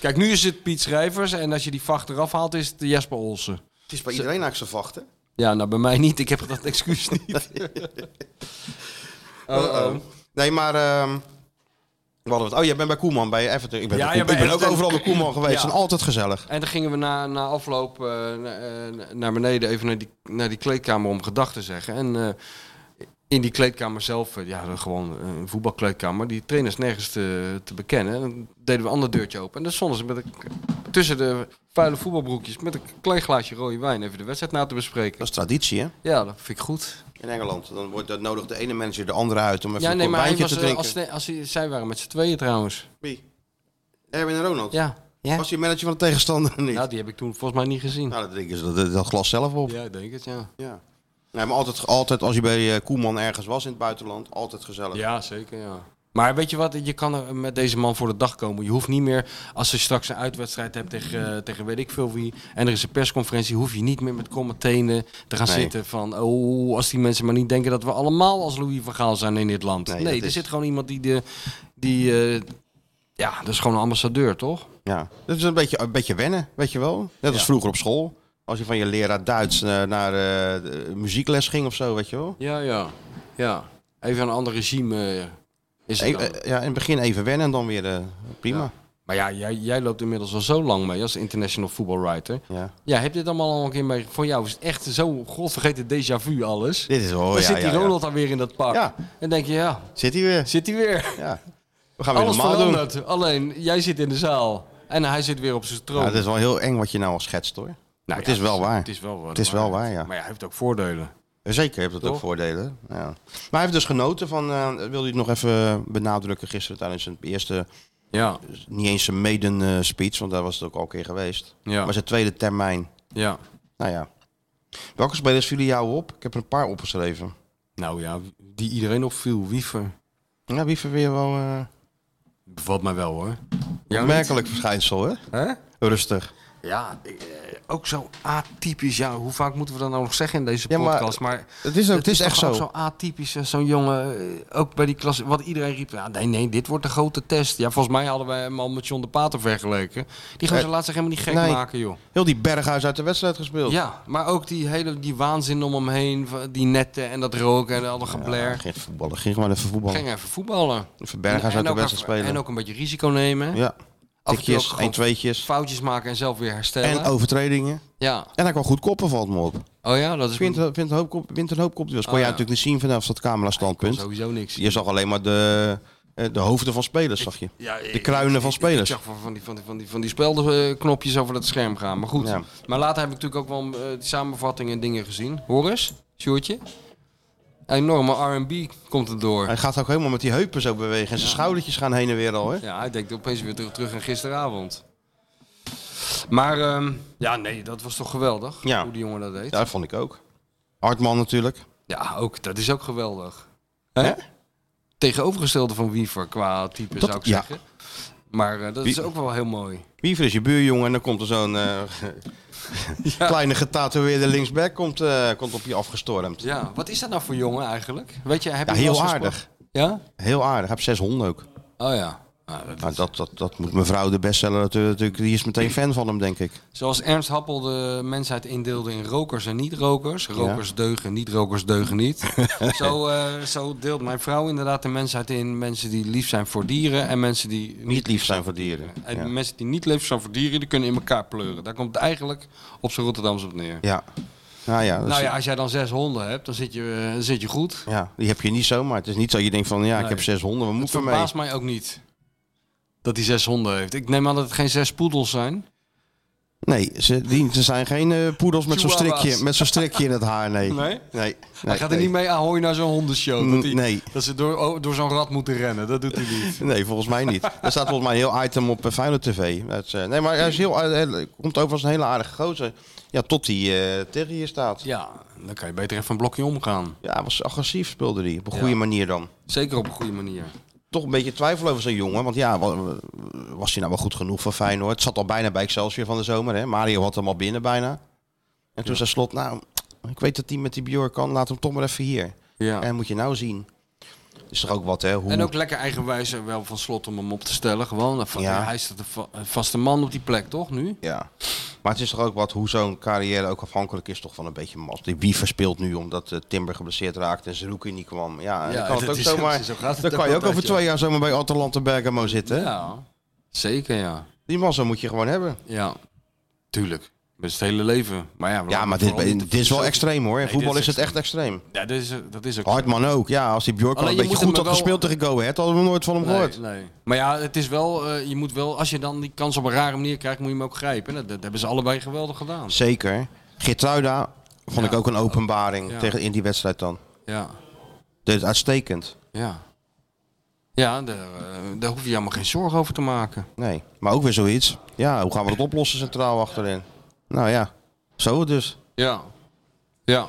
Speaker 4: Kijk, nu is het Piet Schrijvers. En als je die vacht eraf haalt, is het Jasper Olsen.
Speaker 3: Het is bij iedereen eigenlijk zijn vacht, hè?
Speaker 4: Ja, nou bij mij niet. Ik heb dat excuus niet. oh, oh.
Speaker 3: Nee, maar... ehm we hadden het. Oh, jij bent bij Koeman, bij Everton. Ik ben,
Speaker 4: Ja,
Speaker 3: bij
Speaker 4: jij
Speaker 3: Koeman.
Speaker 4: bent
Speaker 3: ik ben ook
Speaker 4: Everton.
Speaker 3: overal bij Koeman geweest.
Speaker 4: Ja.
Speaker 3: Ze zijn altijd gezellig.
Speaker 4: En dan gingen we na, na afloop eh, na- eh, naar beneden even naar die, naar die kleedkamer om gedachten te zeggen. En eh, in die kleedkamer zelf, eh, ja, gewoon een voetbalkleedkamer, die trainers nergens te, te bekennen. En dan deden we een ander deurtje open. En dan stonden ze met een, tussen de vuile voetbalbroekjes met een klein glaasje rode wijn even de wedstrijd na te
Speaker 3: Dat
Speaker 4: bespreken.
Speaker 3: is traditie, hè?
Speaker 4: Ja, dat vind ik goed.
Speaker 3: In Engeland. Dan wordt dat nodig de ene manager de andere uit om even
Speaker 4: Ja, nee,
Speaker 3: een
Speaker 4: maar hij
Speaker 3: wijntje
Speaker 4: was,
Speaker 3: te
Speaker 4: eh,
Speaker 3: drinken.
Speaker 4: als, als, hij- zij waren met z'n tweeën trouwens.
Speaker 3: Wie? Eh, Erwin en Ronald.
Speaker 4: Ja. ja.
Speaker 3: Was hij manager van de tegenstander of niet?
Speaker 4: Nou, die heb ik toen volgens mij niet gezien.
Speaker 3: Nou, dan drinken ze dat, dat glas zelf op.
Speaker 4: Ja, ik denk het, ja.
Speaker 3: Ja. Nee, maar altijd, altijd als je bij eh, Koeman ergens was in het buitenland, altijd gezellig.
Speaker 4: Ja, zeker, ja. Maar weet je wat, je kan er met deze man voor de dag komen. Je hoeft niet meer, als je straks een uitwedstrijd hebt tegen, eh, tegen weet ik veel wie... en er is een persconferentie, hoef je niet meer met kromme tenen te gaan
Speaker 3: Nee.
Speaker 4: zitten van... oh, als die mensen maar niet denken dat we allemaal als Louis van Gaal zijn in dit land.
Speaker 3: Nee,
Speaker 4: Nee,
Speaker 3: dat
Speaker 4: er
Speaker 3: is-
Speaker 4: zit gewoon iemand die... De, die eh, ja, dat is gewoon een ambassadeur, toch?
Speaker 3: Ja. Dat is een beetje, een beetje wennen, weet je wel. Net als
Speaker 4: Ja.
Speaker 3: vroeger op school. Als je van je leraar Duits eh, naar eh, de muziekles ging of zo, weet je wel.
Speaker 4: Ja, ja. ja. Even een ander regime eh, is het
Speaker 3: E-
Speaker 4: dan.
Speaker 3: eh, ja, in het begin even wennen en dan weer eh, prima.
Speaker 4: Maar ja, jij, jij loopt inmiddels al zo lang mee als international voetbalwriter.
Speaker 3: Ja.
Speaker 4: Ja, heb je dit allemaal al een keer mee? Voor jou is het echt zo godvergeten déjà vu alles.
Speaker 3: Dit is wel, oh
Speaker 4: dan
Speaker 3: ja,
Speaker 4: zit die
Speaker 3: ja, ja.
Speaker 4: Ronald dan weer in dat pak.
Speaker 3: Ja.
Speaker 4: En denk je, ja,
Speaker 3: Zit hij weer?
Speaker 4: zit hij weer.
Speaker 3: Ja. We gaan weer
Speaker 4: Alles
Speaker 3: normaal doen.
Speaker 4: verandert. Alleen, jij zit in de zaal. En hij zit weer op zijn troon.
Speaker 3: Ja, het is wel heel eng wat je nou al schetst hoor.
Speaker 4: Nou
Speaker 3: het
Speaker 4: ja,
Speaker 3: is wel waar.
Speaker 4: Het is wel waar.
Speaker 3: Het is wel waar, ja.
Speaker 4: Maar ja, hij heeft ook voordelen.
Speaker 3: Zeker heeft dat ook
Speaker 4: Toch?
Speaker 3: voordelen. Ja. Maar hij heeft dus genoten van, eh wilde hij het nog even benadrukken gisteren tijdens zijn eerste,
Speaker 4: Ja,
Speaker 3: niet eens zijn maiden eh, speech, want daar was het ook al een keer geweest.
Speaker 4: ja,
Speaker 3: Maar zijn tweede termijn,
Speaker 4: ja.
Speaker 3: nou ja. Welke spelers vielen jou op? Ik heb er een paar opgeschreven.
Speaker 4: Nou ja, die iedereen opviel. Wiever.
Speaker 3: Ja, wie weer wel eh
Speaker 4: Bevalt mij wel hoor.
Speaker 3: opmerkelijk verschijnsel, hè?
Speaker 4: Hè?
Speaker 3: Rustig.
Speaker 4: Ja, ik, eh, ook zo atypisch. Ja, hoe vaak moeten we dat nou nog zeggen in deze
Speaker 3: Ja, maar-
Speaker 4: podcast? Maar,
Speaker 3: Het is, ook, het is,
Speaker 4: toch
Speaker 3: echt zo.
Speaker 4: ook zo atypisch. eh, Zo'n jongen, eh, ook bij die klas. Wat iedereen riep, ja, nee, nee, dit wordt de grote test. Ja, volgens mij hadden wij hem al met John de Pater vergeleken. Die gaan ze
Speaker 3: Eh,
Speaker 4: laat zich helemaal niet gek
Speaker 3: nee.
Speaker 4: maken, joh.
Speaker 3: Heel die Berghuis uit de wedstrijd gespeeld.
Speaker 4: Ja, maar ook die hele die waanzin om hem heen. van Die netten en dat roken en al dat
Speaker 3: Ja,
Speaker 4: gebler.
Speaker 3: ging voetballen. Ging gewoon even voetballen.
Speaker 4: Ging even voetballen.
Speaker 3: Even Berghuis
Speaker 4: En-
Speaker 3: uit
Speaker 4: en
Speaker 3: de
Speaker 4: ook
Speaker 3: wedstrijd
Speaker 4: even-
Speaker 3: spelen.
Speaker 4: En ook een beetje risico nemen.
Speaker 3: ja.
Speaker 4: Af en toe ook
Speaker 3: Tikjes,
Speaker 4: gewoon
Speaker 3: één tweetjes.
Speaker 4: foutjes maken en zelf weer herstellen.
Speaker 3: En overtredingen.
Speaker 4: ja.
Speaker 3: En hij kwam goed koppen, valt me op.
Speaker 4: Oh ja, dat is
Speaker 3: Wint een hoop kop, wint een hoop kopduels. Kon
Speaker 4: Ah,
Speaker 3: jij
Speaker 4: ja.
Speaker 3: natuurlijk niet zien vanaf dat camera-standpunt.
Speaker 4: sowieso niks.
Speaker 3: Je zag alleen maar de, eh, de hoofden van spelers, zag je.
Speaker 4: Ja, ik-
Speaker 3: De kruinen van
Speaker 4: ik-
Speaker 3: spelers.
Speaker 4: Ik, zag van, van die, van die, van die, van die speldenknopjes over dat scherm gaan. Maar goed.
Speaker 3: Ja.
Speaker 4: Maar later heb ik natuurlijk ook wel eh, die samenvattingen en dingen gezien. Hoor eens, Sjoerdje. Enorme R&B komt er door.
Speaker 3: Hij gaat ook helemaal met die heupen zo bewegen. En zijn schoudertjes gaan heen en weer al, hè?
Speaker 4: Ja, hij denkt opeens weer terug, terug aan gisteravond. Maar ehm, ja, nee, dat was toch geweldig
Speaker 3: Ja.
Speaker 4: hoe die jongen dat deed.
Speaker 3: Ja,
Speaker 4: Ja.
Speaker 3: dat vond ik ook. Hartman natuurlijk.
Speaker 4: ook, dat is ook geweldig. Hè? Tegenovergestelde van Wiever qua type
Speaker 3: Dat-
Speaker 4: zou ik
Speaker 3: ja.
Speaker 4: zeggen. Maar eh, dat is ook wel heel mooi.
Speaker 3: Wiever is je buurjongen en dan komt er zo'n eh, kleine getatoeëerde linksback komt, eh, komt op je afgestormd.
Speaker 4: Ja, wat is dat nou voor jongen eigenlijk? Weet je, heb
Speaker 3: Ja,
Speaker 4: je wel
Speaker 3: heel
Speaker 4: eens gesproken-
Speaker 3: aardig.
Speaker 4: Ja?
Speaker 3: Heel aardig. Hij heeft zes honden ook.
Speaker 4: Oh ja. Nou, dat-
Speaker 3: Nou, dat, dat, dat moet mevrouw de bestseller natuurlijk. Die is meteen fan van hem, denk ik.
Speaker 4: Zoals Ernst Happel de mensheid indeelde in rokers en niet-rokers. Rokers deugen, niet-rokers deugen niet. zo, eh, zo deelt mijn vrouw inderdaad de mensheid in. Mensen die lief zijn voor dieren en mensen die niet,
Speaker 3: Niet lief zijn voor dieren.
Speaker 4: En
Speaker 3: Ja.
Speaker 4: mensen die niet lief zijn voor dieren, die kunnen in elkaar pleuren. Daar komt het eigenlijk op zijn Rotterdams op neer.
Speaker 3: Ja. Nou ja, dat
Speaker 4: Nou
Speaker 3: is-
Speaker 4: ja, als jij dan zes honden hebt, dan zit je, eh, dan zit je goed.
Speaker 3: ja, die heb je niet zomaar. Het is niet zo dat je denkt van, ja, ik
Speaker 4: Nee.
Speaker 3: heb zes honden, we
Speaker 4: Het
Speaker 3: moeten mee.
Speaker 4: verbaast mij ook niet dat hij zes honden heeft. Ik neem aan dat het geen zes poedels zijn.
Speaker 3: Nee, ze, die, ze zijn geen eh, poedels met zo'n
Speaker 4: Chihuahuas.
Speaker 3: strikje, met zo'n strikje in het haar, nee.
Speaker 4: Nee?
Speaker 3: nee.
Speaker 4: hij gaat er
Speaker 3: nee.
Speaker 4: niet mee ahoy naar zo'n hondenshow. Dat, hij,
Speaker 3: Mm, nee.
Speaker 4: dat ze door, oh, door zo'n rat moeten rennen. Dat doet hij niet.
Speaker 3: Nee, volgens mij niet. Er staat volgens mij een heel item op uh, Feyenoord TV. Dat is, eh, nee, maar hij is heel, aard- hij komt over als een hele aardige gozer. Ja, tot hij eh, tegen je staat.
Speaker 4: Ja, dan kan je beter even een blokje omgaan.
Speaker 3: Ja, hij was agressief speelde hij. Op een
Speaker 4: Ja.
Speaker 3: goede manier dan.
Speaker 4: Zeker op een goede manier.
Speaker 3: Toch een beetje twijfel over zo'n jongen. Want ja, wa- was hij nou wel goed genoeg voor Feyenoord? Het zat al bijna bij Excelsior van de zomer. Hè? Mario had hem al binnen bijna. En toen zei Slot, nou, ik weet dat hij met die Bjork kan. Laat hem toch maar even hier.
Speaker 4: Ja.
Speaker 3: En moet je nou zien. Is toch ook wat, hè? Hoe...
Speaker 4: En ook lekker eigenwijs er wel van slot om hem op te stellen. Gewoon, van,
Speaker 3: Ja.
Speaker 4: hij is de va- een vaste man op die plek, toch, nu?
Speaker 3: Ja. Maar het is toch ook wat hoe zo'n carrière ook afhankelijk is toch van een beetje mas. Die wie verspeelt nu omdat eh, Timber geblesseerd raakt en Zerouki niet kwam. Ja,
Speaker 4: Ja,
Speaker 3: dan kan het
Speaker 4: dat
Speaker 3: ook
Speaker 4: is-
Speaker 3: zomaar.
Speaker 4: zo gaat het
Speaker 3: Dan
Speaker 4: ook
Speaker 3: kan je ook
Speaker 4: altijd,
Speaker 3: over
Speaker 4: ja.
Speaker 3: twee jaar zomaar bij Atalanta Bergamo zitten. hè?
Speaker 4: Ja, zeker ja.
Speaker 3: Die massa moet je gewoon hebben.
Speaker 4: Ja, tuurlijk. Best het hele leven. Maar ja, we
Speaker 3: Ja,
Speaker 4: laten
Speaker 3: maar dit,
Speaker 4: vooral niet
Speaker 3: dit
Speaker 4: de
Speaker 3: is wel Oh,
Speaker 4: filosofie-
Speaker 3: extreem hoor. In
Speaker 4: Nee,
Speaker 3: voetbal
Speaker 4: dit
Speaker 3: is het echt extreem.
Speaker 4: Ja, dat is, dat is ook
Speaker 3: Hartman ook. Ja, als die Bjork al
Speaker 4: Alleen
Speaker 3: een
Speaker 4: je
Speaker 3: beetje goed
Speaker 4: moet hem
Speaker 3: had
Speaker 4: wel-
Speaker 3: gespeeld tegen Go Ahead, hadden we hem nooit van hem gehoord.
Speaker 4: Nee, nee. Maar ja, het is wel, eh, je moet wel, als je dan die kans op een rare manier krijgt, moet je hem ook grijpen. Dat, dat hebben ze allebei geweldig gedaan.
Speaker 3: Zeker. Geertruida vond
Speaker 4: Ja.
Speaker 3: ik ook een openbaring
Speaker 4: Ja.
Speaker 3: tegen, in die wedstrijd dan.
Speaker 4: Ja,
Speaker 3: Dit is uitstekend.
Speaker 4: ja. Ja, daar, eh, daar hoef je helemaal geen zorgen over te maken.
Speaker 3: Nee, maar ook weer zoiets. Ja, hoe gaan we dat oplossen centraal achterin? Nou ja, zo dus.
Speaker 4: Ja. Ja.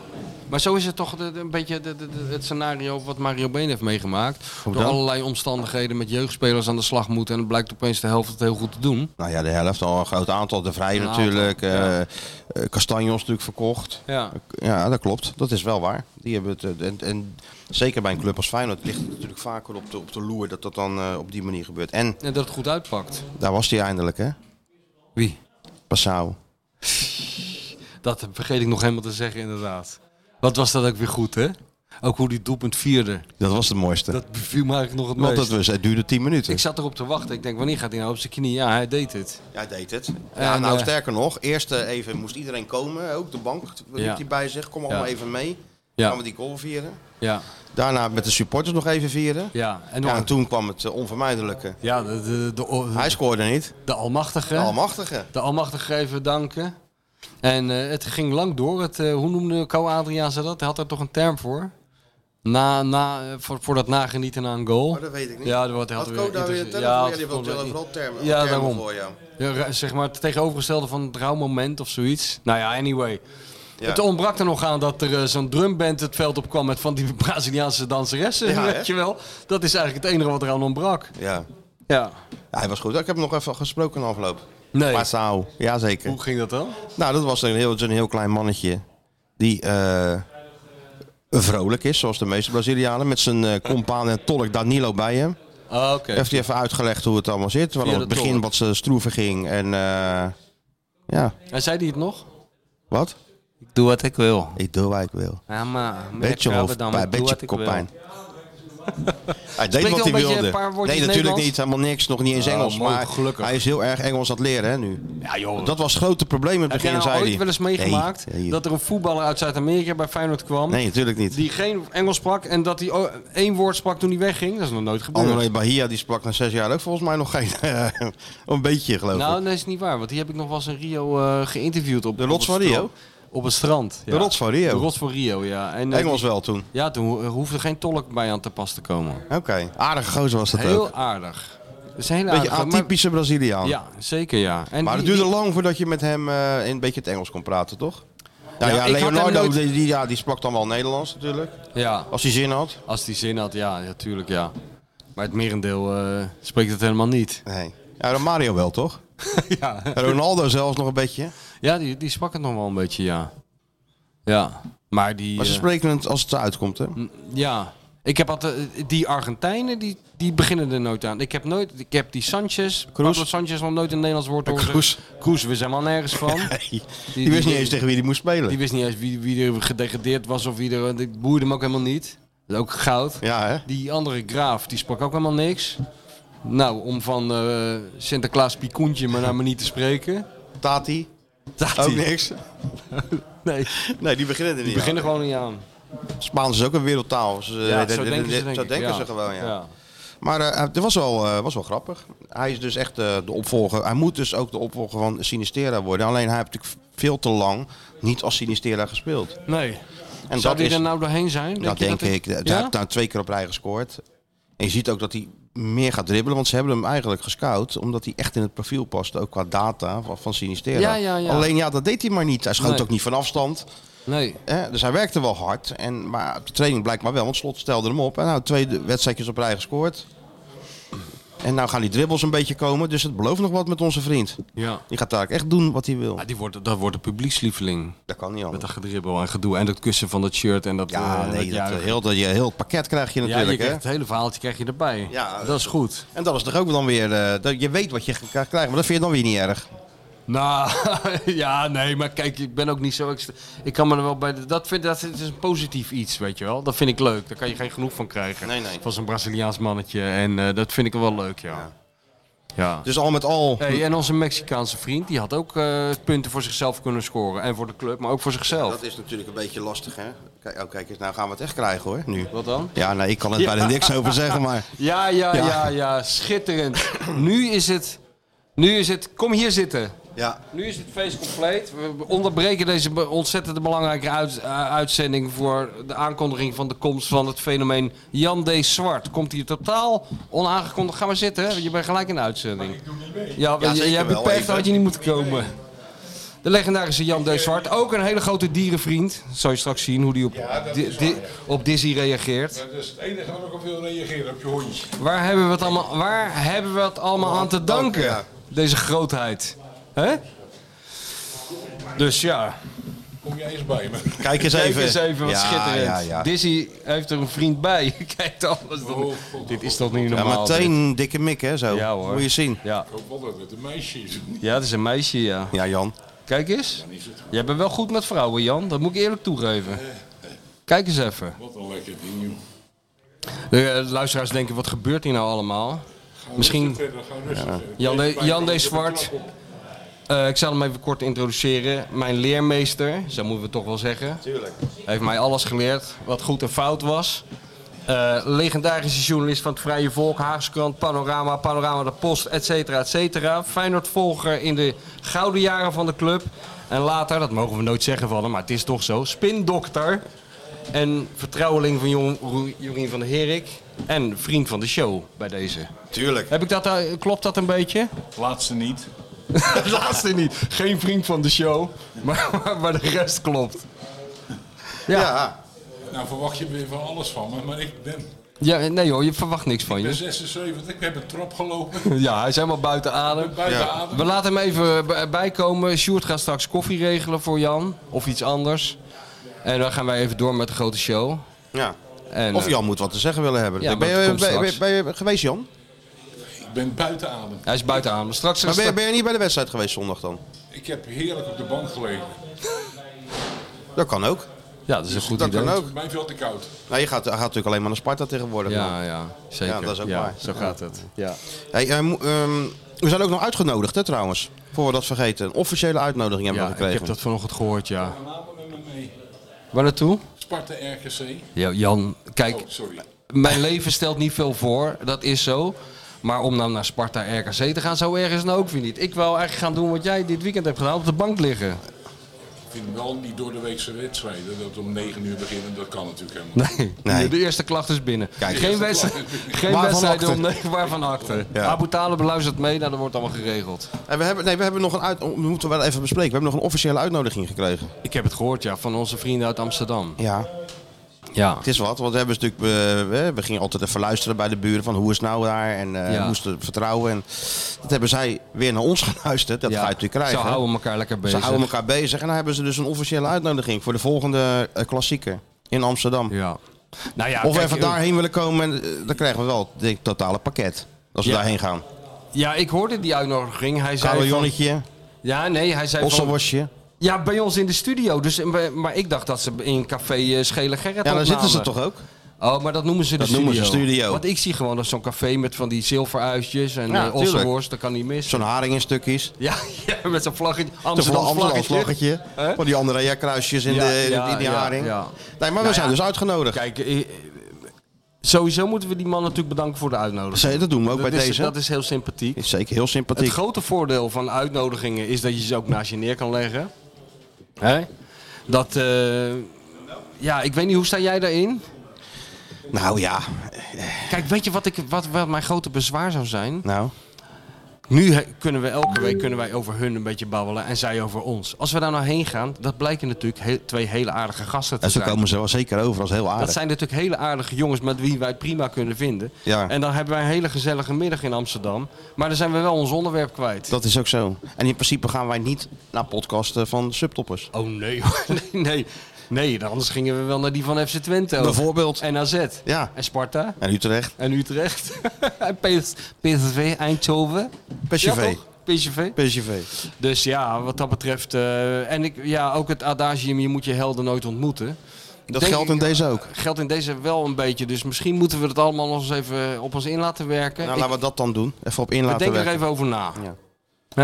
Speaker 4: Maar zo is het toch de- de- een beetje de- de- de- het scenario wat Mario Been heeft meegemaakt. Door
Speaker 3: dan?
Speaker 4: allerlei omstandigheden met jeugdspelers aan de slag moeten. En het blijkt opeens de helft het heel goed te doen.
Speaker 3: Nou ja, de helft al een groot aantal. De Vrij
Speaker 4: Een
Speaker 3: natuurlijk. eh
Speaker 4: aantal,
Speaker 3: eh, Castanjos natuurlijk verkocht.
Speaker 4: Ja.
Speaker 3: Ja, dat klopt. Dat is wel waar. Die hebben het, eh, en, en zeker bij een club als Feyenoord ligt het natuurlijk vaker op de, op de loer dat dat dan eh, op die manier gebeurt. En
Speaker 4: En dat het goed uitpakt.
Speaker 3: daar was hij eindelijk, hè?
Speaker 4: Wie?
Speaker 3: Passau.
Speaker 4: Dat vergeet ik nog helemaal te zeggen, inderdaad. Wat was dat ook weer goed, hè? Ook hoe die doelpunt vierde.
Speaker 3: Dat was het mooiste.
Speaker 4: Dat beviel me eigenlijk nog het
Speaker 3: Want
Speaker 4: meest.
Speaker 3: dat was, het duurde 10 minuten.
Speaker 4: Ik zat erop te wachten. Ik denk, wanneer gaat hij nou op zijn knie? Ja, hij deed het.
Speaker 3: Ja, deed het.
Speaker 4: En, eh,
Speaker 3: sterker nog, eerst eh, even moest iedereen komen. Ook de bank liep
Speaker 4: Ja.
Speaker 3: die bij zich. Kom allemaal
Speaker 4: Ja.
Speaker 3: even mee.
Speaker 4: Ja.
Speaker 3: Gaan we die goal vieren.
Speaker 4: Ja,
Speaker 3: Daarna met de supporters nog even vieren.
Speaker 4: ja. En,
Speaker 3: Ja,
Speaker 4: nog-
Speaker 3: en toen kwam het eh, onvermijdelijke.
Speaker 4: ja de, de, de,
Speaker 3: Hij scoorde niet.
Speaker 4: de almachtige.
Speaker 3: De almachtige.
Speaker 4: De almachtige even danken. En eh, het ging lang door. Het, eh, hoe noemde Co Adriaanse dat? Hij had er toch een term voor? Na, na, eh, voor, voor dat nagenieten aan een goal.
Speaker 3: Oh, dat weet ik niet.
Speaker 4: Ja, dat had
Speaker 3: Had
Speaker 4: hij
Speaker 3: Ko daar weer een term voor? Ja, die heeft ook wel overal termen,
Speaker 4: Ja,
Speaker 3: termen
Speaker 4: daarom.
Speaker 3: voor, ja.
Speaker 4: Ja, ra- zeg maar het tegenovergestelde van het rouwmoment of zoiets. Nou ja, anyway.
Speaker 3: Ja.
Speaker 4: Het ontbrak er nog aan dat er eh, zo'n drumband het veld op kwam met van die Braziliaanse danseressen.
Speaker 3: Ja, hè?
Speaker 4: weet je wel. Dat is eigenlijk het enige wat eraan ontbrak.
Speaker 3: Ja.
Speaker 4: Ja.
Speaker 3: Ja, hij was goed. Ik heb hem nog even gesproken in de afloop.
Speaker 4: Nee.
Speaker 3: Passau, jazeker.
Speaker 4: Hoe ging dat dan?
Speaker 3: Nou, dat was een heel, een heel klein mannetje die eh, vrolijk is, zoals de meeste Brazilianen. Met zijn eh, compaan en tolk Danilo bij hem.
Speaker 4: Ah, oké.
Speaker 3: Heeft hij even uitgelegd hoe het allemaal zit. Waarom
Speaker 4: Via
Speaker 3: het
Speaker 4: de
Speaker 3: begin
Speaker 4: tolk.
Speaker 3: wat ze stroeven ging. En eh, ja,
Speaker 4: En zei hij het nog?
Speaker 3: wat?
Speaker 4: Ik doe wat ik wil.
Speaker 3: Ik doe wat ik wil.
Speaker 4: Ja, maar...
Speaker 3: Beetje hoofdpijn, beetje koppijn. Hij deed
Speaker 4: Spreekt
Speaker 3: wat
Speaker 4: wel
Speaker 3: hij
Speaker 4: een beetje
Speaker 3: wilde.
Speaker 4: een paar woordjes
Speaker 3: nee, natuurlijk
Speaker 4: Nederlands?
Speaker 3: niet. Helemaal niks. Nog niet eens
Speaker 4: Oh,
Speaker 3: Engels.
Speaker 4: mooi,
Speaker 3: maar
Speaker 4: gelukkig.
Speaker 3: hij is heel erg Engels aan het leren hè, nu.
Speaker 4: Ja, joh.
Speaker 3: Dat was het grote probleem in het
Speaker 4: Heb jij
Speaker 3: begin,
Speaker 4: nou
Speaker 3: zei
Speaker 4: ooit
Speaker 3: hij.
Speaker 4: wel eens meegemaakt
Speaker 3: Nee, nee,
Speaker 4: dat er een voetballer uit Zuid-Amerika bij Feyenoord kwam...
Speaker 3: nee, natuurlijk niet.
Speaker 4: die geen Engels sprak en dat hij oh, één woord sprak toen hij wegging? Dat is nog nooit gebeurd.
Speaker 3: André Bahia die sprak na zes jaar ook volgens mij nog geen. een beetje geloof ik.
Speaker 4: Nou, dat is niet waar, want die heb ik nog wel eens in Rio eh, geïnterviewd. Op,
Speaker 3: De rots
Speaker 4: op het
Speaker 3: van Rio?
Speaker 4: strand. Op het strand.
Speaker 3: de
Speaker 4: ja.
Speaker 3: rots van Rio.
Speaker 4: De rots van Rio, ja. En, eh,
Speaker 3: Engels
Speaker 4: die-
Speaker 3: wel toen.
Speaker 4: Ja, toen ho- hoefde geen tolk bij aan te pas te komen.
Speaker 3: Oké. Aardige gozer was dat ook.
Speaker 4: Heel aardig. Dat is een hele
Speaker 3: Beetje
Speaker 4: aardige, nou, maar-
Speaker 3: atypische Braziliaan.
Speaker 4: Ja, zeker ja. En
Speaker 3: Maar
Speaker 4: die-
Speaker 3: het duurde
Speaker 4: die-
Speaker 3: lang voordat je met hem eh, een beetje het Engels kon praten, toch? Ja,
Speaker 4: Ja,
Speaker 3: ja,
Speaker 4: ik had hem
Speaker 3: Leonardo
Speaker 4: nooit-
Speaker 3: die, die- ja, die sprak dan wel Nederlands natuurlijk.
Speaker 4: Ja,
Speaker 3: Als hij zin had.
Speaker 4: als die zin had, ja, ja, tuurlijk ja. Maar het merendeel eh, spreekt het helemaal niet.
Speaker 3: Nee. Ja, dan Mario wel, toch?
Speaker 4: ja,
Speaker 3: En Ronaldo zelfs nog een beetje.
Speaker 4: ja die, die sprak het nog wel een beetje, ja. Ja, maar die...
Speaker 3: Maar ze
Speaker 4: eh,
Speaker 3: spreken het als het eruit komt, hè?
Speaker 4: Ja. Ik heb altijd, eh, die Argentijnen, die, die beginnen er nooit aan. Ik heb nooit, ik heb die Sanchez, Pablo Sanchez nog nooit een Nederlands woord horen.
Speaker 3: Kroes.
Speaker 4: zeggen. Kroes, we zijn maar nergens van.
Speaker 3: Die, wist niet eens tegen wie die moest spelen.
Speaker 4: Die wist niet eens wie, wie er gedegradeerd was of wie er, dit boeide hem ook helemaal niet. Dat is ook goud.
Speaker 3: Ja, hè?
Speaker 4: Die andere Graaf, die sprak ook helemaal niks. Nou, om van eh, Sinterklaas Picoentje maar naar me niet te spreken.
Speaker 3: Tati.
Speaker 4: Staat
Speaker 3: Ook
Speaker 4: die.
Speaker 3: niks.
Speaker 4: Nee,
Speaker 3: Nee, die beginnen er
Speaker 4: die
Speaker 3: niet aan.
Speaker 4: beginnen gewoon niet aan.
Speaker 3: Spaans is ook een wereldtaal. Ze,
Speaker 4: Ja,
Speaker 3: eh,
Speaker 4: zo
Speaker 3: de- de-
Speaker 4: denken
Speaker 3: de-
Speaker 4: ze, denk
Speaker 3: zo
Speaker 4: ik.
Speaker 3: denken
Speaker 4: Ja.
Speaker 3: ze gewoon, ja. Maar eh, het was wel, eh, was wel grappig. Hij is dus echt eh, de opvolger. Hij moet dus ook de opvolger van Sinistera worden. Alleen hij heeft natuurlijk veel te lang niet als Sinistera gespeeld.
Speaker 4: Nee.
Speaker 3: En
Speaker 4: Zou
Speaker 3: dat
Speaker 4: die
Speaker 3: is,
Speaker 4: er nou doorheen zijn?
Speaker 3: dat
Speaker 4: je
Speaker 3: denk ik. Hij
Speaker 4: Ja?
Speaker 3: heeft nou twee keer op rij gescoord. En je ziet ook dat hij meer gaat dribbelen. Want ze hebben hem eigenlijk gescout. Omdat hij echt in het profiel past. Ook qua data van, van Sinistera.
Speaker 4: Ja, ja, ja.
Speaker 3: Alleen ja, dat deed hij maar niet. Hij schoot
Speaker 4: Nee.
Speaker 3: ook niet van afstand.
Speaker 4: Nee.
Speaker 3: Hè, dus hij werkte wel hard. En, maar op de training blijkbaar wel, want slot stelde hem op. En nou, twee wedstrijdjes op rij gescoord. En nou gaan die dribbles een beetje komen. Dus het belooft nog wat met onze vriend.
Speaker 4: Ja.
Speaker 3: Die gaat daar echt doen wat hij wil.
Speaker 4: Ah, die wordt, dat wordt een publiekslieveling.
Speaker 3: Dat kan niet
Speaker 4: Met dat
Speaker 3: anders.
Speaker 4: gedribbel en gedoe. En dat kussen van dat shirt en dat.
Speaker 3: Ja,
Speaker 4: eh,
Speaker 3: nee, dat,
Speaker 4: juichen.
Speaker 3: heel, dat, je- heel het pakket krijg je
Speaker 4: ja, je
Speaker 3: natuurlijk. hè?
Speaker 4: krijgt het hele verhaaltje krijg je erbij.
Speaker 3: Ja,
Speaker 4: dat is goed.
Speaker 3: En dat is toch ook dan weer... eh, dat, je weet wat je gaat krijgen, maar dat vind je dan weer niet erg.
Speaker 4: Nou, ja, nee, maar kijk, ik ben ook niet zo. extra- Ik kan me er wel bij. de- Dat vind dat is een positief iets, weet je wel. Dat vind ik leuk. Daar kan je geen genoeg van krijgen.
Speaker 3: Nee, nee.
Speaker 4: Van zo'n Braziliaans mannetje. En eh, dat vind ik wel leuk, ja. Ja.
Speaker 3: Dus al met al...
Speaker 4: Hey, en onze Mexicaanse vriend, die had ook eh, punten voor zichzelf kunnen scoren. En voor de club, maar ook voor zichzelf.
Speaker 3: is natuurlijk een beetje lastig, hè? Kijk, oh, kijk eens, nou gaan we het echt krijgen, hoor, nu.
Speaker 4: Wat dan?
Speaker 3: Ja, nee, ik kan het bijna niks over zeggen, maar...
Speaker 4: Ja, ja, ja, ja, schitterend. Nu is het. Nu is het. Kom hier zitten.
Speaker 3: Ja,
Speaker 4: Nu is het feest compleet. We onderbreken deze be- ontzettend belangrijke uit- eh, uitzending voor de aankondiging van de komst van het fenomeen Jan D. Zwart. Komt hier totaal onaangekondigd. Ga maar zitten, hè, want je bent gelijk in de uitzending. Ja,
Speaker 3: Ja,
Speaker 4: j-
Speaker 3: zeker
Speaker 4: jij
Speaker 3: wel,
Speaker 4: beperkt
Speaker 3: even.
Speaker 4: had je niet moeten komen. De legendarische Jan D. Zwart, ook een hele grote dierenvriend. Zal je straks zien hoe die op, di- di- op Dizzy reageert.
Speaker 9: Dat is het enige waar ik op wil reageren, op je hondje.
Speaker 4: Waar hebben we het allemaal, waar hebben we het allemaal aan te danken?
Speaker 3: ja.
Speaker 4: Deze grootheid. hè? Dus ja,
Speaker 9: Kom je eens bij me.
Speaker 3: kijk eens
Speaker 4: kijk
Speaker 3: even.
Speaker 4: eens even wat
Speaker 3: Ja,
Speaker 4: schitterend.
Speaker 3: ja, ja.
Speaker 4: Dizzy heeft er een vriend bij. Kijkt alles.
Speaker 9: Oh,
Speaker 4: dan- Dit is toch niet
Speaker 3: Ja,
Speaker 4: normaal?
Speaker 3: maar meteen dikke mik, hè, zo.
Speaker 4: Ja, hoor.
Speaker 3: Moet je zien.
Speaker 4: dit? Ja.
Speaker 9: Ik hoop wel dat het een meisje is.
Speaker 4: ja, het is een meisje, ja.
Speaker 3: Ja, Jan.
Speaker 4: Kijk eens. Jij bent wel goed met vrouwen, Jan. Dat moet ik eerlijk toegeven. Kijk eens even.
Speaker 9: Eh, Wat een lekker ding, joh.
Speaker 4: De eh, luisteraars denken, wat gebeurt hier nou allemaal? Misschien...
Speaker 9: Verder gaan rustig verder.
Speaker 4: Jan
Speaker 9: Blijf
Speaker 4: D-
Speaker 9: bij
Speaker 4: Jan
Speaker 9: me,
Speaker 4: D. Zwart.
Speaker 9: je hebt een klap
Speaker 4: Eh, ik zal hem even kort introduceren. Mijn leermeester, zo moeten we het toch wel zeggen. Tuurlijk. Heeft mij alles geleerd wat goed en fout was. Eh, legendarische journalist van het Vrije Volk, Haagse Krant, Panorama, Panorama de Post, et cetera, et cetera. Feyenoord-volger in de gouden jaren van de club. En later, dat mogen we nooit zeggen van hem, maar het is toch zo, spindokter. En vertrouweling van Jon- Roe- Jorien van der Herik. En vriend van de show bij deze.
Speaker 3: Ja, tuurlijk.
Speaker 4: Heb ik dat, eh, klopt dat een beetje?
Speaker 9: op. Laatste niet.
Speaker 4: Het laatste niet. Geen vriend van de show, maar, maar, maar de rest klopt. Ja.
Speaker 3: Ja.
Speaker 9: Nou verwacht je weer van alles van me, maar ik ben...
Speaker 4: Ja, nee joh, je verwacht niks van
Speaker 9: Ik ben
Speaker 4: je.
Speaker 9: 76, ik heb een trap gelopen.
Speaker 4: Ja, hij is helemaal buiten adem.
Speaker 9: Buiten adem.
Speaker 4: We laten hem even b- bijkomen. Sjoerd gaat straks koffie regelen voor Jan. Of iets anders. En dan gaan wij even door met de grote show.
Speaker 3: Ja.
Speaker 4: En,
Speaker 3: Of
Speaker 4: eh,
Speaker 3: Jan moet wat te zeggen willen hebben.
Speaker 4: Ja,
Speaker 3: ben,
Speaker 4: maar
Speaker 3: je,
Speaker 4: dat komt
Speaker 3: ben-
Speaker 4: straks.
Speaker 3: ben je- ben je geweest, Jan?
Speaker 9: Ik ben buiten adem.
Speaker 4: hij is buiten adem. Straks,
Speaker 3: Maar ben, je, ben je niet bij de wedstrijd geweest zondag dan?
Speaker 9: Ik heb heerlijk op de bank gelegen.
Speaker 3: Dat kan ook.
Speaker 4: Ja, dat is een goed
Speaker 3: Dat
Speaker 4: idee.
Speaker 3: kan ook.
Speaker 9: Mij veel te koud.
Speaker 3: Nou, je gaat, gaat natuurlijk alleen maar naar Sparta tegenwoordig. man.
Speaker 4: Ja, ja, zeker.
Speaker 3: Ja, dat is ook waar.
Speaker 4: Zo gaat het. Ja.
Speaker 3: Hey, eh, mo- ehm, we zijn ook nog uitgenodigd, hè, trouwens. Voor we dat vergeten. Een officiële uitnodiging hebben
Speaker 4: Ja,
Speaker 3: we
Speaker 4: ik
Speaker 3: gekregen.
Speaker 4: heb dat vanochtend gehoord, ja.
Speaker 9: Vanavond met me mee.
Speaker 4: Waar naartoe?
Speaker 9: Sparta RKC.
Speaker 4: Ja, Jan, kijk,
Speaker 9: Oh, sorry.
Speaker 4: mijn leven stelt niet veel voor, dat is zo. Maar om nou naar Sparta RKC te gaan, zo erg is het nou ook weer niet. Ik wil eigenlijk gaan doen wat jij dit weekend hebt gedaan, op de bank liggen.
Speaker 9: Ik vind wel die door de weekse wedstrijden dat we om 9 uur beginnen, dat kan natuurlijk helemaal niet.
Speaker 4: Nee, de eerste klacht is binnen. geen
Speaker 9: eerste
Speaker 4: wedstrijd,
Speaker 9: klacht is binnen.
Speaker 4: geen
Speaker 3: Waarvan
Speaker 4: wedstrijd
Speaker 3: akte?
Speaker 4: om nee, waarvan akte.
Speaker 3: Ja.
Speaker 4: Abu Talib luistert mee, nou, dat wordt allemaal geregeld.
Speaker 3: En we, hebben, nee, we, hebben nog een uit, we moeten wel even bespreken. We hebben nog een officiële uitnodiging gekregen.
Speaker 4: Ik heb het gehoord, ja, van onze vrienden uit Amsterdam.
Speaker 3: Ja.
Speaker 4: Ja.
Speaker 3: Het is wat, want we, hebben natuurlijk, eh, we, we gingen altijd even luisteren bij de buren van hoe is het nou daar en eh,
Speaker 4: Ja.
Speaker 3: we moesten vertrouwen. En dat hebben zij weer naar ons geluisterd. Dat
Speaker 4: ja.
Speaker 3: ga je natuurlijk krijgen.
Speaker 4: Ze houden elkaar lekker
Speaker 3: Ze
Speaker 4: bezig.
Speaker 3: houden elkaar bezig en dan hebben ze dus een officiële uitnodiging voor de volgende eh, klassieker in Amsterdam.
Speaker 4: Ja. Nou ja,
Speaker 3: Of we
Speaker 4: kijk,
Speaker 3: even
Speaker 4: eh,
Speaker 3: daarheen willen komen, en, eh, dan krijgen we wel het totale pakket. Als we
Speaker 4: Ja.
Speaker 3: daarheen gaan.
Speaker 4: Ja, ik hoorde die uitnodiging. Hij zei van-
Speaker 3: Carillonnetje,
Speaker 4: Ja, nee, hij zei van...
Speaker 3: osselwasje.
Speaker 4: Ja, bij ons in de studio. Dus, en we- maar ik dacht dat ze in café eh, Schele Gerrit
Speaker 3: Ja, daar
Speaker 4: opnamen.
Speaker 3: zitten ze toch ook?
Speaker 4: Oh, maar dat noemen ze de
Speaker 3: Dat
Speaker 4: studio.
Speaker 3: noemen ze studio.
Speaker 4: Want ik zie gewoon dat zo'n café met van die zilveruitjes en
Speaker 3: Ja,
Speaker 4: ja,
Speaker 3: tuurlijk.
Speaker 4: dat kan niet mis.
Speaker 3: Zo'n haring in stukjes.
Speaker 4: Ja, ja, met zo'n vlaggetje.
Speaker 3: Amsterdam,
Speaker 4: Amsterdam
Speaker 3: Amsterdam
Speaker 4: vlaggetje.
Speaker 3: vlaggetje.
Speaker 4: Hè?
Speaker 3: Van die andere ja, kruisjes in,
Speaker 4: Ja,
Speaker 3: de, in
Speaker 4: ja,
Speaker 3: die
Speaker 4: ja,
Speaker 3: haring.
Speaker 4: ja.
Speaker 3: Nee, maar we zijn dus uitgenodigd.
Speaker 4: Kijk, eh, eh, sowieso moeten we die man natuurlijk bedanken voor de uitnodiging.
Speaker 3: Zee, dat doen we ook
Speaker 4: dat
Speaker 3: bij
Speaker 4: is,
Speaker 3: deze.
Speaker 4: Dat is heel sympathiek.
Speaker 3: Is zeker heel sympathiek.
Speaker 4: Het grote voordeel van uitnodigingen is dat je ze ook naast je neer kan leggen. Hè? Dat, eh, ja, ik weet niet, hoe sta jij daarin?
Speaker 3: Nou ja,
Speaker 4: Kijk, weet je wat, ik, wat, wat mijn grote bezwaar zou zijn?
Speaker 3: nou.
Speaker 4: Nu he- kunnen we elke week kunnen wij over hun een beetje babbelen en zij over ons. Als we daar nou heen gaan, dat blijken natuurlijk he- twee hele aardige gasten te
Speaker 3: En zo
Speaker 4: zijn.
Speaker 3: komen ze wel zeker over als heel
Speaker 4: Dat
Speaker 3: aardig.
Speaker 4: zijn natuurlijk hele aardige jongens met wie wij het prima kunnen vinden.
Speaker 3: Ja.
Speaker 4: En dan hebben wij een hele gezellige middag in Amsterdam. Maar dan zijn we wel ons onderwerp kwijt.
Speaker 3: Dat is ook zo. En in principe gaan wij niet naar podcasten van subtoppers.
Speaker 4: Oh nee, hoor. nee, nee. Nee, dan anders gingen we wel naar die van FC Twente. ook.
Speaker 3: Bijvoorbeeld.
Speaker 4: En AZ.
Speaker 3: Ja.
Speaker 4: En Sparta.
Speaker 3: En Utrecht.
Speaker 4: En Utrecht. en PS PSV, Eindhoven. Ja,
Speaker 3: PSV.
Speaker 4: toch? PSV.
Speaker 3: PSV.
Speaker 4: Dus ja, wat dat betreft. eh, en ik, ja, ook het adagium, je moet je helden nooit ontmoeten.
Speaker 3: Dat
Speaker 4: Denk
Speaker 3: geldt
Speaker 4: ik-
Speaker 3: in deze ook.
Speaker 4: Geldt in deze wel een beetje. Dus misschien moeten we het allemaal nog eens even op ons in laten werken.
Speaker 3: Nou,
Speaker 4: Ik-
Speaker 3: laten we dat dan doen. Even op in
Speaker 4: we
Speaker 3: laten
Speaker 4: denken er
Speaker 3: werken.
Speaker 4: even over na.
Speaker 3: Ja.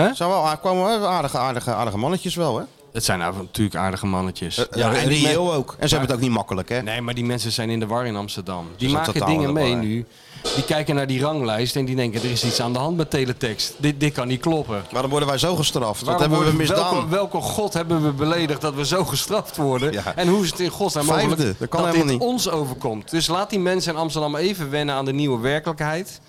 Speaker 4: Hè?
Speaker 3: Zijn wel, kwamen wel aardige, aardige, aardige mannetjes wel, hè?
Speaker 4: Het zijn nou natuurlijk aardige mannetjes.
Speaker 3: Ja, en
Speaker 4: Eh, die
Speaker 3: reëel ook. En ze hebben het ook niet makkelijk, hè?
Speaker 4: Nee, maar die mensen zijn in de war in Amsterdam. Dus Die
Speaker 3: zijn
Speaker 4: maken
Speaker 3: totaal
Speaker 4: dingen
Speaker 3: in de war,
Speaker 4: mee
Speaker 3: hè?
Speaker 4: nu. Die kijken naar die ranglijst en die denken, er is iets aan de hand met teletext. Dit, dit kan niet kloppen.
Speaker 3: Waarom worden wij zo gestraft? Wat
Speaker 4: Waarom
Speaker 3: hebben we
Speaker 4: worden-
Speaker 3: misdaan?
Speaker 4: Welke, welke god hebben we beledigd dat we zo gestraft worden?
Speaker 3: Ja.
Speaker 4: En hoe is het in godsnaam
Speaker 3: Vijfde,
Speaker 4: mogelijk
Speaker 3: dat kan
Speaker 4: dat dit
Speaker 3: helemaal niet.
Speaker 4: ons overkomt? Dus laat die mensen in Amsterdam even wennen aan de nieuwe werkelijkheid.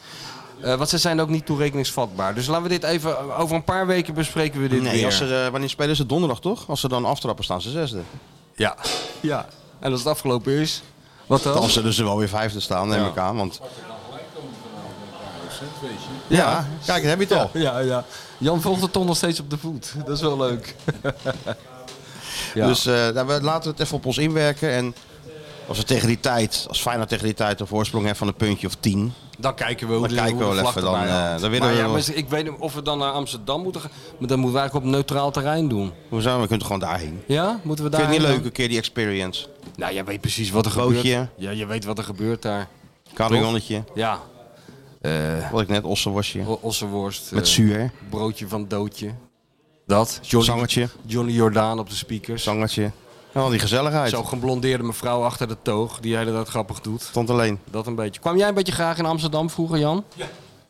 Speaker 4: Eh, want ze zijn ook niet toerekeningsvatbaar. Dus laten we dit even, over een paar weken bespreken we dit
Speaker 3: Nee,
Speaker 4: weer.
Speaker 3: als ze, eh, wanneer spelen ze donderdag toch? Als ze dan aftrappen staan ze zesde.
Speaker 4: Ja. ja, en als het afgelopen is, wat dan?
Speaker 3: Dan zullen ze wel weer vijfde staan, neem ik aan. Want, eh,
Speaker 9: Cent, weet je.
Speaker 3: ja. kijk, dat heb je het al.
Speaker 4: Ja, ja. Jan volgt het toch nog steeds op de voet. Dat is wel leuk. ja.
Speaker 3: Dus eh, nou, we laten we het even op ons inwerken. En als we tegen die tijd, als Feyenoord tegen die tijd een voorsprong heeft van een puntje of tien.
Speaker 4: dan kijken we hoe
Speaker 3: Dan
Speaker 4: de,
Speaker 3: kijken
Speaker 4: hoe
Speaker 3: we
Speaker 4: de
Speaker 3: wel
Speaker 4: vlag
Speaker 3: even, dan,
Speaker 4: erbij
Speaker 3: eh,
Speaker 4: hangt.
Speaker 3: dan winnen
Speaker 4: maar
Speaker 3: we
Speaker 4: ja,
Speaker 3: wel.
Speaker 4: maar ik weet niet of we dan naar Amsterdam moeten gaan. Maar dan moeten we eigenlijk op neutraal terrein doen.
Speaker 3: Hoezo? We kunnen gewoon daarheen.
Speaker 4: Ja? Moeten we
Speaker 3: Vind
Speaker 4: daar
Speaker 3: je het niet leuk, een keer die experience?
Speaker 4: Nou, jij weet precies wat er
Speaker 3: Bootje.
Speaker 4: gebeurt. Ja, je weet wat er gebeurt daar.
Speaker 3: Carillonnetje,
Speaker 4: Ja. Eh
Speaker 3: wat ik net, ossenwasje.
Speaker 4: o- ossenworst.
Speaker 3: Met
Speaker 4: eh,
Speaker 3: zuur,
Speaker 4: broodje van doodje. Dat. Johnny,
Speaker 3: zangertje,
Speaker 4: Johnny Jordaan op de speakers.
Speaker 3: zangertje. En al die gezelligheid.
Speaker 4: Zo'n geblondeerde mevrouw achter de toog. Die de hele tijd grappig doet.
Speaker 3: Stond alleen.
Speaker 4: Dat een beetje. Kwam jij een beetje graag in Amsterdam vroeger, Jan?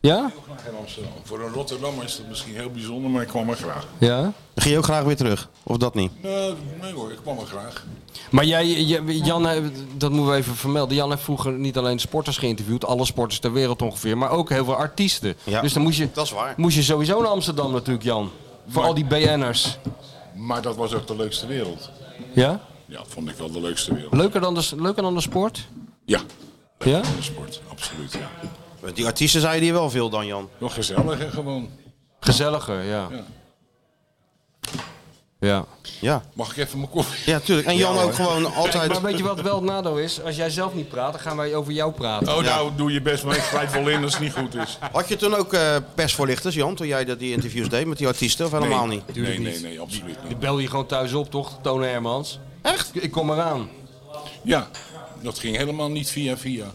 Speaker 4: Ja.
Speaker 9: Graag in Amsterdam. Voor een Rotterdammer is dat misschien heel bijzonder, maar ik kwam er graag.
Speaker 4: Ja?
Speaker 3: Dan ging je ook graag weer terug, of dat niet?
Speaker 9: Nee, nee hoor, ik kwam er graag.
Speaker 4: Maar jij, jij- Jan, heeft- dat moeten we even vermelden. Jan heeft vroeger niet alleen sporters geïnterviewd, alle sporters ter wereld ongeveer, maar ook heel veel artiesten.
Speaker 3: Ja,
Speaker 4: dus dan moest je,
Speaker 3: dat is waar.
Speaker 4: moest je sowieso naar Amsterdam natuurlijk, Jan. Voor
Speaker 9: Maar-
Speaker 4: al die BN'ers.
Speaker 9: Maar dat was ook de leukste wereld.
Speaker 4: Ja?
Speaker 9: Ja, vond ik wel de leukste wereld.
Speaker 4: Leuker dan de, leuker dan de sport?
Speaker 9: Ja,
Speaker 4: Ja?
Speaker 9: van de sport. Absoluut, ja.
Speaker 3: Want Die artiesten zeiden hier wel veel dan, Jan.
Speaker 9: Nog gezelliger gewoon.
Speaker 4: Gezelliger, ja.
Speaker 9: Ja.
Speaker 4: Ja.
Speaker 3: Ja,
Speaker 9: Mag ik even mijn koffie?
Speaker 3: ja tuurlijk. En Jan ook gewoon altijd...
Speaker 4: Maar weet je wat wel het nadeel is? Als jij zelf niet praat, dan gaan wij over jou praten.
Speaker 9: Oh, nou, doe je best, maar ik grijp wel in als het niet goed is.
Speaker 3: Had je toen ook eh, persvoorlichters, Jan, toen jij dat die interviews deed met die artiesten? Of helemaal
Speaker 9: nee,
Speaker 3: niet?
Speaker 9: Nee,
Speaker 4: Tuurlijk
Speaker 9: nee,
Speaker 4: niet.
Speaker 9: nee, absoluut niet.
Speaker 4: Ik bel je gewoon thuis op, toch? Toon Hermans. Echt? Ik kom eraan.
Speaker 9: Ja, dat ging helemaal niet via via.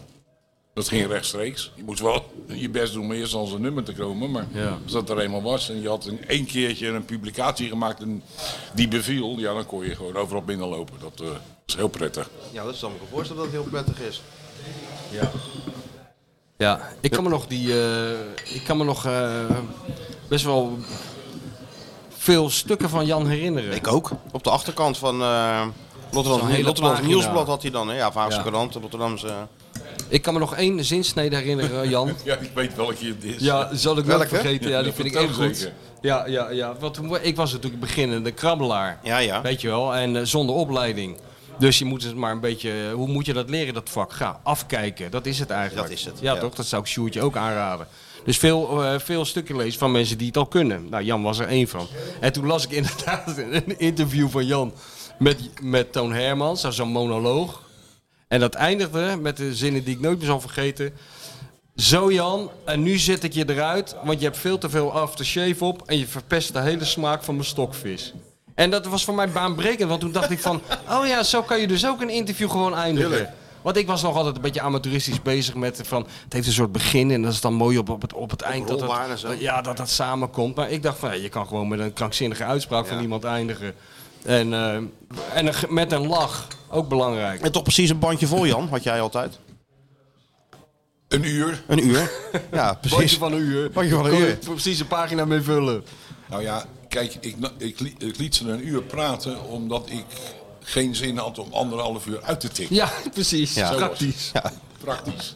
Speaker 9: Dat ging rechtstreeks. Je moest wel je best doen om eerst al zijn nummer te komen. Maar
Speaker 4: Ja.
Speaker 9: als dat er eenmaal was en je had een, één keertje een publicatie gemaakt en die beviel, ja, dan kon je gewoon overal binnenlopen. Dat eh, is heel prettig.
Speaker 3: Ja, dat is dan me voorstellen dat het heel prettig is.
Speaker 4: Ja, ik kan me nog die. eh, ik kan me nog eh, best wel veel stukken van Jan herinneren.
Speaker 3: Ik ook. Op de achterkant van eh
Speaker 4: Zo'n
Speaker 3: Rotterdam,
Speaker 4: hele
Speaker 3: Rotterdam
Speaker 4: pagina.
Speaker 3: Nieuwsblad had hij dan. Hè? Ja, Vaagse
Speaker 4: Ja.
Speaker 3: Krant, Rotterdamse...
Speaker 4: Ik kan me nog één zinsnede herinneren, Jan.
Speaker 9: Ja, ik weet welke het is.
Speaker 4: Ja, zal ik wel
Speaker 3: Welke?
Speaker 4: vergeten. Ja,
Speaker 9: Ja,
Speaker 4: die
Speaker 9: dat
Speaker 4: vind ik
Speaker 9: vertel
Speaker 4: echt goed.
Speaker 9: zeker.
Speaker 4: Ja, ja, ja. Want toen- ik was natuurlijk beginnende krabbelaar.
Speaker 3: Ja, ja.
Speaker 4: Weet je wel, en eh, zonder opleiding. Dus je moet het maar een beetje, eh, hoe moet je dat leren, dat vak? Ga afkijken, dat is het eigenlijk.
Speaker 3: Dat is het,
Speaker 4: Ja,
Speaker 3: ja.
Speaker 4: toch? Dat zou ik Sjoerdje ook aanraden. Dus veel, eh, veel stukken lezen van mensen die het al kunnen. Nou, Jan was er één van. En toen las ik inderdaad een interview van Jan met, met Toon Hermans, dat is zo'n monoloog. En dat eindigde met de zinnen die ik nooit meer zal vergeten. Zo Jan, en nu zet ik je eruit, want je hebt veel te veel aftershave op en je verpest de hele smaak van mijn stokvis. En dat was voor mij baanbrekend, want toen dacht ik van, oh ja, zo kan je dus ook een interview gewoon eindigen. Want ik was nog altijd een beetje amateuristisch bezig met van, het heeft een soort begin en dat is dan mooi op, op het, op het eind. Dat
Speaker 3: rolbaar en zo.
Speaker 4: dat, ja, dat dat samenkomt. Maar ik dacht van, ja, je kan gewoon met een krankzinnige uitspraak van iemand eindigen. En, eh, en een ge- met een lach, ook belangrijk.
Speaker 3: En toch precies een bandje vol, Jan, had jij altijd.
Speaker 9: Een uur.
Speaker 3: Een uur. Ja, precies.
Speaker 4: Bandje van een uur.
Speaker 3: Bandje van een
Speaker 4: Kon je
Speaker 3: uur.
Speaker 4: Precies een pagina mee vullen.
Speaker 9: Nou ja, kijk, ik, na- ik, li- ik liet ze een uur praten omdat ik geen zin had om anderhalf uur uit te tikken.
Speaker 4: Ja, precies.
Speaker 3: Ja.
Speaker 9: Zo was het.
Speaker 4: Praktisch.
Speaker 9: Praktisch.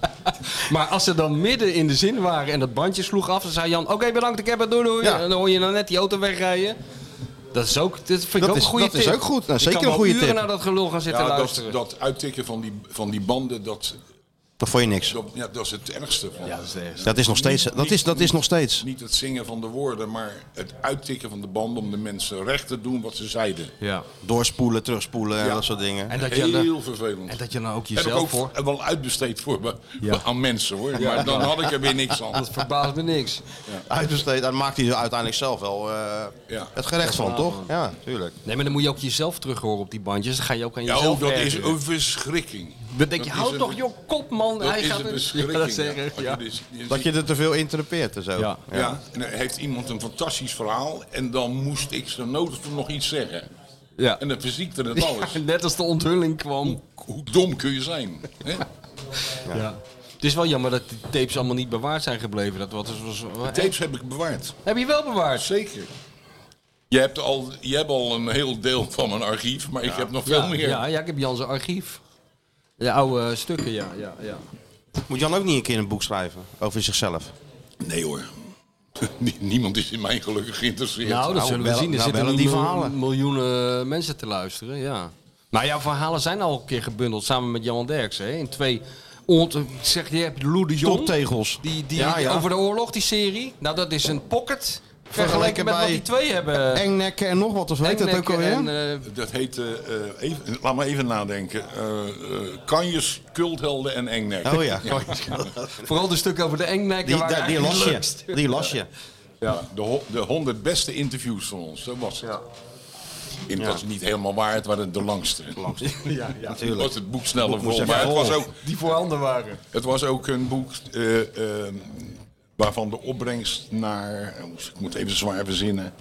Speaker 4: Maar als ze dan midden in de zin waren en dat bandje sloeg af, dan zei Jan: Oké, bedankt, ik heb het, doei doei.
Speaker 3: Ja.
Speaker 4: En dan hoor je dan net die auto wegrijden. Dat is ook, dat vind ik
Speaker 3: Dat
Speaker 4: ook
Speaker 3: is-
Speaker 4: een goede
Speaker 3: dat
Speaker 4: tip.
Speaker 3: is ook goed. Nou,
Speaker 4: Je
Speaker 3: zeker
Speaker 4: kan
Speaker 3: een
Speaker 4: wel
Speaker 3: goede
Speaker 4: uren
Speaker 3: tip.
Speaker 4: naar dat gelul gaan zitten
Speaker 9: Ja, dat,
Speaker 4: luisteren.
Speaker 9: dat uittikken van die, van die banden, dat,
Speaker 3: Dat vond je niks.
Speaker 9: dat, ja, dat is het ergste. Van.
Speaker 3: Dat is nog steeds. Dat is, dat is nog steeds.
Speaker 9: Niet het zingen van de woorden, maar het uittikken van de banden om de mensen recht te doen wat ze zeiden.
Speaker 4: ja.
Speaker 3: Doorspoelen, terugspoelen en
Speaker 9: Ja.
Speaker 3: dat soort dingen.
Speaker 4: En dat je
Speaker 9: Heel
Speaker 4: dan-
Speaker 9: vervelend.
Speaker 4: en dat je dan ook
Speaker 9: heb ik ook
Speaker 4: jezelf voor.
Speaker 9: wel uitbesteed voor me,
Speaker 4: Ja.
Speaker 9: aan mensen hoor. Maar dan had ik er weer niks aan.
Speaker 4: Dat verbaast me niks.
Speaker 3: Uitbesteed, daar maakt hij er uiteindelijk zelf wel eh,
Speaker 9: Ja.
Speaker 3: het gerecht van, toch? Ja, tuurlijk.
Speaker 4: Nee, maar dan moet je ook jezelf terug horen op die bandjes. Dan ga je ook aan
Speaker 9: Ja,
Speaker 4: jezelf
Speaker 9: oh, dat
Speaker 4: werken.
Speaker 9: is een verschrikking.
Speaker 4: Dan denk je,
Speaker 9: dat
Speaker 4: hou
Speaker 9: is
Speaker 4: toch
Speaker 9: een-
Speaker 4: je kop, man.
Speaker 9: Dat
Speaker 4: Hij
Speaker 9: is
Speaker 4: gaat
Speaker 9: een
Speaker 4: ja,
Speaker 9: verschrikking.
Speaker 4: dat
Speaker 9: ja.
Speaker 4: zeg ik,
Speaker 9: Als
Speaker 4: ja.
Speaker 9: je dit- dit-
Speaker 3: Dat je er te veel interpreteert en zo.
Speaker 4: Ja.
Speaker 9: Ja, en dan heeft iemand een fantastisch verhaal en dan moest ik zo nodig voor nog iets zeggen.
Speaker 4: Ja.
Speaker 9: En dan verziekte het alles.
Speaker 4: Net als de onthulling kwam.
Speaker 9: Hoe dom kun je zijn? Hè?
Speaker 4: Ja. Het is wel jammer dat die tapes allemaal niet bewaard zijn gebleven. Dat wat was, was,
Speaker 9: Tapes heb ik bewaard.
Speaker 4: Heb je wel bewaard?
Speaker 9: Zeker. Je hebt al, je hebt al een heel deel van mijn archief, maar ik heb nog veel
Speaker 4: ja,
Speaker 9: meer.
Speaker 4: Ja, ja, ik heb Jan zijn archief. De oude eh, stukken, ja, ja, ja.
Speaker 3: Moet Jan ook niet een keer een boek schrijven over zichzelf?
Speaker 9: Nee hoor. Nie- Niemand is in mij gelukkig geïnteresseerd.
Speaker 4: Nou, dat zullen we
Speaker 3: bellen-
Speaker 4: zien. Er
Speaker 3: nou,
Speaker 4: zitten
Speaker 3: bellen die
Speaker 4: mil-
Speaker 3: verhalen.
Speaker 4: miljoenen eh, mensen te luisteren, ja. Maar jouw verhalen zijn al een keer gebundeld samen met Jan Derks, hè? In twee... ont- ik zeg, je hebt Lou de Jong.
Speaker 3: Toptegels.
Speaker 4: Die, die,
Speaker 3: Ja, ja.
Speaker 4: Over de oorlog, die serie. Nou, dat is een pocket. Vergeleken
Speaker 3: Vergeleken
Speaker 4: met wat
Speaker 3: bij
Speaker 4: die twee hebben.
Speaker 3: Engnekken en nog wat, of weet dat ook
Speaker 4: Hengnek
Speaker 3: alweer?
Speaker 4: en, eh,
Speaker 9: Dat heet, eh, eh, even, laat me even nadenken. Eh eh Kanjes, Kulthelden en Engnek.
Speaker 3: Oh ja.
Speaker 4: eh, vooral de stuk over de engnek.
Speaker 3: Die, die, die las je. Die las je.
Speaker 9: Ja, de, ho- de 100 beste interviews van ons, dat was het. En dat is niet helemaal waar, het waren de langste.
Speaker 4: Ja, ja.
Speaker 9: Natuurlijk. was het boek
Speaker 3: moest
Speaker 9: sneller vol.
Speaker 3: even
Speaker 9: Maar het
Speaker 3: vol.
Speaker 9: was, ook,
Speaker 4: Die voorhanden waren.
Speaker 9: het was ook een boek eh, eh, waarvan de opbrengst naar, eh, ik moet even zwaar verzinnen,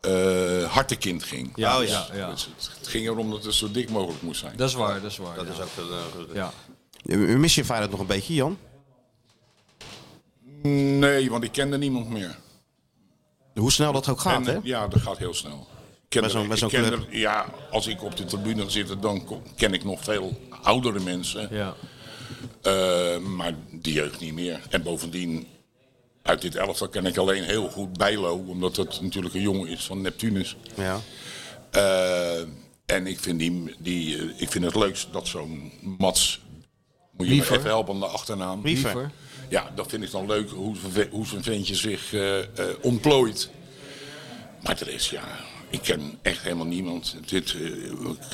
Speaker 9: eh hartekind ging.
Speaker 4: Ja,
Speaker 3: Oh ja.
Speaker 4: ja, ja.
Speaker 9: Dus het, het ging erom dat het zo dik mogelijk moest zijn.
Speaker 4: Dat is waar, dat is eh, waar. ja. Ja.
Speaker 3: Mis je Feyenoord nog een beetje, Jan?
Speaker 9: Nee, want ik kende niemand meer.
Speaker 3: Hoe snel dat ook gaat,
Speaker 9: En, eh,
Speaker 3: hè?
Speaker 9: ja, dat gaat heel snel. Ik ken
Speaker 3: Bij zo'n-
Speaker 9: er-
Speaker 3: bij
Speaker 9: ik
Speaker 3: zo'n
Speaker 9: ken
Speaker 3: club.
Speaker 9: er- ja, als ik op de tribune zit, dan ko- ken ik nog veel oudere mensen.
Speaker 4: Ja.
Speaker 9: Eh, maar die jeugd niet meer. En bovendien, uit dit elftal ken ik alleen heel goed Bijlo. Omdat dat natuurlijk een jongen is van Neptunus.
Speaker 3: Ja.
Speaker 9: Eh, en ik vind, die, die, eh, ik vind het leukst dat zo'n Mats Moet je me
Speaker 4: Liever.
Speaker 9: even helpen aan de achternaam.
Speaker 4: Liever.
Speaker 9: Ja, dat vind ik dan leuk hoe, zo'n ve- hoe zo'n ventje zich eh, eh, ontplooit. Maar er is, ja, ik ken echt helemaal niemand. Dit, eh,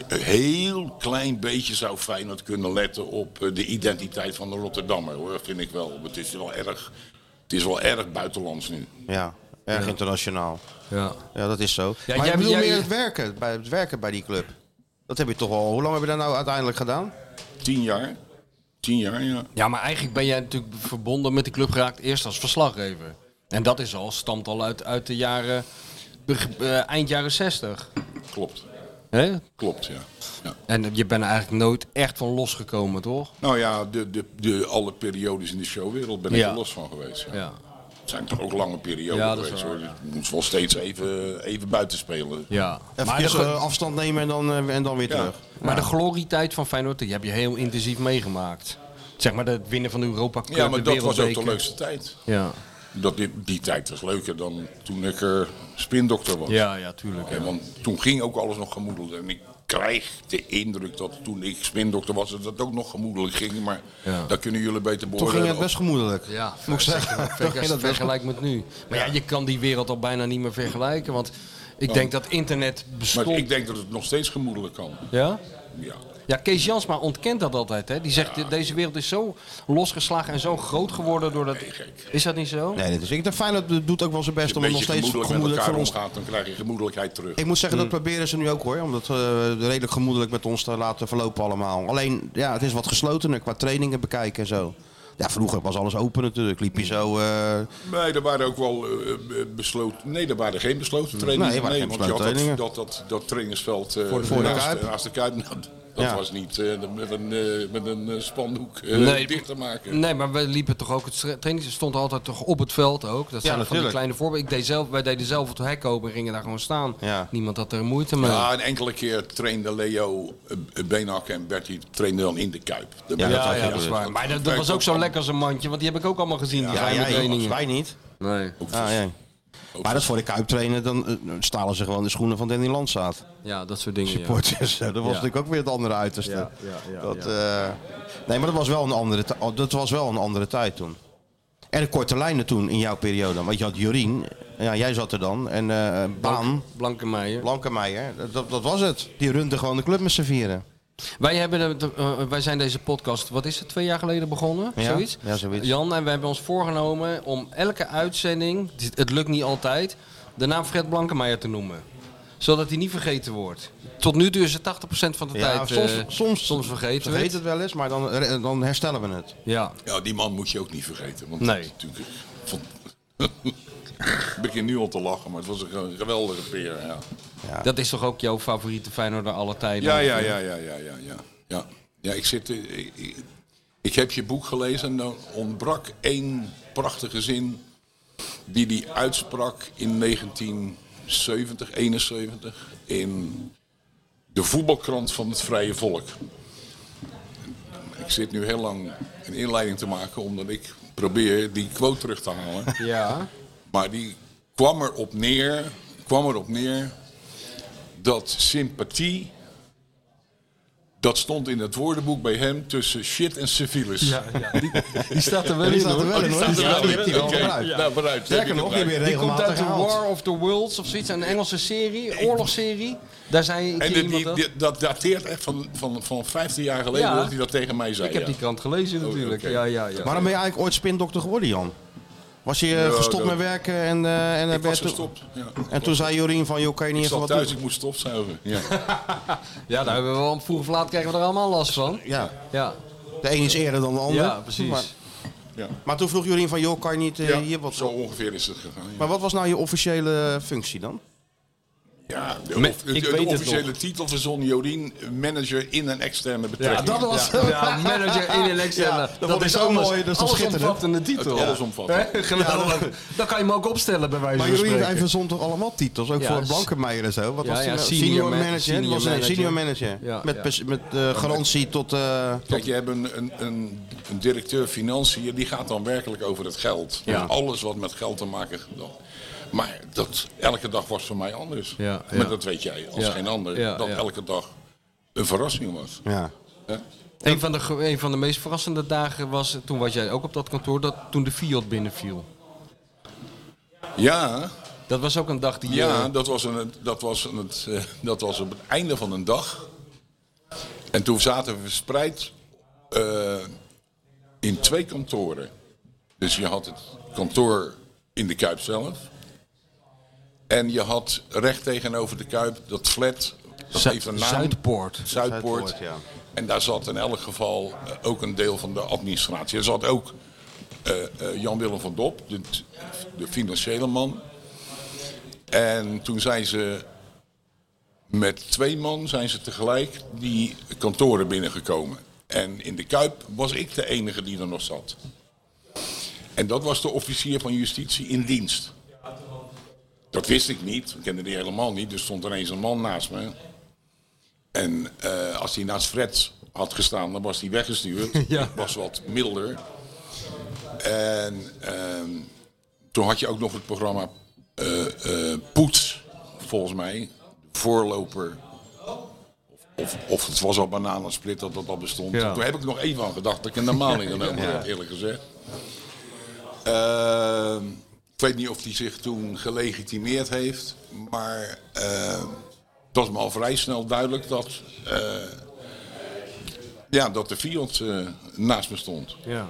Speaker 9: een heel klein beetje zou Feyenoord kunnen letten op eh, de identiteit van de Rotterdammer. Hoor. Dat vind ik wel. Het is wel erg, het is wel erg buitenlands nu.
Speaker 3: Ja, erg internationaal.
Speaker 4: Ja.
Speaker 3: Ja, dat is zo. maar
Speaker 4: jij-
Speaker 3: jij bedoelt
Speaker 4: jij-
Speaker 3: meer het werken, bij, het werken bij die club. Dat heb je toch al. Hoe lang heb je dat nou uiteindelijk gedaan?
Speaker 9: Tien jaar. Tien jaar, ja.
Speaker 4: Ja, maar eigenlijk ben jij natuurlijk verbonden met de club geraakt eerst als verslaggever. En dat is al, stamt al uit, uit de jaren, beg- eh, eind jaren 60.
Speaker 9: Klopt.
Speaker 4: Hè?
Speaker 9: Klopt, ja. ja.
Speaker 4: En je bent er eigenlijk nooit echt van losgekomen, toch?
Speaker 9: Nou ja, de, de, de, alle periodes in de showwereld ben ik
Speaker 4: Ja.
Speaker 9: er los van geweest. Ja.
Speaker 4: Ja.
Speaker 9: Het zijn toch ook lange perioden
Speaker 4: Ja, dat is
Speaker 9: geweest
Speaker 4: waar,
Speaker 9: hoor. Je moet wel steeds even, even buiten spelen.
Speaker 4: Ja.
Speaker 3: Even
Speaker 4: Maar de, glo-
Speaker 3: afstand nemen en dan, eh, en dan weer
Speaker 9: Ja.
Speaker 3: terug.
Speaker 4: maar de glorietijd van Feyenoord, die heb je heel intensief meegemaakt. Zeg maar het winnen van de Europa Cup,
Speaker 9: Ja, maar
Speaker 4: de
Speaker 9: dat was ook de
Speaker 4: Wereldbeker.
Speaker 9: leukste tijd.
Speaker 4: Ja.
Speaker 9: Dat die, die tijd was leuker dan toen ik er spindokter was.
Speaker 4: Ja, ja, tuurlijk.
Speaker 9: Ja, want toen ging ook alles nog gemoedelijk. En ik krijg de indruk dat toen ik spindokter was, dat het ook nog gemoedelijk ging. Maar
Speaker 4: Ja.
Speaker 9: dat kunnen jullie beter
Speaker 3: Toen
Speaker 9: beoordelen.
Speaker 3: ging het best gemoedelijk.
Speaker 4: Ja, moet ik zeggen. Vergelijk met nu. Maar ja. je kan die wereld al bijna niet meer vergelijken. Want ik denk dat internet bestond.
Speaker 9: Maar ik denk dat het nog steeds gemoedelijk kan.
Speaker 4: Ja?
Speaker 9: Ja.
Speaker 4: Ja, Kees Jansma ontkent dat altijd. Hè? Die zegt, deze wereld is zo losgeslagen en zo groot geworden door dat... Is dat niet zo?
Speaker 3: Nee, dat is, ik denk Feyenoord doet ook wel zijn
Speaker 9: Als
Speaker 3: best
Speaker 9: je
Speaker 3: om
Speaker 9: een
Speaker 3: het nog
Speaker 9: beetje
Speaker 3: steeds
Speaker 9: gemoedelijk, met
Speaker 3: gemoedelijk
Speaker 9: elkaar
Speaker 3: voor ons
Speaker 9: omgaat, dan krijg je gemoedelijkheid terug.
Speaker 3: Ik moet zeggen, dat proberen ze nu ook hoor. Om dat eh, redelijk gemoedelijk met ons te laten verlopen allemaal. Alleen, ja, het is wat geslotener qua trainingen bekijken en zo. Ja, vroeger was alles open natuurlijk. Liep je zo... eh,
Speaker 9: Nee, er waren ook wel eh, eh, besloten. Nee, er waren geen besloten trainingen.
Speaker 3: Nee, er waren geen
Speaker 9: want je had
Speaker 3: besloten
Speaker 9: dat, dat, dat, dat trainingsveld eh,
Speaker 3: de- voor de
Speaker 9: naast,
Speaker 3: Kuip.
Speaker 9: naast de Kuip. nou, dat
Speaker 3: Ja.
Speaker 9: was niet eh, met een, eh, met een eh, spandoek eh,
Speaker 4: Nee.
Speaker 9: dicht te maken.
Speaker 4: Nee, maar we liepen toch ook... Het stra- training stond altijd toch op het veld ook. Dat zijn van die
Speaker 3: natuurlijk.
Speaker 4: kleine voorbeelden. Ik deed zelf, wij deden zelf het hek open en gingen daar gewoon staan.
Speaker 3: Ja.
Speaker 4: Niemand had er moeite mee.
Speaker 9: Ja, een enkele keer trainden Leo, eh, Beenhak en Bertie trainden dan in de Kuip. Dan ben
Speaker 3: Ja,
Speaker 9: je
Speaker 3: ja,
Speaker 9: toch-
Speaker 3: ja, dat is
Speaker 4: Maar, maar dat, dat was ook zo lekker als een mandje. Want die heb ik ook allemaal gezien, die
Speaker 3: ja,
Speaker 4: geheime
Speaker 3: jij,
Speaker 4: trainingen.
Speaker 3: wij niet.
Speaker 4: Nee.
Speaker 3: Ah, ja. Maar dat is voor de Kuip trainen, dan eh, stalen ze gewoon de schoenen van Danny Landzaat.
Speaker 4: Ja, dat soort dingen. ja.
Speaker 3: Supporters, dat was natuurlijk ook weer het andere uiterste. dat, eh, nee, maar dat was, wel een andere ti- oh, dat was wel een andere tijd toen. En de korte lijnen toen, in jouw periode. Want je had Jorien, ja, jij zat er dan, en eh, Baan,
Speaker 4: Blanke Meijer.
Speaker 3: Blankenmeijer. Dat- Dat, dat was het. Die runde gewoon de club met z'n vieren.
Speaker 4: Wij, hebben het, eh, wij zijn deze podcast, wat is het, twee jaar geleden begonnen?
Speaker 3: Ja,
Speaker 4: Zoiets?
Speaker 3: ja, zoiets.
Speaker 4: Jan, en we hebben ons voorgenomen om elke uitzending, het- het lukt niet altijd, de naam Fred Blankenmeijer te noemen. Zodat hij niet vergeten wordt. Tot nu toe is het 80% van de
Speaker 3: Ja,
Speaker 4: tijd
Speaker 3: soms,
Speaker 4: eh,
Speaker 3: soms,
Speaker 4: soms vergeten we
Speaker 3: vergeet
Speaker 4: het.
Speaker 3: het wel eens, maar dan, eh, dan herstellen we het.
Speaker 4: Ja.
Speaker 9: Ja, die man moet je ook niet vergeten. Want
Speaker 4: Nee.
Speaker 9: het is natuurlijk, van, ik begin nu al te lachen, maar het was een ge- geweldige peer. Ja,
Speaker 4: dat is toch ook jouw favoriete Feyenoorder aller tijden?
Speaker 9: ja, ja, ja, ja, ja, ja. ja, ja. ja ik, zit, eh, ik, ik- ik heb je boek gelezen en dan ontbrak één prachtige zin die hij uitsprak in 1970, 71 in de voetbalkrant van het Vrije Volk. Ik zit nu heel lang een inleiding te maken omdat ik probeer die quote terug te halen.
Speaker 4: Ja.
Speaker 9: Maar die kwam erop neer, kwam erop neer dat sympathie, dat stond in het woordenboek bij hem tussen shit en civilis. Ja,
Speaker 4: Die staat er wel
Speaker 3: Die
Speaker 4: in
Speaker 3: staat er wel
Speaker 4: hoor.
Speaker 3: in, hoor. Die staat er wel in.
Speaker 9: Oké,
Speaker 3: Vooruit.
Speaker 9: nou, vooruit.
Speaker 3: Sterker nog, die weer
Speaker 4: Die komt
Speaker 3: regelmatig
Speaker 4: uit de
Speaker 3: gehaald.
Speaker 4: War of the Worlds of zoiets, een Engelse serie, oorlogsserie. Daar zei ik
Speaker 9: En
Speaker 4: iemand
Speaker 9: dit- die-
Speaker 4: dat.
Speaker 9: die- dat dateert echt van, van, van 15 jaar geleden
Speaker 4: Ja.
Speaker 9: dat hij dat tegen mij zei.
Speaker 4: Ik heb
Speaker 9: ja.
Speaker 4: die krant gelezen natuurlijk.
Speaker 9: oké.
Speaker 4: Ja, ja, ja.
Speaker 3: Waarom ben je eigenlijk ooit spindokter geworden, Jan? Was je eh,
Speaker 9: Ja,
Speaker 3: gestopt
Speaker 9: dat-
Speaker 3: met werken en, eh, en, eh,
Speaker 9: ik
Speaker 3: ben
Speaker 9: was
Speaker 3: je toen-
Speaker 9: gestopt. Ja.
Speaker 3: en toen zei Jorien van, joh, kan je niet
Speaker 9: Ik
Speaker 3: even
Speaker 9: zat
Speaker 3: wat
Speaker 9: thuis,
Speaker 3: doen?
Speaker 9: ik moest stofzuigen. Ja.
Speaker 4: Ja, daar hebben we wel vroeg of laat krijgen we er allemaal last van.
Speaker 3: Ja,
Speaker 4: Ja,
Speaker 3: de een is eerder dan de ander.
Speaker 4: ja precies.
Speaker 3: Maar,
Speaker 9: Ja.
Speaker 3: maar toen vroeg Jorien van, joh, kan je niet eh,
Speaker 9: Ja,
Speaker 3: hier wat
Speaker 9: zo ongeveer is het gegaan. Ja,
Speaker 3: Maar wat was nou je officiële functie dan?
Speaker 9: ja de,
Speaker 4: Me-
Speaker 9: of- de-
Speaker 4: ik
Speaker 9: de
Speaker 4: weet het
Speaker 9: officiële titel verzon Jorien, manager in en externe
Speaker 4: Ja,
Speaker 9: betrekking.
Speaker 4: dat was
Speaker 3: Ja.
Speaker 4: Ja, manager eh, in en externe.
Speaker 3: Ja, dat vond ik zo
Speaker 4: alles-
Speaker 3: mooi, dat is toch
Speaker 4: alles
Speaker 3: schitterend?
Speaker 4: omvattende titel.
Speaker 9: Het allesomvattend.
Speaker 4: Hè? Geweldig. Dan kan je hem ook opstellen bij wijze
Speaker 3: Maar
Speaker 4: van
Speaker 3: Jorien
Speaker 4: spreken.
Speaker 3: hij verzon toch allemaal titels? Ook
Speaker 4: Ja,
Speaker 3: voor
Speaker 4: s-
Speaker 3: Blankenmeijer en zo? Wat
Speaker 4: Ja,
Speaker 3: was die
Speaker 4: ja,
Speaker 3: nou?
Speaker 4: senior man-
Speaker 3: manager?
Speaker 4: senior
Speaker 3: was een
Speaker 4: manager.
Speaker 3: senior manager.
Speaker 4: Ja,
Speaker 3: met
Speaker 4: ja.
Speaker 3: pers- met eh, garantie tot... eh,
Speaker 9: Kijk, je hebt een, een, een, een directeur financiën, die gaat dan werkelijk over het geld.
Speaker 4: Ja.
Speaker 9: En Alles wat met geld te maken heeft. Maar dat, elke dag was voor mij anders.
Speaker 4: Ja, ja.
Speaker 9: Maar dat weet jij als
Speaker 4: Ja.
Speaker 9: geen ander,
Speaker 4: Ja,
Speaker 9: dat
Speaker 4: ja.
Speaker 9: elke dag een verrassing was.
Speaker 3: ja.
Speaker 9: Hè?
Speaker 10: Een van, de, ge- een van de meest verrassende dagen was, toen was jij ook op dat kantoor, dat, toen de Fiat binnenviel.
Speaker 9: Ja,
Speaker 10: Dat was ook een dag die...
Speaker 9: ja
Speaker 10: eh,
Speaker 9: dat, was een, dat, was een, het, eh, dat was op het einde van een dag. En toen zaten we verspreid eh, in twee kantoren. Dus je had het kantoor in de Kuip zelf. En je had recht tegenover de Kuip dat flat. Dat
Speaker 10: Zu-
Speaker 9: heeft een naam.
Speaker 10: Zuidpoort.
Speaker 9: Zuidpoort.
Speaker 3: Zuidpoort, ja.
Speaker 9: En daar zat in elk geval eh, ook een deel van de administratie. Er zat ook eh, eh, Jan-Willem van Dop, de, de financiële man. En toen zijn ze met twee man zijn ze tegelijk die kantoren binnengekomen. En in de Kuip was ik de enige die er nog zat. En dat was de officier van justitie in dienst. Dat wist ik niet, ik kende die helemaal niet. Dus stond ineens een man naast me. En eh, als hij naast Fred had gestaan, dan was hij weggestuurd.
Speaker 10: Ja.
Speaker 9: Ik was wat milder. En ehm, toen had je ook nog het programma eh, eh, Poets, volgens mij. Voorloper. Of, of het was al Bananensplit dat dat al bestond.
Speaker 10: Ja.
Speaker 9: Toen heb ik nog even aan gedacht. Dat ik er normaal niet aan heb, eerlijk gezegd. Ehm, ik weet niet of hij zich toen gelegitimeerd heeft, maar ehm, het was me al vrij snel duidelijk dat, eh, ja, dat de Fiat eh, naast me stond.
Speaker 10: ja.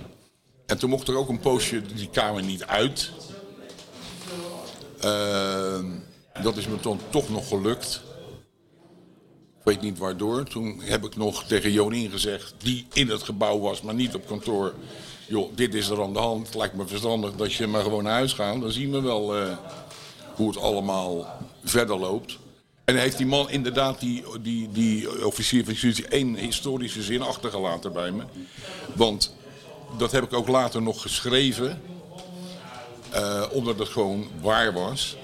Speaker 9: En toen mocht er ook een poosje die kamer niet uit. Ehm, dat is me toen toch nog gelukt. Ik weet niet waardoor. Toen heb ik nog tegen Jonien gezegd, die in het gebouw was, maar niet op kantoor. Joh, dit is er aan de hand. Het lijkt me verstandig dat je maar gewoon naar huis gaat. Dan zien we wel eh, hoe het allemaal verder loopt. En heeft die man inderdaad, die, die, die officier van justitie, één historische zin achtergelaten bij me. Want dat heb ik ook later nog geschreven, eh, omdat het gewoon waar was.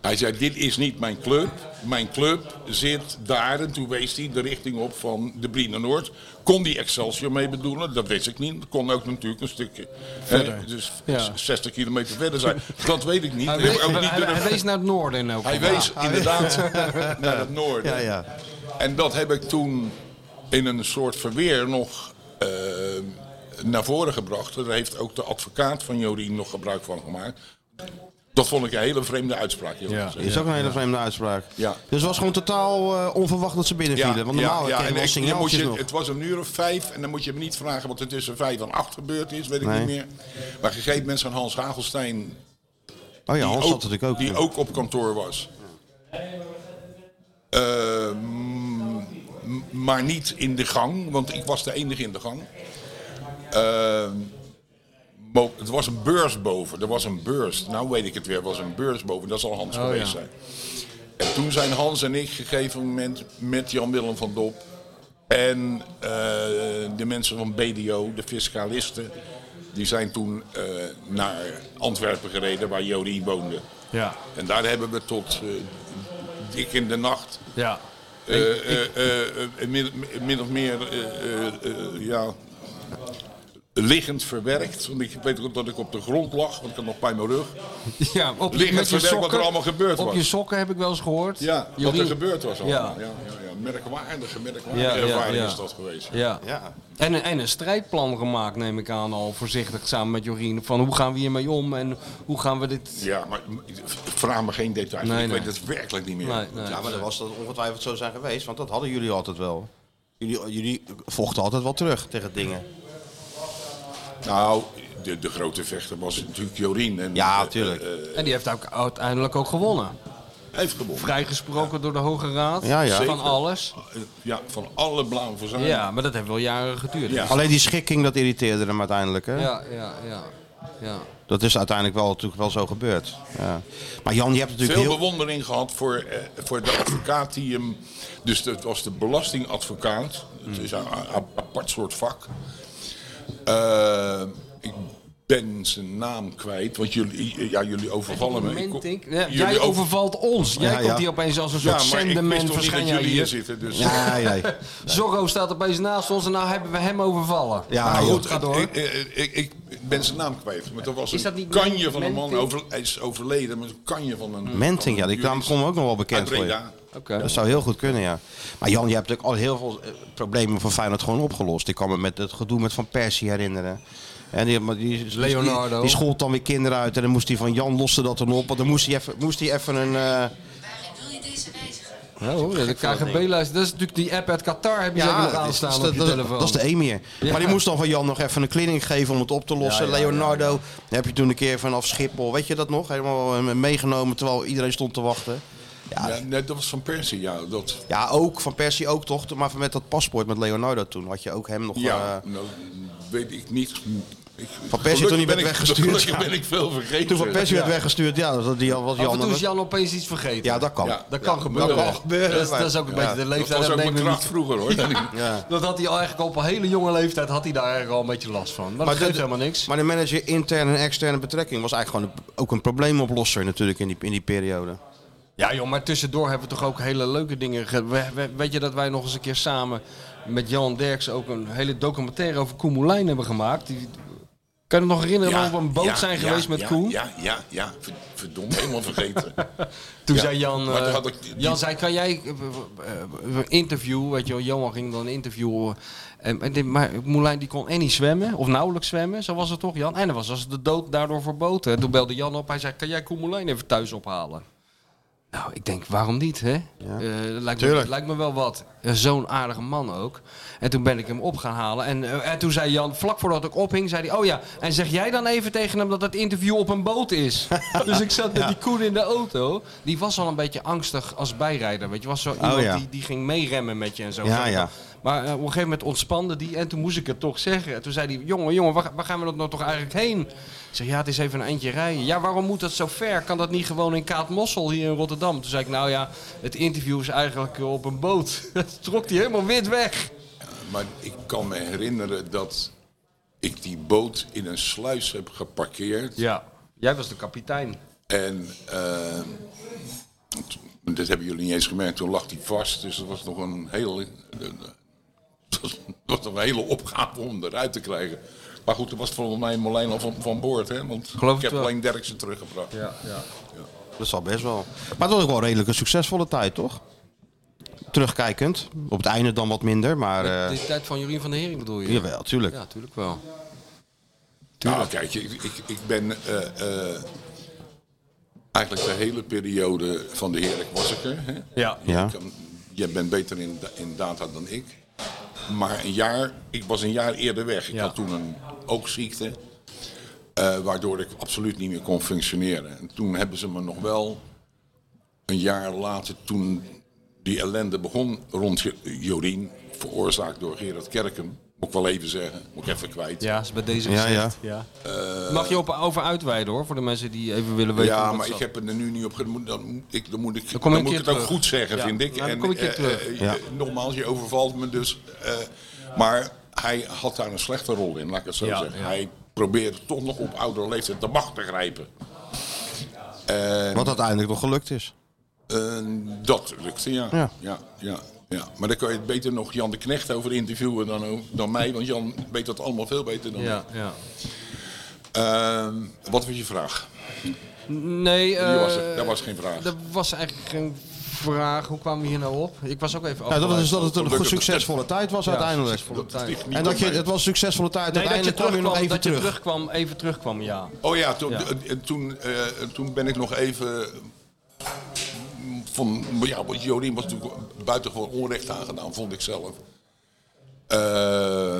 Speaker 9: Hij zei, dit is niet mijn club. Mijn club zit daar. En toen wees hij de richting op van de Brine Noord. Kon die Excelsior mee bedoelen? Dat wist ik niet. Dat kon ook natuurlijk een stukje. Verder. dus
Speaker 10: Ja.
Speaker 9: 60 kilometer verder zijn. Dat weet ik niet.
Speaker 10: Hij,
Speaker 9: Dat heb
Speaker 10: wees,
Speaker 9: ik ook niet
Speaker 10: hij-
Speaker 9: durven-
Speaker 10: hij wees naar het noorden in elk
Speaker 9: hij
Speaker 10: geval.
Speaker 9: wees inderdaad naar het noorden.
Speaker 3: Ja, ja.
Speaker 9: En dat heb ik toen in een soort verweer nog eh, naar voren gebracht. Daar heeft ook de advocaat van Jorien nog gebruik van gemaakt. Dat vond ik een hele vreemde uitspraak. Ja.
Speaker 3: Is ook een hele vreemde uitspraak.
Speaker 9: Ja.
Speaker 3: Dus het was gewoon totaal eh, onverwacht dat ze binnenvielen. want normaal kregen we al
Speaker 9: en ik- dan moet
Speaker 3: signaaltjes
Speaker 9: je,
Speaker 3: nog.
Speaker 9: Het was een uur of vijf en dan moet je me niet vragen wat er tussen vijf en acht gebeurd is, weet ik
Speaker 3: Nee.
Speaker 9: niet meer. Maar op een gegeven moment zijn Hans Hagelstein
Speaker 3: Oh ja, Hans
Speaker 9: die
Speaker 3: zat natuurlijk ook.
Speaker 9: Die
Speaker 3: ja.
Speaker 9: ook op kantoor was. Eh, m- m- maar niet in de gang, want ik was de enige in de gang. Eh, bo- het was een beurs boven. Er was een beurs. Nou weet ik het weer. Er was een beurs boven. Dat zal
Speaker 3: Oh,
Speaker 9: Hans geweest zijn. En toen zijn Hans en ik gegeven moment met Jan-Willem van Dop... en eh, de mensen van BDO, de fiscalisten... die zijn toen eh, naar Antwerpen gereden, waar Jodie woonde.
Speaker 10: Ja,
Speaker 9: En daar hebben we tot eh, dik in de nacht...
Speaker 10: ja.
Speaker 9: eh, eh, eh, eh, min, min of meer eh, eh, eh, ja, liggend verwerkt. Want ik weet ook dat ik op de grond lag, want ik had nog pijn in mijn rug.
Speaker 10: ja op,
Speaker 9: Liggend
Speaker 10: met je
Speaker 9: verwerkt wat er
Speaker 10: sokken-
Speaker 9: allemaal gebeurd
Speaker 10: Op
Speaker 9: was.
Speaker 10: je sokken heb ik wel eens gehoord.
Speaker 9: Ja, wat er
Speaker 10: Jorien-
Speaker 9: gebeurd was allemaal.
Speaker 10: Ja.
Speaker 9: Ja. Ja, ja, Merkwaardige, merkwaardige
Speaker 10: Ja, ja,
Speaker 9: ervaring
Speaker 10: ja.
Speaker 9: is dat geweest.
Speaker 10: Ja.
Speaker 3: Ja.
Speaker 10: En, een- en een strijdplan gemaakt, neem ik aan, al voorzichtig samen met Jorien. Van hoe gaan we hiermee om en hoe gaan we dit.
Speaker 9: Ja, maar vraag me geen details.
Speaker 10: Nee,
Speaker 9: ik
Speaker 10: nee.
Speaker 9: weet het werkelijk niet meer.
Speaker 10: Nee, nee.
Speaker 3: Ja, maar dat was dat ongetwijfeld zo zijn geweest, want dat hadden jullie altijd wel. Jullie, jullie vochten altijd wel terug tegen dingen.
Speaker 9: Nou, de, de grote vechter was natuurlijk Jorien. En,
Speaker 3: Ja,
Speaker 9: eh,
Speaker 3: tuurlijk.
Speaker 9: eh,
Speaker 10: En die heeft ook uiteindelijk ook gewonnen.
Speaker 9: heeft gewonnen.
Speaker 10: Vrijgesproken door de Hoge Raad
Speaker 3: Ja, ja.
Speaker 10: van
Speaker 9: Zeker.
Speaker 10: alles.
Speaker 9: Eh, Ja, van alle blauwe verzuiling.
Speaker 10: Ja, maar dat heeft wel jaren geduurd.
Speaker 9: Ja.
Speaker 3: Alleen die schikking, dat irriteerde hem uiteindelijk. Hè?
Speaker 10: ja, ja. ja, ja.
Speaker 3: Dat is uiteindelijk wel, natuurlijk wel zo gebeurd. Ja. Maar Jan, je hebt natuurlijk
Speaker 9: Veel
Speaker 3: heel...
Speaker 9: bewondering gehad voor, eh, voor de advocaat die hem... Dus dat was de belastingadvocaat. Het is een, a- a- apart soort vak. Eh, ik ben zijn naam kwijt, want jullie, ja, jullie overvallen me. Ik
Speaker 10: Moment,
Speaker 9: ko-
Speaker 10: denk ik. Ja,
Speaker 9: jullie
Speaker 10: jij
Speaker 9: over-
Speaker 10: overvalt ons. Jij
Speaker 3: Ja, ja.
Speaker 10: komt hier opeens als een
Speaker 9: Ja,
Speaker 10: soort
Speaker 9: maar ik wist
Speaker 10: zenderman
Speaker 9: toch niet dat
Speaker 10: verschijnen
Speaker 9: jullie hier
Speaker 10: hier.
Speaker 9: zitten. Dus.
Speaker 3: Nee, nee.
Speaker 10: Zorro staat opeens naast ons en nou hebben we hem overvallen.
Speaker 3: Ja,
Speaker 9: Maar
Speaker 4: Nou,
Speaker 3: joh.
Speaker 9: Nou, goed,
Speaker 10: ga door.
Speaker 9: Ik, eh, ik, ik, ik ben zijn naam kwijt. Maar dat was een
Speaker 10: Is dat niet
Speaker 9: kanje van een
Speaker 10: Menting?
Speaker 9: man. Over, hij is overleden, maar een kanje van een...
Speaker 3: Menting, ja, die
Speaker 9: van een
Speaker 3: naam komt me ook nog wel bekend
Speaker 9: Uit
Speaker 3: voor je.
Speaker 9: Breda.
Speaker 4: Oké.
Speaker 3: Dat zou heel goed kunnen, ja. Maar Jan, je hebt natuurlijk al heel veel eh, problemen van Feyenoord gewoon opgelost. Ik kan me met het gedoe met Van Persie herinneren. En die, maar die, die-
Speaker 4: Leonardo.
Speaker 3: Die, die schold dan weer kinderen uit. En dan moest hij van Jan loste dat dan op. Want dan moest hij even, moest hij even een... eh,
Speaker 4: Ja, hoor, de KGB-lijst. Dat is natuurlijk die app uit Qatar. Heb je zeker nog
Speaker 3: dat is-
Speaker 4: aanstaan
Speaker 3: dat,
Speaker 4: op je
Speaker 3: dat-
Speaker 4: telefoon.
Speaker 3: dat is de Emir.
Speaker 4: Ja.
Speaker 3: Maar die moest dan van Jan nog even een kliniek geven om het op te lossen. Leonardo dan heb je toen een keer vanaf Schiphol, weet je dat nog? Helemaal eh, meegenomen terwijl iedereen stond te wachten.
Speaker 9: Ja, nee, dat was van Persie, ja. Dat,
Speaker 3: Ja, ook van Persie ook toch? Maar met dat paspoort met Leonardo toen had je ook hem nog.
Speaker 9: ja,
Speaker 3: eh,
Speaker 9: nou, weet ik niet. Ik,
Speaker 3: Van Persie toen
Speaker 9: gelukkig
Speaker 3: niet werd
Speaker 9: ben ik-
Speaker 3: weggestuurd,
Speaker 9: Gelukkig
Speaker 3: ja.
Speaker 9: ben ik veel vergeten.
Speaker 3: toen van Persie werd weggestuurd, ja, dat die was
Speaker 4: Af en
Speaker 3: Jan.
Speaker 4: toe is Jan opeens iets vergeten.
Speaker 3: Ja, dat kan.
Speaker 9: Ja,
Speaker 4: Dat kan gebeuren.
Speaker 9: kan
Speaker 4: Dat is, dat is ook een beetje de
Speaker 9: Dat was
Speaker 4: leeftijd.
Speaker 9: ook
Speaker 4: nemen
Speaker 9: mijn
Speaker 4: we
Speaker 9: kracht
Speaker 4: niet-
Speaker 9: vroeger, hoor.
Speaker 4: Dat had hij al eigenlijk op een hele jonge leeftijd had hij daar eigenlijk al een beetje last van. Maar, dat
Speaker 3: dit-
Speaker 4: geeft helemaal niks.
Speaker 3: Maar de manager interne en externe betrekking was eigenlijk gewoon een- ook een probleemoplosser natuurlijk in die, in die periode.
Speaker 4: Ja joh, maar tussendoor hebben we toch ook hele leuke dingen. ge- we- we- weet je dat wij nog eens een keer samen met Jan Derks ook een hele documentaire over Koen Moulijn hebben gemaakt? Die, kan je het nog herinneren dat we op een boot
Speaker 9: ja,
Speaker 4: zijn
Speaker 9: ja,
Speaker 4: geweest met
Speaker 9: ja,
Speaker 4: Koen?
Speaker 9: Ja, ja, ja. Ver- Verdomme, helemaal vergeten.
Speaker 4: Toen
Speaker 9: Ja,
Speaker 4: zei Jan,
Speaker 9: maar toen
Speaker 4: eh,
Speaker 9: had ik die-
Speaker 4: Jan zei, kan jij eh, eh, eh, interview, weet je wel, Johan ging dan interviewen. En, en dit- maar Moulijn die kon en niet zwemmen, of nauwelijks zwemmen, zo was het toch Jan? En dan was, was de dood daardoor verboten. En toen belde Jan op, hij zei, kan jij Koen Moulijn even thuis ophalen? Nou, ik denk, waarom niet, hè? Eh, dat lijkt, me,
Speaker 3: Tuurlijk.
Speaker 4: lijkt me wel wat. Eh, Zo'n aardige man ook. En toen ben ik hem op gaan halen. En, eh, en toen zei Jan, vlak voordat ik ophing, zei hij... Oh ja, en zeg jij dan even tegen hem dat het interview op een boot is. dus ik zat met die Koen in de auto. Die was al een beetje angstig als bijrijder. Weet je, was zo iemand
Speaker 3: Oh ja.
Speaker 4: die, die ging meeremmen met je en zo.
Speaker 3: Ja,
Speaker 4: Zeg ik
Speaker 3: ja.
Speaker 4: dan. Maar eh, op een gegeven moment ontspande die en toen moest ik het toch zeggen. En toen zei hij, jongen, jongen, waar, waar gaan we dat nou toch eigenlijk heen? Ik zeg, ja, het is even een eindje rijden. Ja, waarom moet dat zo ver? Kan dat niet gewoon in Kaatmossel hier in Rotterdam? Toen zei ik, nou ja, het interview is eigenlijk eh, op een boot. Dat trok hij helemaal wit weg.
Speaker 9: Maar ik kan me herinneren dat ik die boot in een sluis heb geparkeerd.
Speaker 4: Ja, jij was de kapitein.
Speaker 9: En eh, t- dat hebben jullie niet eens gemerkt, toen lag die vast. Dus dat was nog een hele, eh, eh, het was, het was nog een hele opgave om hem eruit te krijgen. Maar goed, dat was volgens mij Molijn al van, van boord. Hè? Want
Speaker 4: Geloof
Speaker 9: ik
Speaker 4: het
Speaker 9: heb
Speaker 4: wel.
Speaker 9: alleen Derksen teruggebracht.
Speaker 3: Dat zal best wel. Maar het was ook wel redelijk een succesvolle tijd, toch? Terugkijkend. Op het einde dan wat minder, maar... eh,
Speaker 4: de tijd van Jurien van der Hering bedoel je?
Speaker 3: Jawel, tuurlijk.
Speaker 4: Ja, tuurlijk wel.
Speaker 9: Nou, kijk, ik, ik, ik ben eh, eh, eigenlijk de hele periode van de Heerlijk was ik er. Hè?
Speaker 4: Ja.
Speaker 3: Ja.
Speaker 9: Ik kan- jij bent beter in, da- in data dan ik. Maar een jaar, ik was een jaar eerder weg. Ik
Speaker 4: Ja.
Speaker 9: had toen een oogziekte. eh, waardoor ik absoluut niet meer kon functioneren. En toen hebben ze me nog wel een jaar later, toen die ellende begon rond Jo- Jorien, veroorzaakt door Gerard Kerken, moet ik wel even zeggen, moet ik even kwijt.
Speaker 4: Ja, is bij deze
Speaker 3: Ja,
Speaker 4: gezegd. Ja, Mag je op, over uitweiden hoor, voor de mensen die even willen weten. hoe
Speaker 9: Ja,
Speaker 4: dat
Speaker 9: maar
Speaker 4: zat.
Speaker 9: ik heb het er nu niet op ge- moet- Dan, moet ik, dan moet ik, dan
Speaker 4: kom je een
Speaker 9: moet ik
Speaker 4: keer
Speaker 9: het ook
Speaker 4: terug.
Speaker 9: goed zeggen,
Speaker 4: Ja,
Speaker 9: vind ik.
Speaker 4: nou, dan kom je een keer
Speaker 9: eh,
Speaker 4: terug.
Speaker 9: eh, eh, Nogmaals, je overvalt me dus. eh, maar hij had daar een slechte rol in, laat ik het zo
Speaker 4: Ja,
Speaker 9: zeggen.
Speaker 4: ja.
Speaker 9: Hij probeerde toch nog op oudere leeftijd de macht te grijpen.
Speaker 3: Wat uiteindelijk nog gelukt is.
Speaker 9: Eh, dat lukte, ja.
Speaker 3: Ja.
Speaker 9: Ja. Ja, ja, Maar daar kan je het beter nog Jan de Knecht over interviewen dan, over- dan mij. Want Jan weet dat allemaal veel beter dan
Speaker 4: ja,
Speaker 9: ik.
Speaker 4: ja.
Speaker 9: Ehm, wat was je vraag?
Speaker 4: Nee, eh
Speaker 9: Die was er. Dat was geen vraag.
Speaker 4: Dat was eigenlijk geen vraag. Hoe kwamen we hier nou op? Ik was ook even
Speaker 3: Ja, dat is dat het
Speaker 9: dat
Speaker 3: een
Speaker 9: lukt.
Speaker 3: goed succesvolle tijd was uiteindelijk.
Speaker 4: Volle tijd.
Speaker 9: ligt niet
Speaker 3: En
Speaker 9: aan
Speaker 3: dat je,
Speaker 9: mij.
Speaker 3: het was een succesvolle tijd.
Speaker 4: Nee, dat je
Speaker 3: uiteindelijk kwam je
Speaker 4: terugkwam,
Speaker 3: nog even
Speaker 4: dat je
Speaker 3: terug.
Speaker 4: terugkwam, even terugkwam, ja.
Speaker 9: Oh ja, toen,
Speaker 4: Ja.
Speaker 9: eh, eh, toen, eh, toen ben ik nog even. Van, maar ja, want Jorien was natuurlijk buitengewoon onrecht aangedaan, vond ik zelf. Eh,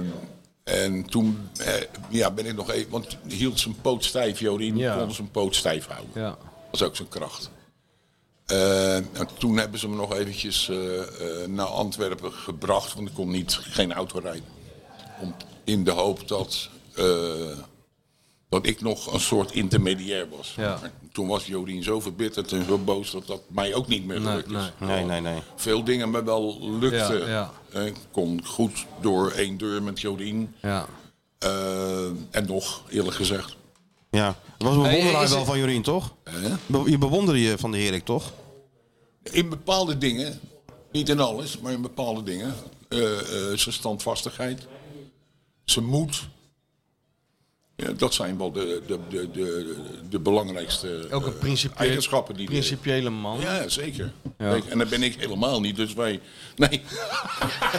Speaker 9: en toen eh, ja, ben ik nog even. Want hij hield zijn poot stijf, Jorien
Speaker 4: Ja.
Speaker 9: kon zijn poot stijf houden.
Speaker 4: Ja,
Speaker 9: Dat was ook zijn kracht. Eh, en toen hebben ze me nog eventjes eh, eh, naar Antwerpen gebracht, want ik kon niet, geen auto rijden. Om, in de hoop dat, eh, dat ik nog een soort intermediair was.
Speaker 4: Ja.
Speaker 9: Maar Toen was Jodien zo verbitterd en zo boos dat dat mij ook niet meer gelukt is.
Speaker 3: Nee, nee, nee.
Speaker 9: Veel dingen me wel lukten.
Speaker 4: Ja, ja.
Speaker 9: Eh, Ik kon goed door één deur met Jodien.
Speaker 4: ja.
Speaker 9: Eh, en nog, eerlijk gezegd.
Speaker 3: Ja. Het was een
Speaker 4: Hey,
Speaker 3: bewonderaar
Speaker 4: is
Speaker 3: wel
Speaker 4: het-
Speaker 3: van Jorien, toch? Be- Je bewonderde je van de Herik, toch?
Speaker 9: In bepaalde dingen, niet in alles, maar in bepaalde dingen. eh, eh, zijn standvastigheid, zijn moed. Ja, dat zijn wel de, de, de, de, de belangrijkste
Speaker 10: Ook een
Speaker 9: eh,
Speaker 10: principieel-
Speaker 9: eigenschappen die de-
Speaker 10: principiële man.
Speaker 9: Ja, zeker. Kijk, en dat ben ik helemaal niet, dus wij. Nee.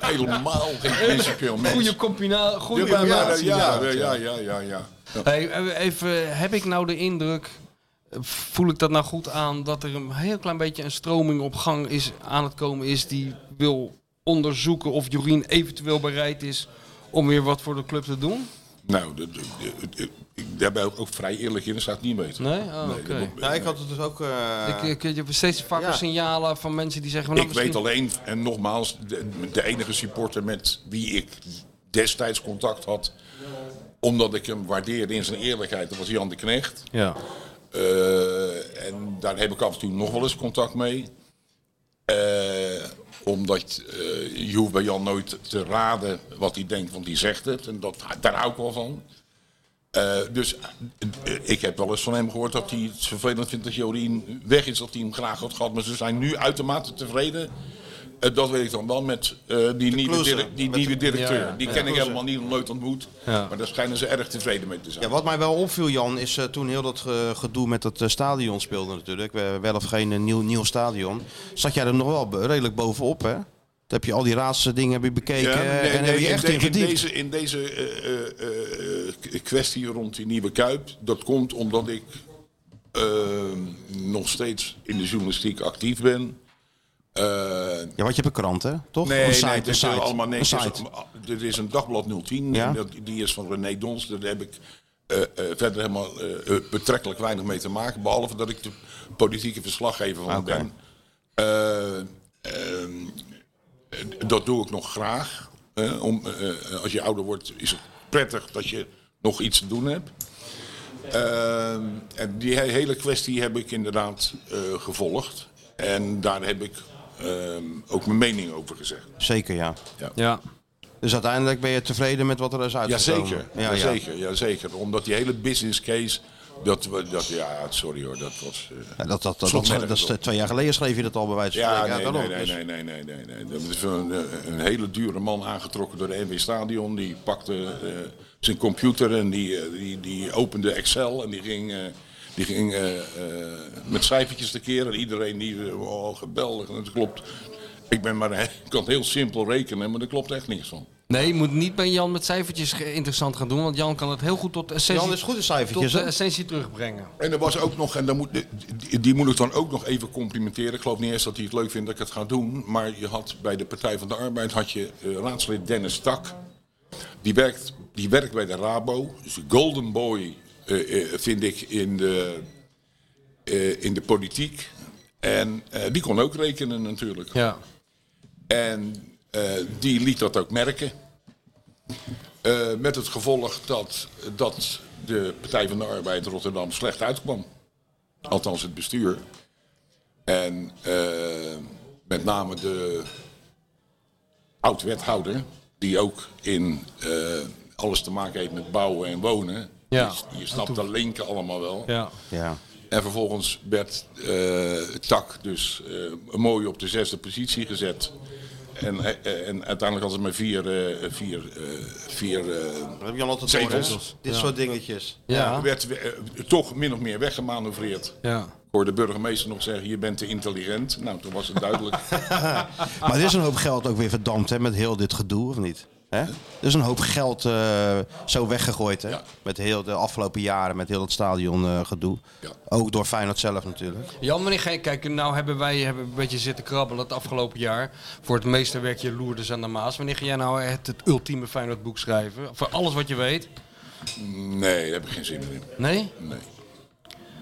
Speaker 9: helemaal geen principieel mens.
Speaker 10: Goede combinatie. Goede
Speaker 9: Ja, maar- maar-
Speaker 10: combinatie.
Speaker 9: ja, ja, ja, ja, ja, ja.
Speaker 10: Hey, eh, even, eh, heb ik nou de indruk, eh, voel ik dat nou goed aan, dat er een heel klein beetje een stroming op gang is, aan het komen is, die wil onderzoeken of Jorien eventueel bereid is om weer wat voor de club te doen?
Speaker 9: Nou, de, de, de- de- ik- daar ben ik ook vrij eerlijk in, dat staat niet beter.
Speaker 10: Nee? Oh,
Speaker 9: dat
Speaker 10: oké.
Speaker 9: moet-
Speaker 3: Nou, ik had het dus ook... eh,
Speaker 10: Ik, ik, je hebt steeds vaker
Speaker 3: ja.
Speaker 10: signalen van mensen die zeggen... Nou,
Speaker 9: ik
Speaker 10: misschien-
Speaker 9: weet alleen, en nogmaals, de, de enige supporter met wie ik destijds contact had, omdat ik hem waardeerde in zijn eerlijkheid, dat was Jan de Knecht.
Speaker 4: Ja.
Speaker 9: Eh, en daar heb ik af en toe nog wel eens contact mee. Eh, omdat eh, je hoeft bij Jan nooit te raden wat hij denkt, want hij zegt het. En dat, daar hou ik wel van. Eh, dus eh, ik heb wel eens van hem gehoord dat hij het vervelend vindt dat Jorien weg is, dat hij hem graag had gehad. Maar ze zijn nu uitermate tevreden. Eh, dat weet ik dan wel met eh, die, nieuwe,
Speaker 3: closer.
Speaker 9: direc- die
Speaker 3: Met de-
Speaker 9: nieuwe directeur.
Speaker 3: ja, ja.
Speaker 9: Die
Speaker 3: Ja.
Speaker 9: ken ik
Speaker 3: Closer.
Speaker 9: helemaal niet, nog nooit ontmoet. Maar daar schijnen ze erg tevreden mee te zijn.
Speaker 3: Ja, wat mij wel opviel, Jan, is eh, toen heel dat eh, gedoe met dat eh, stadion speelde natuurlijk. We- wel of geen eh, nieuw, nieuw stadion. Zat jij er nog wel be- redelijk bovenop, hè? Toen heb je al die raadse dingen heb je bekeken
Speaker 9: Ja, nee,
Speaker 3: en
Speaker 9: nee,
Speaker 3: eh, heb je
Speaker 9: in
Speaker 3: echt
Speaker 9: de-
Speaker 3: in verdiept.
Speaker 9: deze, in deze eh, eh, eh, k- kwestie rond die nieuwe Kuip, dat komt omdat ik eh, nog steeds in de journalistiek actief ben. Eh,
Speaker 3: Ja, want je hebt een krant, hè? Toch?
Speaker 9: Nee,
Speaker 3: een site,
Speaker 9: nee,
Speaker 3: een
Speaker 9: dat is
Speaker 3: site,
Speaker 9: allemaal
Speaker 3: een
Speaker 9: niks. Er is,
Speaker 3: site.
Speaker 9: er ah, is een dagblad 010,
Speaker 3: Ja?
Speaker 9: dat, die is van René Dons. Daar heb ik eh, eh, verder helemaal eh, eh, betrekkelijk weinig mee te maken. Behalve dat ik de politieke verslaggever van
Speaker 3: Ah, Oké.
Speaker 9: ben. Eh, ehm, eh, dat doe ik nog graag. hè, om, eh, eh, als je ouder wordt is het prettig dat je nog iets te doen hebt. Ehm, en die he- hele kwestie heb ik inderdaad eh, gevolgd. En daar heb ik ehm, ook mijn mening over gezegd.
Speaker 3: Zeker, ja.
Speaker 10: Ja,
Speaker 3: Dus uiteindelijk ben je tevreden met wat er is uitgekomen?
Speaker 9: Jazeker,
Speaker 3: Ja,
Speaker 9: ja,
Speaker 3: ja.
Speaker 9: zeker, ja, zeker. Omdat die hele business case, dat, we- dat ja, sorry hoor, dat was... eh,
Speaker 3: Ja, dat, dat, dat,
Speaker 9: Slot
Speaker 3: dat, dat,
Speaker 9: nergens
Speaker 3: is,
Speaker 9: op.
Speaker 3: eh, twee jaar geleden schreef je dat al bij wijze van
Speaker 9: ja,
Speaker 3: spreken.
Speaker 9: nee, nee,
Speaker 3: daarom.
Speaker 9: nee,
Speaker 3: Dus-
Speaker 9: nee, nee, nee, nee, nee. Dat is een, eh, een hele dure man aangetrokken door de NW Stadion. Die pakte eh, zijn computer en die, eh, die, die opende Excel en die ging... eh, die ging eh, eh, met cijfertjes te keren. Iedereen die, eh, oh geweldig, dat klopt. Ik ben maar, ik kan het heel simpel rekenen, maar er klopt echt niks van.
Speaker 10: Nee, je moet niet bij Jan met cijfertjes ge- interessant gaan doen, want Jan kan het heel goed tot de essentie,
Speaker 3: Jan is goed in
Speaker 10: tot
Speaker 3: cijfertjes,
Speaker 10: de
Speaker 3: hè?
Speaker 10: essentie terugbrengen.
Speaker 9: En er was ook nog, en dan moet, die, die moet ik dan ook nog even complimenteren. Ik geloof niet eens dat hij het leuk vindt dat ik het ga doen. Maar je had bij de Partij van de Arbeid had je eh, raadslid Dennis Tak. Die werkt, die werkt bij de Rabo. Dus de golden boy eh, eh, vind ik in de, eh, in de politiek. En eh, die kon ook rekenen natuurlijk.
Speaker 10: Ja.
Speaker 9: En eh, die liet dat ook merken. Eh, met het gevolg dat, dat de Partij van de Arbeid Rotterdam slecht uitkwam. Althans het bestuur. En eh, met name de oud-wethouder, die ook in eh, alles te maken heeft met bouwen en wonen.
Speaker 10: Ja.
Speaker 9: Je, je snapt de linken allemaal wel.
Speaker 10: Ja.
Speaker 3: Ja.
Speaker 9: En vervolgens werd eh, Tak dus eh, mooi op de zesde positie gezet. En, eh, en uiteindelijk had ze maar vier, eh, vier, eh, vier eh,
Speaker 3: Dat heb je al altijd
Speaker 9: Zetels.
Speaker 3: door, hè? Dit soort dingetjes.
Speaker 10: Ja.
Speaker 9: werd eh, toch min of meer weggemanoeuvreerd.
Speaker 10: Ja.
Speaker 9: Ik hoorde de burgemeester nog zeggen, je bent te intelligent. Nou, toen was het duidelijk.
Speaker 3: Maar er is een hoop geld ook weer verdampt hè, met heel dit gedoe, of niet? Hè? Er is een hoop geld eh, zo weggegooid hè?
Speaker 9: Ja.
Speaker 3: met heel de afgelopen jaren, met heel dat stadion eh, gedoe.
Speaker 9: Ja.
Speaker 3: Ook door Feyenoord zelf natuurlijk.
Speaker 10: Jan, meneer Geen, kijk, nou hebben wij hebben een beetje zitten krabbelen het afgelopen jaar. Voor het meesterwerkje Loerders aan de Maas. Wanneer ga jij nou het, het ultieme Feyenoordboek schrijven? Voor alles wat je weet?
Speaker 9: nee, daar heb ik geen zin meer in.
Speaker 10: Nee?
Speaker 9: Nee.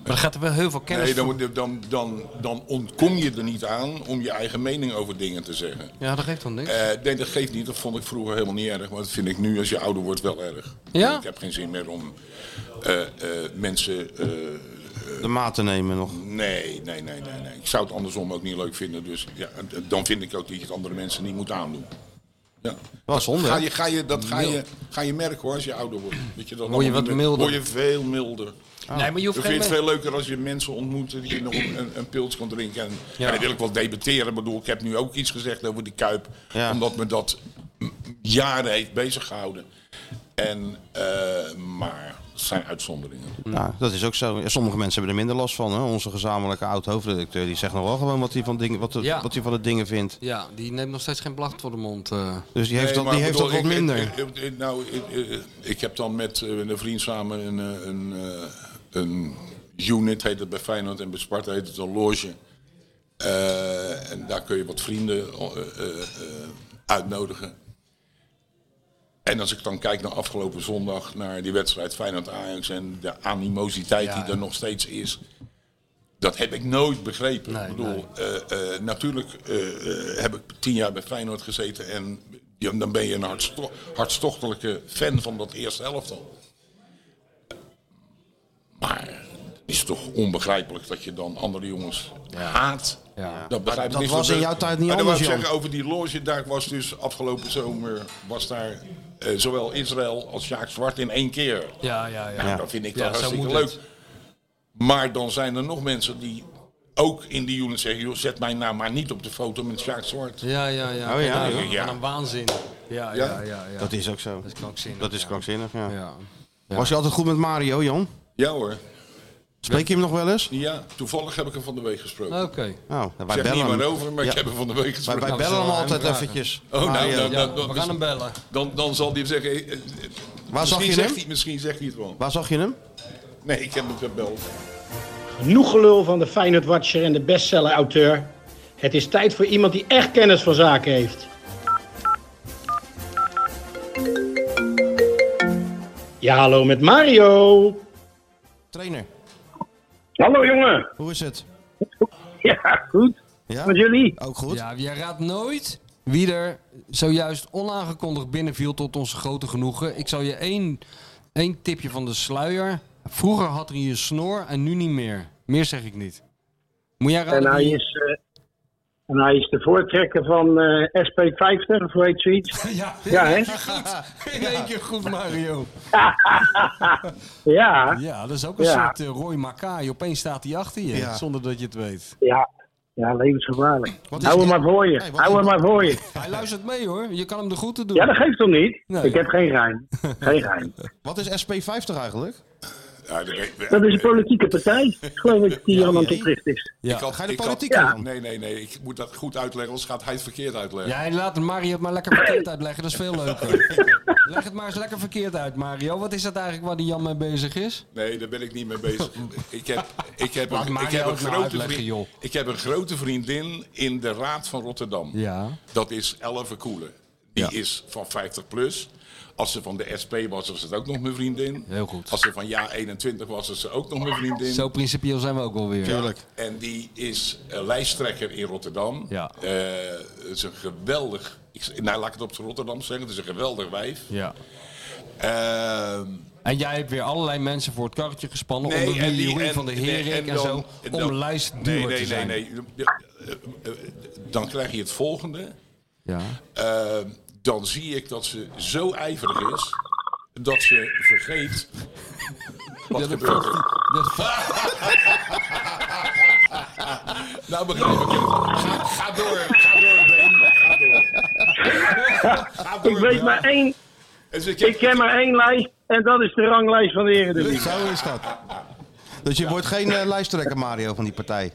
Speaker 10: Maar er gaat er wel heel veel kennis
Speaker 9: Nee, dan,
Speaker 10: voor-
Speaker 9: moet je- dan, dan, dan ontkom je er niet aan om je eigen mening over dingen te zeggen.
Speaker 10: Ja, dat geeft dan niks.
Speaker 9: Eh, nee, dat geeft niet. Dat vond ik vroeger helemaal niet erg. Maar dat vind ik nu, als je ouder wordt, wel erg.
Speaker 10: Ja?
Speaker 9: Ik heb geen zin meer om eh, eh, mensen... eh,
Speaker 3: De maat te nemen nog.
Speaker 9: Mm. nee, nee, nee, nee, nee. Ik zou het andersom ook niet leuk vinden. Dus ja, eh, dan vind ik ook dat je het andere mensen niet moet aandoen. Ja.
Speaker 3: Wel zonde,
Speaker 9: Ga
Speaker 3: hè?
Speaker 9: je, ga je, dat ga je, ga je merken hoor, als je ouder wordt. Dat je dan
Speaker 10: Word je wat milder.
Speaker 9: Word je veel milder.
Speaker 10: Ah. nee, maar je hoeft
Speaker 9: Ik
Speaker 10: geen...
Speaker 9: vind het
Speaker 10: me-
Speaker 9: veel leuker als je mensen ontmoet die je nog een, een- een pils kan drinken. En,
Speaker 10: Ja.
Speaker 9: en dan wil ik wel debatteren. Ik bedoel, ik heb nu ook iets gezegd over die Kuip.
Speaker 3: Ja.
Speaker 9: Omdat me dat m- jaren heeft bezig gehouden. En, eh, maar het zijn uitzonderingen.
Speaker 3: Nou, dat is ook zo. Ja, Sommige mensen hebben er minder last van. Hè? Onze gezamenlijke oud-hoofdredacteur die zegt nog wel gewoon wat hij van, dingen, wat, de-
Speaker 4: Ja.
Speaker 3: wat hij van de dingen vindt.
Speaker 4: Ja, die neemt nog steeds geen blad voor de mond. eh.
Speaker 3: Dus die heeft,
Speaker 9: Nee,
Speaker 3: dat, die
Speaker 9: maar
Speaker 3: heeft dat
Speaker 9: bedoel,
Speaker 3: wat
Speaker 9: ik-
Speaker 3: minder.
Speaker 9: ik- ik- ik- nou, ik, ik- ik heb dan met eh, een vriend samen een, eh, een, eh, een unit, heet het bij Feyenoord en bij Sparta heet het een loge. Eh, en daar kun je wat vrienden eh, eh, eh, uitnodigen. En als ik dan kijk naar afgelopen zondag, naar die wedstrijd Feyenoord-Ajax en de animositeit die er nog steeds is. Dat heb ik nooit begrepen. ik bedoel, eh, eh, natuurlijk eh, eh, heb ik tien jaar bij Feyenoord gezeten en ja, dan ben je een hartsto- hartstochtelijke fan van dat eerste elftal. Maar het is toch onbegrijpelijk dat je dan andere jongens haat. Dat, begrijp ik
Speaker 3: dat
Speaker 9: niet.
Speaker 3: was
Speaker 9: Want,
Speaker 3: in
Speaker 9: eh,
Speaker 3: jouw tijd niet
Speaker 9: maar dan wou ik
Speaker 3: anders,
Speaker 9: zeggen, over die loge, daar was dus afgelopen zomer, was daar eh, zowel Israël als Jaak Zwart in één keer.
Speaker 4: ja, ja, ja.
Speaker 9: Nou, dat vind ik
Speaker 4: Ja,
Speaker 9: wel
Speaker 4: zo
Speaker 9: hartstikke
Speaker 4: moet
Speaker 9: leuk.
Speaker 4: het.
Speaker 9: Maar dan zijn er nog mensen die ook in die unit zeggen... Joh, zet mijn naam maar niet op de foto met Sjaak Zwart.
Speaker 4: Ja, ja, ja.
Speaker 3: Oh, ja,
Speaker 4: En dan-
Speaker 3: joh.
Speaker 9: Ja.
Speaker 4: en een waanzin. Ja, ja, ja. ja.
Speaker 3: Dat is ook zo.
Speaker 4: is krankzinnig.
Speaker 3: Dat is
Speaker 4: ja.
Speaker 3: krankzinnig, ja.
Speaker 4: Ja.
Speaker 3: Was je altijd goed met Mario, Jan?
Speaker 9: Ja hoor.
Speaker 3: Spreek je hem nog wel eens?
Speaker 9: Ja, toevallig heb ik hem van de week gesproken.
Speaker 4: Oké.
Speaker 3: Nou, wij
Speaker 9: zeg
Speaker 3: bellen
Speaker 9: niet
Speaker 3: hem.
Speaker 9: meer over, maar
Speaker 3: Ja.
Speaker 9: ik heb hem van de week
Speaker 3: Wij,
Speaker 9: gesproken.
Speaker 3: wij
Speaker 4: Nou, we
Speaker 3: bellen hem
Speaker 4: zullen hem
Speaker 3: altijd
Speaker 4: vragen.
Speaker 3: eventjes. eh,
Speaker 9: oh, nou,
Speaker 3: Mario.
Speaker 9: dan,
Speaker 4: Ja,
Speaker 9: dan, dan,
Speaker 4: we gaan hem bellen.
Speaker 9: dan, dan zal hij zeggen... eh, eh,
Speaker 3: Waar zag
Speaker 9: misschien,
Speaker 3: je
Speaker 9: zegt
Speaker 3: hem?
Speaker 9: hij, misschien zegt hij het wel.
Speaker 3: Waar zag je hem?
Speaker 9: Nee, ik heb hem gebeld.
Speaker 11: Genoeg gelul van de Feyenoord Watcher en de bestseller-auteur. Het is tijd voor iemand die echt kennis van zaken heeft. Ja, hallo met Mario.
Speaker 3: Trainer,
Speaker 11: Hallo jongen.
Speaker 3: hoe is het?
Speaker 11: Ja, goed.
Speaker 3: Ja?
Speaker 11: Met jullie.
Speaker 3: Ook goed?
Speaker 4: Ja, jij raadt nooit wie er zojuist onaangekondigd binnenviel tot onze grote genoegen. Ik zal je één, één tipje van de sluier. Vroeger had hij een snor en nu niet meer. Meer zeg ik niet. Moet jij raden
Speaker 11: En hij
Speaker 4: wie-
Speaker 11: is, eh, en hij is de voortrekker van eh, SP50 of hoe heet zoiets.
Speaker 4: Ja,
Speaker 11: Ja, hè?
Speaker 4: in één keer goed, Mario.
Speaker 11: Ja,
Speaker 4: Ja, dat is ook een
Speaker 11: Ja.
Speaker 4: soort eh, Roy Makai. Opeens staat hij achter je,
Speaker 3: Ja.
Speaker 4: zonder dat je het weet.
Speaker 11: ja. Ja, levensgevaarlijk.
Speaker 3: Wat is
Speaker 11: Hou hem
Speaker 3: het?
Speaker 11: Nou, maar voor je.
Speaker 3: Hey, wat
Speaker 11: Hou
Speaker 3: is
Speaker 11: hem maar voor je.
Speaker 4: Hij luistert mee hoor, je kan hem de groeten doen.
Speaker 11: Ja, dat geeft toch niet?
Speaker 4: Nee.
Speaker 11: Ik heb geen geheim. Geen geheim.
Speaker 3: Wat is SP50 eigenlijk?
Speaker 9: Ja, dat weet-
Speaker 11: Dat is een politieke partij, geloof ik, die aan het
Speaker 3: ja.
Speaker 11: oprichten is.
Speaker 4: Ja.
Speaker 9: Ik had-
Speaker 3: Ga je de
Speaker 9: ik had-
Speaker 3: politiek
Speaker 11: Ja.
Speaker 3: in dan?
Speaker 9: Nee, nee, nee. Ik moet dat goed uitleggen, anders gaat hij het verkeerd uitleggen.
Speaker 4: Ja, en laat Mario het maar lekker verkeerd uitleggen, dat is veel leuker. Leg het maar eens lekker verkeerd uit, Mario. Wat is dat eigenlijk waar die Jan mee bezig is?
Speaker 9: Nee, daar ben ik niet mee bezig. Ik heb, ik heb,
Speaker 4: Laat
Speaker 9: een, ik
Speaker 4: Mario
Speaker 9: heb, een,
Speaker 4: het maar
Speaker 9: grote
Speaker 4: uitleggen,
Speaker 9: vriend,
Speaker 4: joh.
Speaker 9: ik heb een grote vriendin in de Raad van Rotterdam.
Speaker 4: Ja.
Speaker 9: Dat is Elve Koelen. Die
Speaker 3: Ja.
Speaker 9: is van 50 plus. Als ze van de SP was, was het ook nog mijn vriendin.
Speaker 4: Heel goed.
Speaker 9: Als ze van Ja 21 was, was ze ook nog mijn vriendin.
Speaker 4: Zo principieel zijn we ook alweer.
Speaker 3: Tuurlijk.
Speaker 9: En die is eh, lijsttrekker in Rotterdam.
Speaker 4: Ja.
Speaker 9: Eh, het is een geweldig... Ik, nou, laat ik het op Rotterdam zeggen. Het is een geweldig wijf.
Speaker 4: Ja.
Speaker 9: Ehm,
Speaker 4: En jij hebt weer allerlei mensen voor het karretje gespannen.
Speaker 9: Nee,
Speaker 4: onder
Speaker 9: en
Speaker 4: wie
Speaker 9: die-
Speaker 4: Jeroen
Speaker 9: en-
Speaker 4: van der
Speaker 9: nee,
Speaker 4: Herik en,
Speaker 9: en dan-
Speaker 4: zo.
Speaker 9: en
Speaker 4: om
Speaker 9: dan-
Speaker 4: lijstduwer te zijn.
Speaker 9: nee, nee. Eh, eh, eh, Dan krijg je het volgende.
Speaker 4: Ja.
Speaker 9: Eh, dan zie ik dat ze zo ijverig is dat ze vergeet. Wat gebeurt er? Nou begrijp ik het. Ga, ga door, ga door, Ben. Ga door. Ga door,
Speaker 11: Ik weet
Speaker 9: Ben.
Speaker 11: maar één,
Speaker 9: Dus ik heb-
Speaker 11: ik ken maar één lijst en dat is de ranglijst van de Eredivisie.
Speaker 3: Zo is dat. Dus je wordt geen eh, lijsttrekker, Mario, van die partij.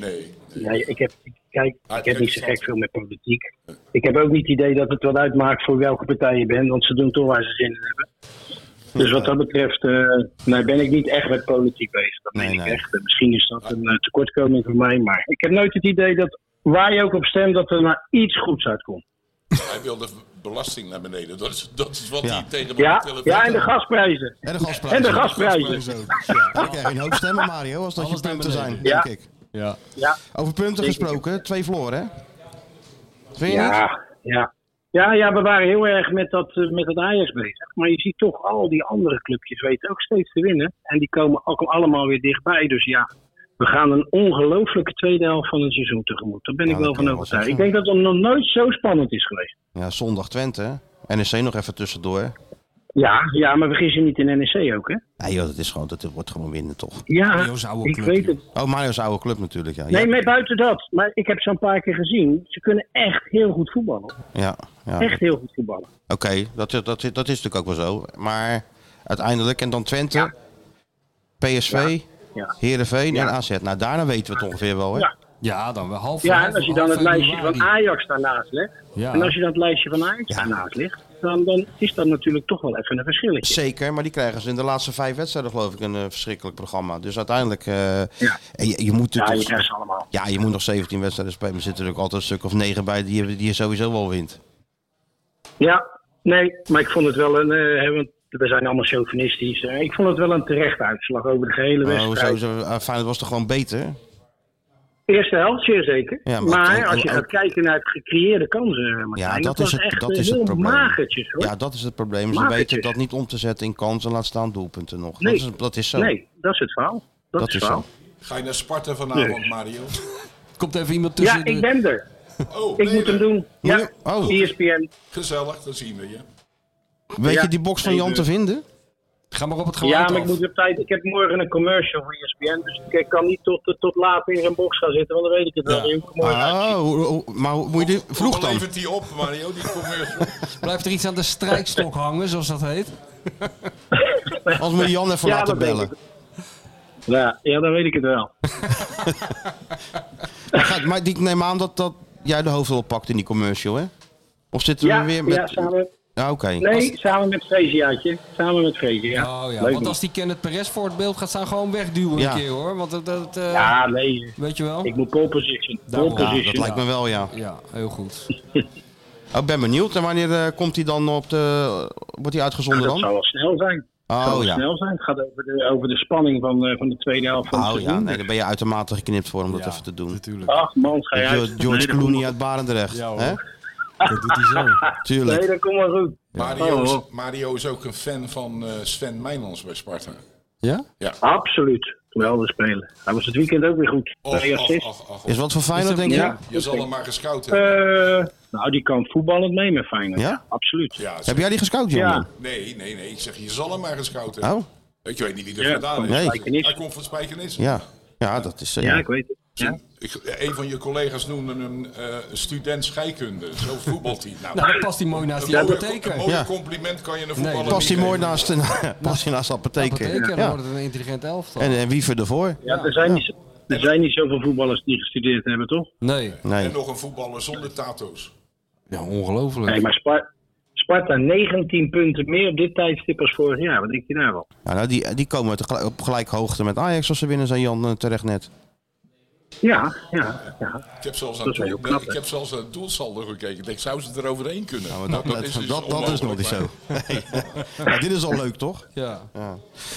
Speaker 9: Nee.
Speaker 11: Nee, ik heb, kijk,
Speaker 9: Ah,
Speaker 11: ik heb niet zo
Speaker 9: interessant.
Speaker 11: gek veel met politiek. Ik heb ook niet het idee dat het wat uitmaakt voor welke partij je bent, want ze doen toch waar ze zin in hebben. Dus wat dat betreft, eh, nee, ben ik niet echt met politiek bezig. Dat
Speaker 3: Nee,
Speaker 11: meen
Speaker 3: nee.
Speaker 11: ik echt. Eh, Misschien is dat een eh, tekortkoming voor mij, maar ik heb nooit het idee dat waar je ook op stemt, dat er maar iets goeds uitkomt.
Speaker 9: Hij wil de belasting naar beneden. Dat is, dat is wat
Speaker 3: Ja.
Speaker 9: hij tegen me
Speaker 11: Ja,
Speaker 9: telefoon-
Speaker 11: ja en de gasprijzen.
Speaker 3: En de gasprijs.
Speaker 11: En de gasprijzen.
Speaker 3: Zo. Ja. Ik krijg een hoop stemmen, Mario, als dat
Speaker 4: Alles
Speaker 3: je punten
Speaker 4: naar
Speaker 3: zijn,
Speaker 4: beneden.
Speaker 11: Ja.
Speaker 3: denk ik.
Speaker 4: Ja.
Speaker 11: Ja.
Speaker 3: Over punten
Speaker 11: Zeker.
Speaker 3: gesproken, twee verloren, hè? Vind je niet?
Speaker 11: Ja, ja. Ja, ja, we waren heel erg met dat, eh, met dat Ajax bezig. Maar je ziet toch al die andere clubjes weten ook steeds te winnen. En die komen ook allemaal weer dichtbij. Dus ja, we gaan een ongelooflijke tweede helft van het seizoen tegemoet. Daar ben
Speaker 3: Ja,
Speaker 11: ik
Speaker 3: dat
Speaker 11: wel
Speaker 3: kan
Speaker 11: van
Speaker 3: je wel
Speaker 11: overtuigd. Ik
Speaker 3: zeggen.
Speaker 11: denk dat het nog nooit zo spannend is geweest.
Speaker 3: Ja, zondag Twente. NEC nog even tussendoor.
Speaker 11: Ja, ja, maar vergis je niet in NEC ook, hè?
Speaker 3: Nee joh, dat, is gewoon, dat wordt gewoon winnen toch.
Speaker 11: Ja,
Speaker 10: Jo's oude
Speaker 11: ik
Speaker 10: club,
Speaker 11: weet
Speaker 10: joh.
Speaker 11: het.
Speaker 3: Oh, Mario's oude club natuurlijk. Ja,
Speaker 11: Nee,
Speaker 3: ja,
Speaker 11: maar buiten dat. Maar ik heb ze een paar keer gezien. Ze kunnen echt heel goed voetballen.
Speaker 3: ja, ja.
Speaker 11: Echt heel goed voetballen.
Speaker 3: Oké, dat, is- dat, is- dat is natuurlijk ook wel zo. Maar uiteindelijk, en dan Twente,
Speaker 11: Ja.
Speaker 3: PSV,
Speaker 11: Ja.
Speaker 3: Heerenveen
Speaker 11: Ja.
Speaker 3: en AZ. Nou, daarna weten we het ongeveer wel, hè?
Speaker 11: Ja.
Speaker 10: Ja, dan wel half
Speaker 11: Ja, en
Speaker 10: half-
Speaker 11: als je dan
Speaker 10: half
Speaker 11: het lijstje
Speaker 10: januari.
Speaker 11: van Ajax daarnaast legt.
Speaker 10: Ja.
Speaker 11: En als je dat lijstje van Ajax daarnaast legt. Dan, dan is dat natuurlijk toch wel even een verschilletje.
Speaker 3: Zeker, maar die krijgen ze in de laatste vijf wedstrijden, geloof ik, een eh, verschrikkelijk programma. Dus uiteindelijk, eh,
Speaker 11: Ja.
Speaker 3: en je, je moet
Speaker 11: Ja, je
Speaker 3: natuurlijk-
Speaker 11: krijgt ze allemaal.
Speaker 3: ja, je moet nog 17 wedstrijden spelen. maar Er zitten natuurlijk altijd een stuk of 9 bij die, je- die je sowieso wel wint.
Speaker 11: Ja, nee, maar ik vond het wel een. eh, hè, want we zijn allemaal chauvinistisch. Eh, ik vond het wel een terecht uitslag over de gehele
Speaker 3: Oh, zo,
Speaker 11: wedstrijd.
Speaker 3: zo, eh, Feyenoord was toch gewoon beter?
Speaker 11: Eerste helft, zeer zeker.
Speaker 3: Ja, maar
Speaker 11: maar
Speaker 3: ook-
Speaker 11: als je
Speaker 3: ook-
Speaker 11: gaat kijken naar het gecreëerde kansen. Martijn,
Speaker 3: Ja, dat,
Speaker 11: was
Speaker 3: is het,
Speaker 11: echt
Speaker 3: dat is
Speaker 11: heel
Speaker 3: het probleem.
Speaker 11: magertjes hoor.
Speaker 3: Ja, dat is het probleem. Ze
Speaker 11: Magertjes.
Speaker 3: weten dat niet om te zetten in kansen, laat staan doelpunten nog.
Speaker 11: Nee.
Speaker 3: Dat, is, dat is zo.
Speaker 11: nee, dat is het verhaal.
Speaker 3: Dat
Speaker 11: Dat, is het
Speaker 3: is
Speaker 11: verhaal.
Speaker 9: Ga je naar Sparta vanavond, Mario?
Speaker 10: Komt even iemand tussen.
Speaker 11: Ja,
Speaker 10: de-
Speaker 11: ik ben er.
Speaker 9: Oh,
Speaker 11: Ik moet hem doen. Ja,
Speaker 3: Dus
Speaker 11: E
Speaker 3: je- oh.
Speaker 11: ESPN.
Speaker 9: Gezellig, dan zien we je.
Speaker 3: Weet
Speaker 11: Ja.
Speaker 3: je die box van
Speaker 11: Nee,
Speaker 3: Jan
Speaker 9: de-
Speaker 3: te vinden?
Speaker 10: Ga maar op het geluid
Speaker 11: Ja, maar
Speaker 10: af.
Speaker 11: ik moet op tijd. Ik heb morgen een commercial voor ESPN. Dus ik kan niet tot, tot laat weer in een box gaan zitten. Want dan weet ik het wel. niet hoe ik er morgen
Speaker 10: Ah,
Speaker 11: uit-
Speaker 3: Oh, hoe- hoe- maar hoe- moet je die vroeg
Speaker 9: Hoe
Speaker 3: dan?
Speaker 9: levert die op, Mario? Die commercial.
Speaker 10: Blijft er iets aan de strijkstok hangen, zoals dat heet?
Speaker 3: Anders moet je Jan even
Speaker 11: Ja,
Speaker 3: laten
Speaker 11: dat denk
Speaker 3: bellen.
Speaker 11: Ja, ja, dan weet ik het wel.
Speaker 3: Gaat- maar die, ik neem aan dat, dat jij de hoofdrol pakt in die commercial, hè? Of zitten we
Speaker 11: Ja,
Speaker 3: weer met...
Speaker 11: ja samen,
Speaker 3: Ah, Oké.
Speaker 11: nee, samen met Freziaatje. Samen met Frezi, ja.
Speaker 10: Oh ja,
Speaker 11: Leuk
Speaker 10: want
Speaker 11: man.
Speaker 10: als die Kenneth Perez voor het beeld gaat staan, gewoon wegduwen
Speaker 3: Ja.
Speaker 10: een keer hoor. Want dat, dat eh,
Speaker 11: Ja, nee.
Speaker 10: weet je wel?
Speaker 11: Ik moet pole position.
Speaker 10: Daarom.
Speaker 11: Pole
Speaker 10: Ja, dat
Speaker 11: position.
Speaker 3: Dat lijkt me wel, ja. Oh,
Speaker 10: Ja, heel goed.
Speaker 3: Ik ben benieuwd. En wanneer eh, komt hij dan op de... Wordt hij uitgezonden
Speaker 11: dat
Speaker 3: dan?
Speaker 11: zal wel snel zijn. Dat zal
Speaker 3: Oh
Speaker 11: wel
Speaker 3: ja.
Speaker 11: snel zijn. Het gaat over de, over de spanning van, eh, van de tweede helft van
Speaker 3: Oh
Speaker 11: het
Speaker 3: ja,
Speaker 11: seizoen.
Speaker 3: nee, daar ben je uitermate geknipt voor om dat
Speaker 10: Ja,
Speaker 3: even te doen.
Speaker 10: Natuurlijk.
Speaker 11: Ach man, ga je uit.
Speaker 3: George, George
Speaker 11: Nee, dat
Speaker 3: Clooney
Speaker 11: komt-
Speaker 3: uit Barendrecht,
Speaker 10: Ja, hoor.
Speaker 3: hè?
Speaker 10: Dat doet hij zo.
Speaker 3: Tuurlijk.
Speaker 11: Nee, dat komt wel goed.
Speaker 9: Mario,
Speaker 11: Oh,
Speaker 9: is, Mario is ook een fan van eh, Sven Meijlands bij Sparta.
Speaker 10: Ja?
Speaker 11: Absoluut. Geweldig spelen. Hij was het weekend ook weer goed.
Speaker 9: Och,
Speaker 11: Twee
Speaker 9: och,
Speaker 11: assists.
Speaker 9: och, och.
Speaker 3: Is wat voor Feyenoord, denk je?
Speaker 11: Ja.
Speaker 9: Je zal hem maar gescout hebben.
Speaker 11: Eh, nou, die kan voetballend mee met Feyenoord.
Speaker 3: Ja?
Speaker 11: Absoluut.
Speaker 9: Ja,
Speaker 3: Heb jij die gescout, Jan?
Speaker 11: Ja.
Speaker 9: Nee, nee, nee. Ik zeg, je zal hem maar gescout hebben.
Speaker 3: Oh,
Speaker 9: Ik weet niet wie dat
Speaker 11: Ja,
Speaker 9: gedaan
Speaker 11: van
Speaker 9: heeft.
Speaker 11: Spijkenis.
Speaker 9: Hij komt van Spijkenis.
Speaker 3: ja. Ja, dat is... eh,
Speaker 11: Ja,
Speaker 3: ja.
Speaker 11: ik weet het. Ja.
Speaker 9: Ik, eh, een van je collega's noemde hem eh, student scheikunde. Zo voetbalt hij. Nou,
Speaker 10: Nou, dan past hij mooi naast die
Speaker 9: een mooie- een
Speaker 10: apotheker.
Speaker 9: mooi
Speaker 3: Ja.
Speaker 9: compliment kan je een
Speaker 10: Nee,
Speaker 9: voetballer niet
Speaker 3: Past hij mooi
Speaker 9: geven.
Speaker 3: naast de, past hij naast de apotheker.
Speaker 10: Apotheker, dan
Speaker 3: Ja.
Speaker 10: wordt het een intelligent elftal.
Speaker 3: En, en wie voor ervoor?
Speaker 11: Ja, er, zijn niet, zo- er zijn niet zoveel voetballers die gestudeerd hebben, toch?
Speaker 10: Nee.
Speaker 3: Nee.
Speaker 9: En nog een voetballer zonder tato's.
Speaker 10: Ja, ongelooflijk.
Speaker 11: Nee, maar Spar- Sparta 19 punten meer op dit tijdstip als vorig jaar. Wat denk je daar wel?
Speaker 3: Ja, nou, die, die komen tegelijk- op gelijk hoogte met Ajax als ze winnen, zijn Jan eh, terecht net.
Speaker 11: Ja, ja, ja.
Speaker 9: Ik heb zelfs aan,
Speaker 11: Dat is wel
Speaker 9: doel,
Speaker 11: heel knap,
Speaker 9: nee, ik
Speaker 11: hè?
Speaker 9: heb zelfs aan het doelsaldo gekeken. Ik denk, zou ze er overheen kunnen?
Speaker 3: Nou,
Speaker 9: Nou,
Speaker 3: dat, dat, dat,
Speaker 9: dus
Speaker 3: dat, is nog
Speaker 9: onmogelijk,
Speaker 3: niet zo.
Speaker 9: maar-
Speaker 3: Ja, dit is al leuk, toch?
Speaker 10: Ja.
Speaker 11: Nee,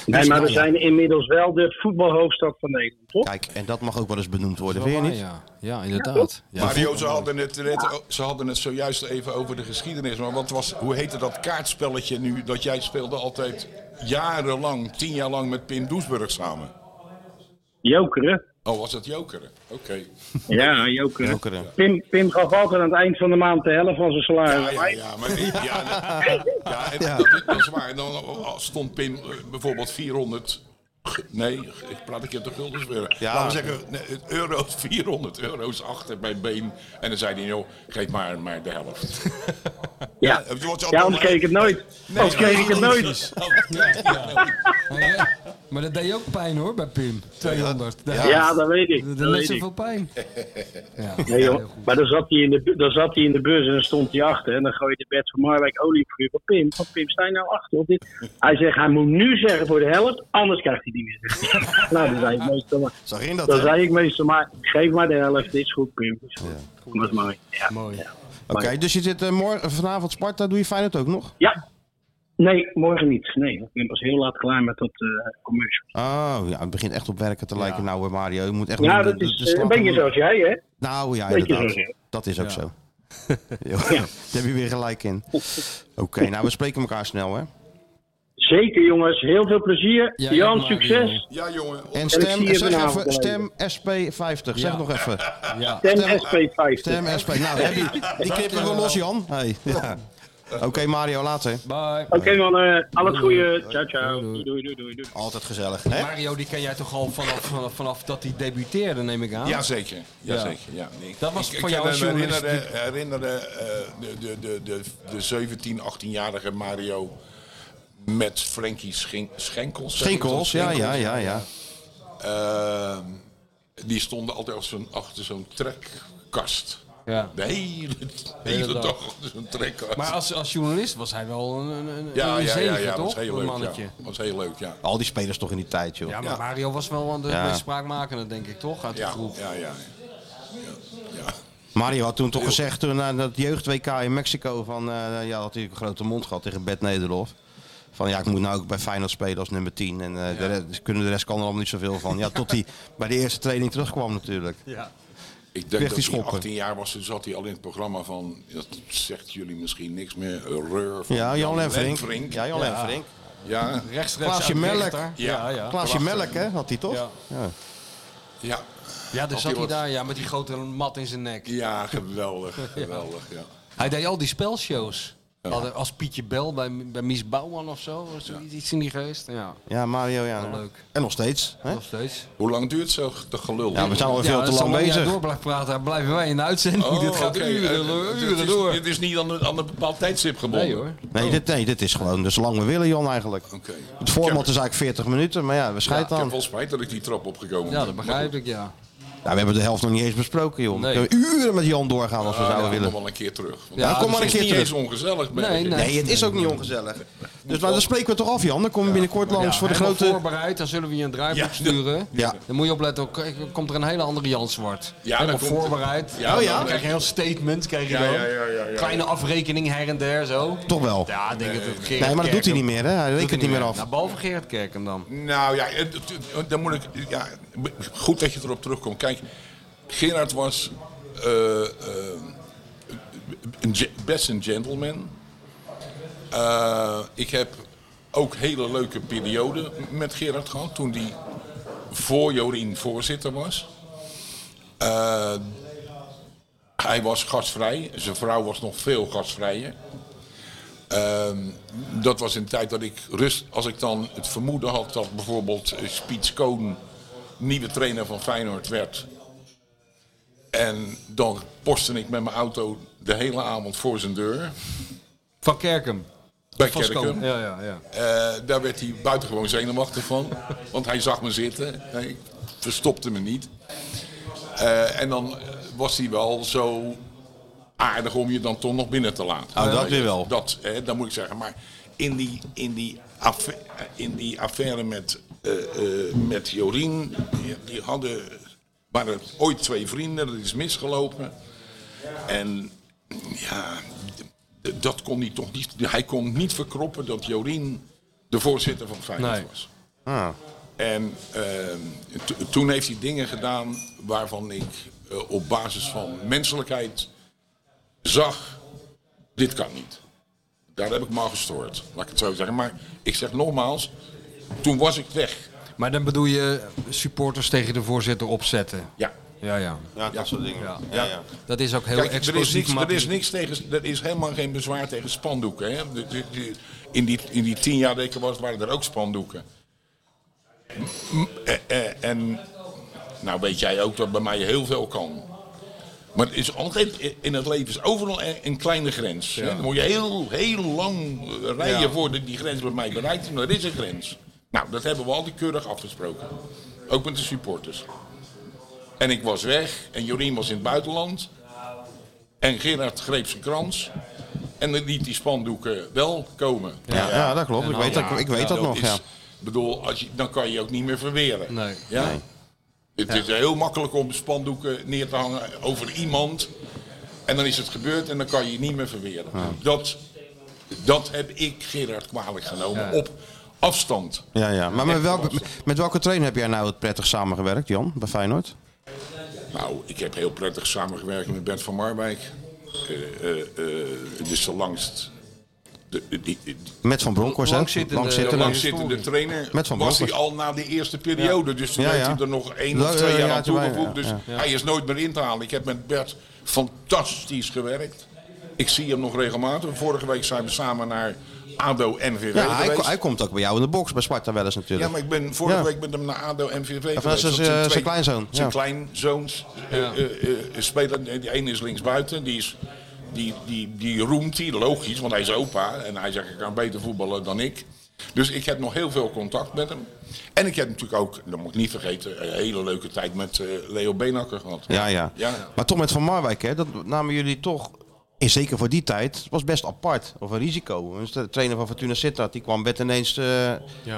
Speaker 11: maar we
Speaker 3: ja. Dus
Speaker 11: zijn inmiddels wel de voetbalhoofdstad van Nederland, toch?
Speaker 3: Kijk, en dat mag ook wel eens benoemd worden,
Speaker 10: Wel
Speaker 3: vind je
Speaker 10: waar,
Speaker 3: niet?
Speaker 10: Ja, ja inderdaad. Ja.
Speaker 9: Mario, ze hadden, het net, o- ze hadden het zojuist even over de geschiedenis. Maar wat was, hoe heette dat kaartspelletje nu dat jij speelde altijd jarenlang, tien jaar lang met Pim Doesburg samen?
Speaker 11: Jokeren.
Speaker 9: Oh, was dat jokeren? Oké.
Speaker 11: Ja, jokeren.
Speaker 3: Jokeren.
Speaker 11: Pim, Pim gaf altijd aan het eind van de maand de helft van zijn
Speaker 9: Ja,
Speaker 11: salaris.
Speaker 9: ja, ja, maar ja, ja, ja, en Dat, dat is waar. En dan stond Pim eh, bijvoorbeeld 400. Nee, ik praat een keer te guldens weer.
Speaker 3: Ja.
Speaker 9: Laten we zeggen, nee, het euro's 400 euro's achter bij Been. En dan zei hij, joh, geef maar, maar de helft.
Speaker 11: Ja,
Speaker 9: Het wordt
Speaker 11: ja anders kreeg ik het nooit. Anders kreeg ik het nooit.
Speaker 10: Ja, Maar dat deed ook pijn hoor, bij Pim. 200. Ja,
Speaker 11: Ja, dat weet ik.
Speaker 10: Dat
Speaker 11: Dat
Speaker 10: deed net
Speaker 11: weet ik.
Speaker 10: zoveel pijn. Ja.
Speaker 11: Nee, joh. Maar dan zat, hij in de, bu- dan zat hij in de bus en dan stond hij achter. En dan gooide Bert van Marwijk oliefruur van Pim. Van Pim, sta je nou achter op dit? Hij zegt, hij moet nu zeggen voor de helft, anders krijgt hij die meer. nou, dan zei ik meestal maar,
Speaker 3: Zag je dat, eh?
Speaker 11: dan
Speaker 3: hè?
Speaker 11: zei ik meestal maar geef maar de helft, dit is goed Pim. Is goed. Dat is mooi. Ja.
Speaker 10: Mooi.
Speaker 3: Oké, dus je zit eh, morgen, vanavond Sparta, doe je Feyenoord ook nog?
Speaker 11: ja. Nee, morgen niet. Nee, ik ben pas heel laat klaar met dat eh, commercial.
Speaker 3: Oh, ja, het begint echt op werken te lijken nou, eh, Mario. Je moet echt
Speaker 11: Ja,
Speaker 3: de-
Speaker 11: dat
Speaker 3: de-
Speaker 11: is
Speaker 3: de
Speaker 11: eh, een
Speaker 3: slag
Speaker 11: beetje
Speaker 3: doen.
Speaker 11: zoals jij, hè?
Speaker 3: Nou ja,
Speaker 11: Beetje
Speaker 3: inderdaad.
Speaker 11: zoals jij.
Speaker 3: Dat is ook zo. Jo, Daar heb je weer gelijk in. Oké, nou, we spreken elkaar snel, hè?
Speaker 11: Zeker, jongens. Heel veel plezier.
Speaker 10: Ja,
Speaker 11: Jan,
Speaker 10: ja, Mario.
Speaker 11: succes.
Speaker 9: Ja, jongen.
Speaker 3: En
Speaker 11: ik
Speaker 3: stem,
Speaker 11: zie je
Speaker 3: zeg even,
Speaker 11: vanavond wel
Speaker 3: stem SP50. Zeg
Speaker 10: Ja.
Speaker 3: nog even.
Speaker 10: Ja.
Speaker 11: Stem
Speaker 3: Stem-
Speaker 11: SP50.
Speaker 3: Stem SP. Nou, heb je- die knippen we los, Jan. Hey. Ja. Oké Mario, later.
Speaker 4: Bye.
Speaker 12: Oké mannen, al het goede. Ciao, ciao. Doei, doei, doei, doei. doei.
Speaker 3: Altijd gezellig. Hè?
Speaker 4: Mario, die ken jij toch al vanaf, vanaf, vanaf dat hij debuteerde, neem ik aan?
Speaker 9: Jazeker. Jazeker. Ja. Ik-
Speaker 4: Dat was
Speaker 9: ik,
Speaker 4: voor
Speaker 9: ik
Speaker 4: jou als journalist
Speaker 9: herinnerde, herinnerde eh, de, de, de, de, de 17, 18-jarige Mario met Frankie Schin- Schenkels. zeg ik dat?
Speaker 3: Schinkels, ja, ja, ja, ja.
Speaker 9: Ehm, die stonden altijd als zo'n- achter zo'n trekkast.
Speaker 4: Ja.
Speaker 9: De hele, de hele
Speaker 4: dag.
Speaker 9: dag achter zo'n trekkast.
Speaker 4: Maar als, als journalist was hij wel een, een, een,
Speaker 9: ja,
Speaker 4: een
Speaker 9: ja, ja,
Speaker 4: zegen,
Speaker 9: ja, was
Speaker 4: toch?
Speaker 9: heel
Speaker 4: Een
Speaker 9: leuk.
Speaker 4: mannetje.
Speaker 9: Ja. was heel leuk, ja.
Speaker 3: Al die spelers toch in die tijd, joh.
Speaker 4: Ja, maar Mario was wel aan de
Speaker 3: Ja.
Speaker 4: meest spraakmakende, denk ik, toch? Uit de
Speaker 9: Ja,
Speaker 4: groep.
Speaker 9: ja, ja. ja. ja.
Speaker 3: Mario had toen toch gezegd, toen na dat jeugd-WK in Mexico, van, eh, ja, had hij een grote mond gehad tegen Bert Nederlof. Van ja, ik moet nou ook bij Feyenoord spelen als nummer 10. En eh, de rest, kunnen de rest kan er allemaal niet zoveel van. Ja, tot hij bij de eerste training terugkwam natuurlijk.
Speaker 9: Ik
Speaker 3: Kreeg
Speaker 9: denk
Speaker 3: die
Speaker 9: dat hij
Speaker 3: schoppen.
Speaker 9: 18 jaar was, toen zat hij al in het programma van, dat zegt jullie misschien niks meer, Reur van
Speaker 3: Ja, Jan Lenverink.
Speaker 9: Lenverink.
Speaker 3: Ja,
Speaker 9: Ja,
Speaker 3: Jan Lenverink.
Speaker 9: ja,
Speaker 4: Rechtstreeks
Speaker 3: Klaasje
Speaker 4: uit
Speaker 3: Melk.
Speaker 4: Richter. Ja, ja. eh,
Speaker 3: Klaasje Melk, hè, had hij toch?
Speaker 4: Ja.
Speaker 9: ja.
Speaker 4: Ja, dus
Speaker 9: Had
Speaker 4: zat
Speaker 9: hij
Speaker 4: hij
Speaker 9: wat-
Speaker 4: daar ja, met die grote mat in zijn nek.
Speaker 9: geweldig, geweldig, ja.
Speaker 4: Hij deed al die spelshows. Hadden- Als Pietje Bel bij, bij Mies Bouwman of zo. was er Iets in die geest. Ja,
Speaker 3: Ja, Mario, ja.
Speaker 4: leuk.
Speaker 3: En nog steeds. Hè?
Speaker 4: nog steeds.
Speaker 9: Hoe lang duurt zo de gelul?
Speaker 3: Ja, we zijn al
Speaker 4: Ja,
Speaker 3: veel te
Speaker 4: als
Speaker 3: lang
Speaker 4: Samir
Speaker 3: bezig.
Speaker 4: door blijft praten, dan blijven wij in de uitzending.
Speaker 9: Oh,
Speaker 4: Dit gaat
Speaker 9: oké.
Speaker 4: uren,
Speaker 9: Eh,
Speaker 4: uren,
Speaker 9: het is-
Speaker 4: door.
Speaker 9: Het is niet aan een, aan een bepaald tijdstip gebonden.
Speaker 4: Nee hoor.
Speaker 3: Nee dit, nee, dit is gewoon dus zolang we willen, Jan, eigenlijk.
Speaker 9: Oké.
Speaker 3: Het format is eigenlijk 40 minuten, maar ja, we
Speaker 9: Ik
Speaker 3: scheiden
Speaker 9: heb
Speaker 3: aan.
Speaker 9: wel spijt dat ik die trap opgekomen
Speaker 4: Ja,
Speaker 9: ben.
Speaker 4: dat
Speaker 9: Maar goed,
Speaker 4: begrijp ik, ja.
Speaker 3: Nou, we hebben de helft nog niet eens besproken, joh.
Speaker 4: Nee.
Speaker 3: We kunnen uren met Jan doorgaan als we
Speaker 9: ah,
Speaker 3: zouden
Speaker 9: ja,
Speaker 3: willen.
Speaker 9: Kom wel een keer terug.
Speaker 4: Ja,
Speaker 9: Het
Speaker 3: kom maar
Speaker 9: is
Speaker 3: een keer
Speaker 9: niet
Speaker 3: terug.
Speaker 9: eens ongezellig. merk
Speaker 4: Nee,
Speaker 9: ik.
Speaker 4: nee.
Speaker 3: Nee, het is ook niet ongezellig. Dus nou, dan spreken we toch af, Jan. Dan komen we binnenkort langs voor de
Speaker 4: Helemaal
Speaker 3: grote...
Speaker 4: voorbereid, dan zullen we je een draaiboek
Speaker 9: Ja, dat-
Speaker 4: sturen.
Speaker 3: Ja.
Speaker 4: Dan moet je opletten, ook, eh, komt er een hele andere Jan Zwart.
Speaker 9: Ja,
Speaker 4: Helemaal
Speaker 9: dan komt-
Speaker 4: voorbereid.
Speaker 9: Ja, Oh ja?
Speaker 4: Dan krijg je een heel statement, krijg je
Speaker 9: Ja,
Speaker 4: dan.
Speaker 9: ja, ja, ja, ja.
Speaker 4: Kleine afrekening her en der, zo.
Speaker 3: Toch wel.
Speaker 4: Ja, ik denk dat het Gerard
Speaker 3: Nee, maar dat doet hij niet meer, hè. Hij
Speaker 4: Doet
Speaker 3: rekent niet meer af.
Speaker 4: Nou, behalve Gerard Kerken dan.
Speaker 9: Nou ja, het- het- dan moet ik. Ja, goed dat je erop terugkomt. Kijk, Gerard was eh, eh, een ge- best een gentleman. Eh, ik heb ook hele leuke perioden met Gerard gehad toen hij voor Jorien voorzitter was. Eh, hij was gastvrij, zijn vrouw was nog veel gastvrijer. Ehm, dat was een tijd dat ik rust, als ik dan het vermoeden had dat bijvoorbeeld eh, Piet Koon nieuwe trainer van Feyenoord werd. En dan postte ik met mijn auto de hele avond voor zijn deur.
Speaker 4: Van Kerken.
Speaker 9: Bij
Speaker 4: Van
Speaker 9: Kerken.
Speaker 4: Skoon. Ja, ja, ja.
Speaker 9: Eh, daar werd hij buitengewoon zenuwachtig van. Want hij zag me zitten. Hij verstopte me niet. Eh, en dan eh, was hij wel zo aardig om je dan toch nog binnen te laten.
Speaker 3: Oh, dat weer wel.
Speaker 9: Dat, eh, dat moet ik zeggen. Maar in die, in die, affaire, in die affaire met, eh, eh, met Jorien, die, die hadden, waren ooit twee vrienden, dat is misgelopen. En ja, d- dat kon hij toch niet. Hij kon niet verkroppen dat Jorien de voorzitter van Feyenoord
Speaker 4: Nee.
Speaker 9: was.
Speaker 3: Ah.
Speaker 9: En ehm, to- toen heeft hij dingen gedaan waarvan ik eh, op basis van menselijkheid zag, dit kan niet. Daar heb ik me al gestoord, laat ik het zo zeggen. Maar ik zeg nogmaals, toen was ik weg.
Speaker 4: Maar dan bedoel je supporters tegen de voorzitter opzetten.
Speaker 9: Ja.
Speaker 4: Ja, ja.
Speaker 3: Ja, dat soort dingen. Ja.
Speaker 4: Dat is ook heel
Speaker 9: Kijk, er is,
Speaker 4: explosief.
Speaker 9: niks, er, is
Speaker 4: materiaal.
Speaker 9: niks tegen, er is helemaal geen bezwaar tegen spandoeken. Hè? De- de- de- In, die, in die tien jaar dat ik er was, waren er ook spandoeken. M- m- eh, eh, en nou weet jij ook dat bij mij heel veel kan. Maar het is altijd, in het leven is overal e- een kleine grens. Hè? Dan moet je heel, heel lang eh, rijden voordat die grens bij mij bereikt is. Maar er is een grens. Nou, dat hebben we altijd keurig afgesproken. Ook met de supporters. En ik was weg en Jorien was in het buitenland. En Gerard greep zijn krans. En dan liet die spandoeken wel komen.
Speaker 3: Ja, dat klopt. Ik weet, dat, ik weet dat nog,
Speaker 9: is-
Speaker 3: ja.
Speaker 9: bedoel, als je, dan kan je ook niet meer verweren.
Speaker 4: Nee.
Speaker 9: Ja? Het is heel makkelijk om spandoeken neer te hangen over iemand. En dan is het gebeurd en dan kan je je niet meer verweren. Dat, dat heb ik Gerard kwalijk genomen op afstand.
Speaker 3: Ja, ja. Maar met welke, met welke trainer heb jij nou het prettig samengewerkt, Jan, bij Feyenoord?
Speaker 9: Nou, ik heb heel prettig samengewerkt met Bert van Marwijk. Eh, eh, eh, het is de langst... De, de- die- die-
Speaker 3: Met Van Bronckhorst, hè?
Speaker 4: Langzittende-
Speaker 9: de
Speaker 3: Langzittende.
Speaker 9: langzittende trainer
Speaker 3: Met Van
Speaker 9: was hij
Speaker 3: Bronckhorst.
Speaker 9: al na de eerste periode. Dus toen
Speaker 3: Ja,
Speaker 9: heeft
Speaker 3: ja.
Speaker 9: hij er nog één
Speaker 3: Ja,
Speaker 9: of twee
Speaker 3: ja,
Speaker 9: jaar
Speaker 3: ja,
Speaker 9: aan
Speaker 3: toen wij-
Speaker 9: toegevoegd.
Speaker 3: ja,
Speaker 9: Dus hij is nooit meer in te halen. Ik heb met Bert fantastisch gewerkt. Ik zie hem nog regelmatig. Vorige week zijn we samen naar ADO NVV
Speaker 3: Ja, hij,
Speaker 9: geweest.
Speaker 3: ko- hij komt ook bij jou in de box, bij Sparta wel eens natuurlijk.
Speaker 9: Ja, maar ik ben vorige
Speaker 3: Ja.
Speaker 9: week met hem naar ADO MVV geweest.
Speaker 3: dat is
Speaker 9: Want
Speaker 3: zijn- zijn kleinzoon,
Speaker 9: Zijn
Speaker 3: ja.
Speaker 9: kleinzoons eh, eh, eh, spelen. Die ene is linksbuiten, die is... Die, die, die roemt hij, logisch, want hij is opa. En hij zegt, ik kan beter voetballen dan ik. Dus ik heb nog heel veel contact met hem. En ik heb natuurlijk ook, dat moet ik niet vergeten... een hele leuke tijd met eh, Leo Beenakker gehad.
Speaker 3: Ja, ja.
Speaker 9: Ja.
Speaker 3: Maar toch met Van Marwijk, hè, dat namen jullie toch, en zeker voor die tijd, het was best apart. Of een risico. Dus de trainer van Fortuna Sittard, die kwam werd ineens eh,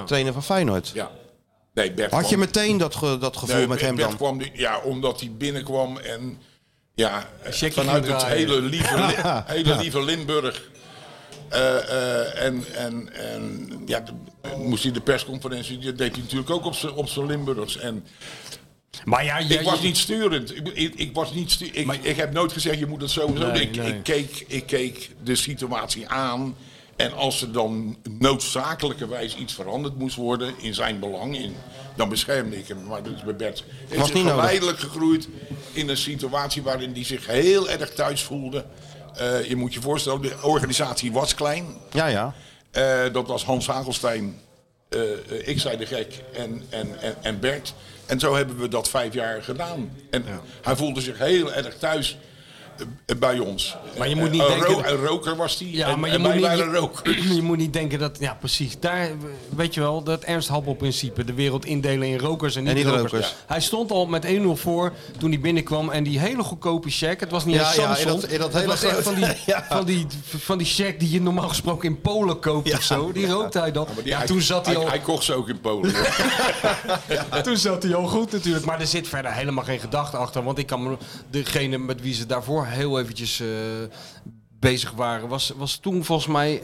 Speaker 3: trainer van Feyenoord.
Speaker 9: Ja. Nee, Bert
Speaker 3: Had je
Speaker 9: kwam-
Speaker 3: meteen dat, ge- dat gevoel
Speaker 9: Nee,
Speaker 3: met hem
Speaker 9: Bert
Speaker 3: dan?
Speaker 9: Kwam die- ja, omdat hij binnenkwam en ja, eh,
Speaker 4: Checkie
Speaker 9: vanuit
Speaker 4: ging
Speaker 9: het
Speaker 4: draaien.
Speaker 9: hele lieve, Li- hele lieve Limburg. Eh, eh, en en, en ja, de- moest hij de persconferentie, die deed hij natuurlijk ook op zijn- op zijn Limburgs. En
Speaker 4: Maar ja,
Speaker 9: ik was niet sturend. Ik, ik, ik was niet stu- ik, ik heb nooit gezegd, je moet het zo doen. Ik, ik, keek, ik keek de situatie aan. En als er dan noodzakelijkerwijs iets veranderd moest worden in zijn belang, in, dan beschermde ik hem. Maar dat is bij Bert. Hij is
Speaker 3: niet nodig.
Speaker 9: geleidelijk gegroeid in een situatie waarin hij zich heel erg thuis voelde. Eh, je moet je voorstellen, de organisatie was klein.
Speaker 3: Ja, ja.
Speaker 9: Eh, dat was Hans Hagelstein, eh, eh, ik zei de gek en, en, en, en Bert. En zo hebben we dat vijf jaar gedaan. En hij voelde zich heel erg thuis eh, eh, bij ons.
Speaker 4: Maar je moet niet
Speaker 9: Eh, een
Speaker 4: denken
Speaker 9: ro-
Speaker 4: dat-
Speaker 9: een roker was hij.
Speaker 4: Ja,
Speaker 9: en,
Speaker 4: maar je
Speaker 9: en
Speaker 4: moet,
Speaker 9: wij
Speaker 4: niet,
Speaker 9: waren rokers.
Speaker 4: je moet niet denken dat, ja precies, daar weet je wel, dat Ernst Happel-principe, de wereld indelen in rokers en niet-rokers.
Speaker 3: niet-rokers.
Speaker 4: Hij stond al met 1-0 voor toen hij binnenkwam en die hele goedkope check, het was niet
Speaker 3: Ja,
Speaker 4: eens
Speaker 3: ja, in
Speaker 4: Samsung,
Speaker 3: dat- in dat
Speaker 4: het
Speaker 3: hele
Speaker 4: was echt van die,
Speaker 3: grote- Ja.
Speaker 4: van, die, van die check die je normaal gesproken in Polen koopt of zo, die rookte hij dan.
Speaker 9: Maar die-
Speaker 4: Ja, toen zat hij al...
Speaker 9: Hij kocht ze ook in Polen. hoor.
Speaker 4: Toen zat hij al goed natuurlijk. Maar er zit verder helemaal geen gedachte achter. Want ik kan me... Degene met wie ze daarvoor heel eventjes eh, bezig waren... Was, was toen volgens mij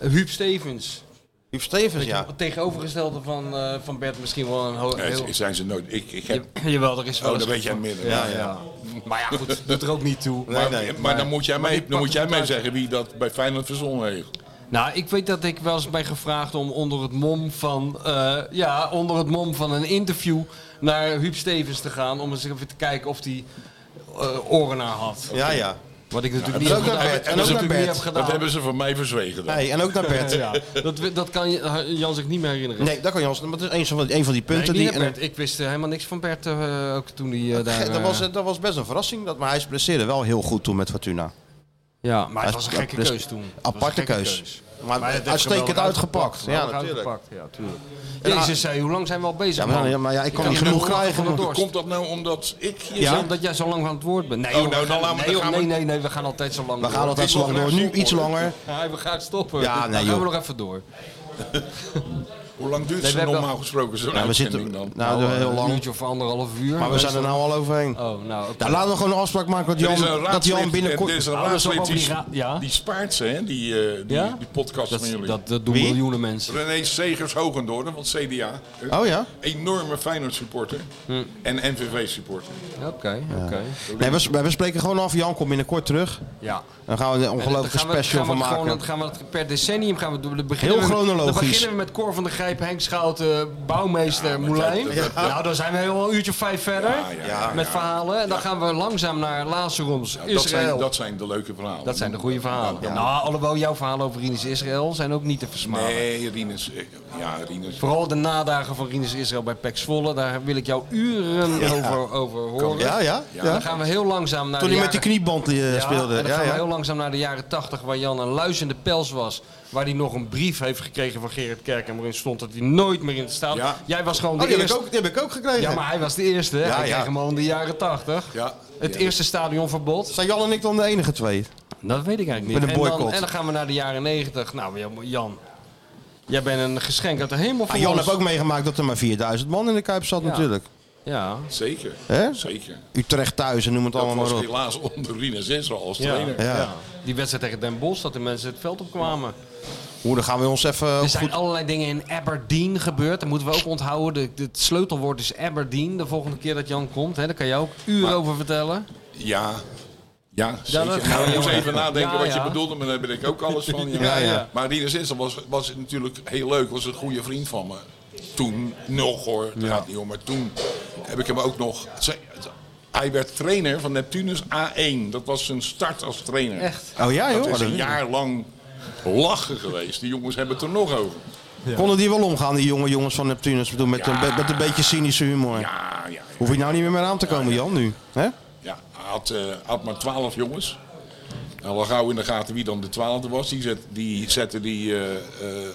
Speaker 4: Huub Stevens.
Speaker 3: Huub Stevens, ja.
Speaker 4: Het tegenovergestelde van, eh, van Bert misschien wel een ho-
Speaker 9: Nee,
Speaker 4: heel...
Speaker 9: ze- zijn ze nooit. Ik, ik heb,
Speaker 4: Je- Jawel, er is wel
Speaker 9: oh,
Speaker 4: eens-
Speaker 9: dat weet jij minder.
Speaker 4: Ja, ja. Maar ja, goed, doet er ook niet toe.
Speaker 9: Maar, maar dan moet jij
Speaker 4: Maar die
Speaker 9: mij, dan moet
Speaker 4: pakte
Speaker 9: jij
Speaker 4: het
Speaker 9: mij
Speaker 4: uit.
Speaker 9: zeggen wie dat bij Feyenoord verzonnen heeft.
Speaker 4: Nou, ik weet dat ik wel eens ben gevraagd om onder het mom van, eh, ja, onder het mom van een interview naar Huub Stevens te gaan. Om eens even te kijken of hij eh oren naar had.
Speaker 3: Ja, ja.
Speaker 4: Wat ik natuurlijk
Speaker 3: En
Speaker 4: niet
Speaker 3: ook
Speaker 4: heb
Speaker 3: naar
Speaker 4: gedaan.
Speaker 3: bed, en
Speaker 4: Wat
Speaker 3: ook naar
Speaker 4: ik natuurlijk
Speaker 3: bed.
Speaker 4: niet heb
Speaker 9: Dat
Speaker 4: gedaan.
Speaker 9: hebben ze van mij verzwegen. dan.
Speaker 3: Nee, en ook naar Bert.
Speaker 4: Ja, dat, we- dat kan je- Jan zich niet meer herinneren.
Speaker 3: Nee, dat kan Jans. Maar dat is een van, een van die
Speaker 4: Nee,
Speaker 3: punten
Speaker 4: niet
Speaker 3: die...
Speaker 4: naar Bert. Ik wist eh, helemaal niks van Bert eh, ook toen hij eh, daar...
Speaker 3: dat, was,
Speaker 4: eh,
Speaker 3: dat was best een verrassing. Dat, maar hij blesseerde wel heel goed toen met Fortuna.
Speaker 4: ja, maar het
Speaker 3: Hij
Speaker 4: was een
Speaker 3: is-
Speaker 4: gekke
Speaker 3: dus-
Speaker 4: keus toen. Het was een
Speaker 3: aparte
Speaker 4: gekke
Speaker 3: keus. Maar,
Speaker 4: Maar dat heeft
Speaker 3: uitstekend
Speaker 4: geweldig
Speaker 3: uitgepakt. Ja,
Speaker 4: Geweldig
Speaker 3: natuurlijk.
Speaker 4: uitgepakt, Nou, Ja, tuurlijk. Jezus, zei, hoe lang zijn we al bezig?
Speaker 3: Ja, maar,
Speaker 4: man?
Speaker 3: ja, maar ja, ik kan
Speaker 4: heb
Speaker 3: niet
Speaker 4: een
Speaker 3: genoeg
Speaker 4: honger
Speaker 3: krijgen.
Speaker 4: van de dorst.
Speaker 9: Komt dat nou omdat ik hier
Speaker 4: Ja?
Speaker 9: zat?
Speaker 4: Omdat jij zo lang aan het woord bent. Nee,
Speaker 9: Oh,
Speaker 4: joh,
Speaker 9: nou,
Speaker 4: we
Speaker 9: dan
Speaker 4: gaan-
Speaker 9: laten we-
Speaker 4: nee,
Speaker 9: dan
Speaker 4: joh,
Speaker 9: gaan we-
Speaker 4: nee, nee, nee, we gaan altijd zo lang
Speaker 3: We gaan altijd zo lang door. Nu iets langer.
Speaker 4: Ja, we gaan stoppen.
Speaker 3: Ja, nee,
Speaker 4: dan gaan we
Speaker 3: joh.
Speaker 4: nog even door.
Speaker 9: Hoe lang duurt
Speaker 4: Nee,
Speaker 9: ze
Speaker 4: we hebben-
Speaker 9: normaal gesproken zo'n
Speaker 3: Nou, we
Speaker 9: uitzending
Speaker 3: zitten
Speaker 9: dan?
Speaker 3: nou, heel
Speaker 4: een
Speaker 3: lang.
Speaker 4: uurtje of anderhalf uur.
Speaker 3: Maar we zijn er nou al overheen.
Speaker 4: Oh, nou, oké.
Speaker 3: Nou, laten we gewoon een afspraak maken dat
Speaker 9: Er is
Speaker 3: Jan,
Speaker 9: een
Speaker 3: dat Jan
Speaker 9: raadslid-
Speaker 3: binnenkort... Oh,
Speaker 9: er is een
Speaker 4: Nou, dat is wel
Speaker 9: raadslid die,
Speaker 4: obliga- ja.
Speaker 9: die spaart ze, hè? Die, eh, die,
Speaker 4: Ja?
Speaker 9: die podcast
Speaker 4: Dat,
Speaker 9: van jullie.
Speaker 4: dat, dat doen
Speaker 3: Wie?
Speaker 4: miljoenen mensen.
Speaker 9: René Segers Hogendoorn van het CDA. Een
Speaker 3: Oh ja?
Speaker 9: Enorme Feyenoord supporter.
Speaker 4: Hm.
Speaker 9: En NVV supporter.
Speaker 4: Oké, oké.
Speaker 3: Nee, we, we spreken gewoon af. Jan komt binnenkort terug.
Speaker 4: Ja.
Speaker 3: Dan gaan we een ongelooflijke
Speaker 4: Dan gaan we-
Speaker 3: special
Speaker 4: gaan
Speaker 3: van
Speaker 4: we het Gewoon,
Speaker 3: maken.
Speaker 4: dan gaan we het per decennium gaan we doen. Dan beginnen
Speaker 3: Heel
Speaker 4: we met-
Speaker 3: chronologisch.
Speaker 4: Dan beginnen we met Cor van de Grijp, Henk Schouten, Bouwmeester, Moulijn. Nou, dan zijn we al een uurtje of vijf verder
Speaker 9: ja, ja,
Speaker 4: met
Speaker 9: ja.
Speaker 4: verhalen. En dan gaan we langzaam naar Lazaroms, Israël.
Speaker 9: Dat zijn, dat zijn de leuke verhalen.
Speaker 4: Dat zijn de goede verhalen. Nou, alhoewel jouw verhalen over Rinus Israël zijn ook niet te versmalen.
Speaker 9: Nee, Rinus. eh, Ja, Rinus.
Speaker 4: Vooral de nadagen van Rinus Israël bij Pek Zwolle, daar wil ik jou uren over, over horen.
Speaker 3: Ja, ja? Oh,
Speaker 4: Dan
Speaker 3: ja.
Speaker 4: gaan we heel langzaam naar
Speaker 3: Toen
Speaker 4: de
Speaker 3: hij met die
Speaker 4: jaren-
Speaker 3: knieband eh,
Speaker 4: Ja,
Speaker 3: speelde.
Speaker 4: En dan
Speaker 3: Ja,
Speaker 4: gaan we heel
Speaker 3: ja.
Speaker 4: langzaam naar de jaren 80, waar Jan een luizende pels was. Waar hij nog een brief heeft gekregen van Gerrit Kerken, waarin stond dat hij nooit meer in het stadion...
Speaker 9: Ja.
Speaker 4: Jij was gewoon
Speaker 3: Oh,
Speaker 4: de
Speaker 3: die heb, ik
Speaker 4: eerste.
Speaker 3: ook, die heb ik ook gekregen.
Speaker 4: Ja, maar hij was de eerste. hè?
Speaker 3: Ja,
Speaker 4: hij
Speaker 3: ja.
Speaker 4: kreeg hem al in de jaren 80.
Speaker 9: Ja.
Speaker 4: Het
Speaker 9: Ja.
Speaker 4: eerste stadionverbod.
Speaker 3: Zijn Jan en ik dan de enige twee? Ah,
Speaker 4: Dat weet ik eigenlijk
Speaker 3: Met
Speaker 4: niet.
Speaker 3: een
Speaker 4: En, dan,
Speaker 3: boycott.
Speaker 4: en dan gaan we naar de jaren 90. Nou, Jan- Jan, jij bent een geschenk uit de hemel voor
Speaker 3: Ah, Jan
Speaker 4: ons.
Speaker 3: heeft ook meegemaakt dat er maar 4000 man in de Kuip zat natuurlijk.
Speaker 4: Ja.
Speaker 9: Zeker.
Speaker 3: Hè?
Speaker 9: Zeker.
Speaker 3: Utrecht thuis en noem het
Speaker 9: Dat
Speaker 3: allemaal
Speaker 9: was
Speaker 3: maar op.
Speaker 9: helaas onder Rinus Israël als
Speaker 4: Ja.
Speaker 9: trainer.
Speaker 3: Ja.
Speaker 4: Die wedstrijd tegen Den Bosch, dat de mensen het veld opkwamen.
Speaker 3: Hoe, dan gaan we ons even
Speaker 4: Er
Speaker 3: op
Speaker 4: zijn
Speaker 3: goed...
Speaker 4: allerlei dingen in Aberdeen gebeurd. Dat moeten we ook onthouden. De- de- het sleutelwoord is Aberdeen. De volgende keer dat Jan komt, hè, daar kan je ook uren over vertellen.
Speaker 9: Ja. Ja, zeker.
Speaker 4: dat-
Speaker 9: Nou, ik moest
Speaker 4: Ja, ja.
Speaker 9: even nadenken
Speaker 4: Ja,
Speaker 9: wat je
Speaker 4: ja.
Speaker 9: bedoelde, maar daar ben ik ook alles van. Ja.
Speaker 4: Ja, ja.
Speaker 9: Maar Rinus Insel was, was natuurlijk heel leuk, was een goede vriend van me. Toen nog hoor, daar gaat het niet om, maar toen heb ik hem ook nog... ze- Hij hij werd trainer van Neptunus A1. Dat was zijn start als trainer. Echt?
Speaker 3: Oh ja, joh.
Speaker 9: Dat is
Speaker 3: Dat-
Speaker 9: een jaar lang lachen geweest. Die jongens hebben het er nog over.
Speaker 3: Konden die wel omgaan, die jonge jongens van Neptunus? Ik bedoel, met, een, be- met een beetje cynische humor.
Speaker 9: Ah, Ja, ja.
Speaker 3: Hoef je nou niet meer mee aan te komen, Jan, nu? hè?
Speaker 9: ja hij had, eh, had maar twaalf jongens. Hij al gauw in de gaten wie dan de twaalfde was. Die, zet, die, zette die, eh, eh, eh,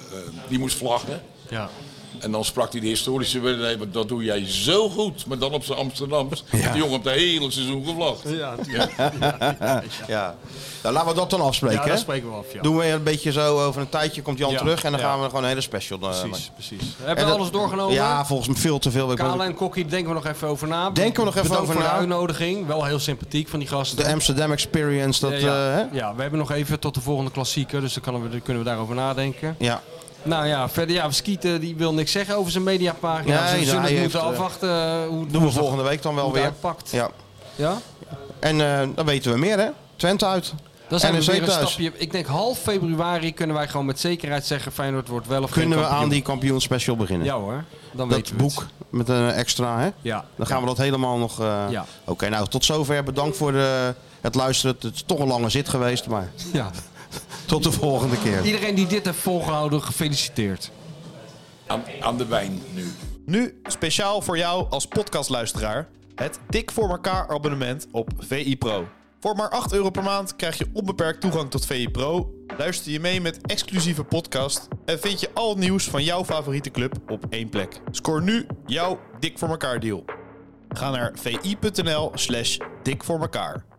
Speaker 9: die moest vlaggen.
Speaker 11: Ja.
Speaker 9: En dan sprak hij de historische woorden. Nee, maar dat doe jij zo goed. Maar dan op zijn Amsterdams. Die jongen heeft het hele seizoen gevlagd.
Speaker 11: Ja, ja.
Speaker 3: Ja. Nou, laten we dat dan afspreken,
Speaker 11: dat
Speaker 3: hè?
Speaker 11: spreken we af. Ja.
Speaker 3: Doen we een beetje zo, over een tijdje komt Jan
Speaker 11: Ja,
Speaker 3: terug en dan
Speaker 11: ja.
Speaker 3: gaan we gewoon een hele special eh,
Speaker 11: Precies,
Speaker 3: maken.
Speaker 11: precies.
Speaker 3: En
Speaker 4: Hebben we
Speaker 3: dat-
Speaker 4: alles doorgenomen?
Speaker 3: Ja, volgens mij veel te veel. Ik
Speaker 4: Kale
Speaker 3: wil-
Speaker 4: en Kokkie, denken we nog even over na.
Speaker 3: Denken we nog even
Speaker 4: Bedankt
Speaker 3: over
Speaker 4: voor
Speaker 3: na.
Speaker 4: de uitnodiging. Wel heel sympathiek van die gasten.
Speaker 3: De Amsterdam Experience, dat...
Speaker 4: ja,
Speaker 3: eh
Speaker 4: ja.
Speaker 3: hè?
Speaker 4: Ja, we hebben nog even tot de volgende klassieker, dus dan kunnen we, dan kunnen we daarover nadenken.
Speaker 3: ja.
Speaker 4: Nou ja, verder, ja, Skieten die wil niks zeggen over zijn mediapagina.
Speaker 3: Nee,
Speaker 4: Dus we
Speaker 3: nee,
Speaker 4: zullen
Speaker 3: hij
Speaker 4: het moeten
Speaker 3: heeft, eh,
Speaker 4: afwachten eh, hoe het
Speaker 3: Doen we
Speaker 4: woensdag-
Speaker 3: volgende week dan wel
Speaker 4: hoe het
Speaker 3: weer.
Speaker 4: uitpakt.
Speaker 3: Ja.
Speaker 4: Ja?
Speaker 3: En eh, dan weten we meer, hè? Twente uit.
Speaker 4: Dan zijn we
Speaker 3: NEC
Speaker 4: weer een
Speaker 3: thuis.
Speaker 4: stapje. Ik denk half februari kunnen wij gewoon met zekerheid zeggen Feyenoord wordt wel of geen
Speaker 3: Kunnen we
Speaker 4: kampioen.
Speaker 3: aan die kampioenspecial beginnen?
Speaker 4: Ja hoor, dan
Speaker 3: dat
Speaker 4: weten we
Speaker 3: boek
Speaker 4: het.
Speaker 3: met een extra, hè?
Speaker 4: Ja.
Speaker 3: Dan gaan we dat helemaal nog... eh,
Speaker 4: Ja.
Speaker 3: Oké, nou, tot zover. Bedankt voor de, het luisteren. Het is toch een lange zit geweest, maar
Speaker 4: Ja.
Speaker 3: tot de volgende keer.
Speaker 4: Iedereen die dit heeft volgehouden, gefeliciteerd.
Speaker 9: Aan, aan de wijn nu.
Speaker 1: Nu speciaal voor jou als podcastluisteraar het Dik voor elkaar abonnement op VI Pro. Voor maar 8 euro per maand krijg je onbeperkt toegang tot VI Pro. Luister je mee met exclusieve podcast en vind je al het nieuws van jouw favoriete club op één plek. Scoor nu jouw Dik voor elkaar deal. Ga naar vi.nl/slash dik voor elkaar.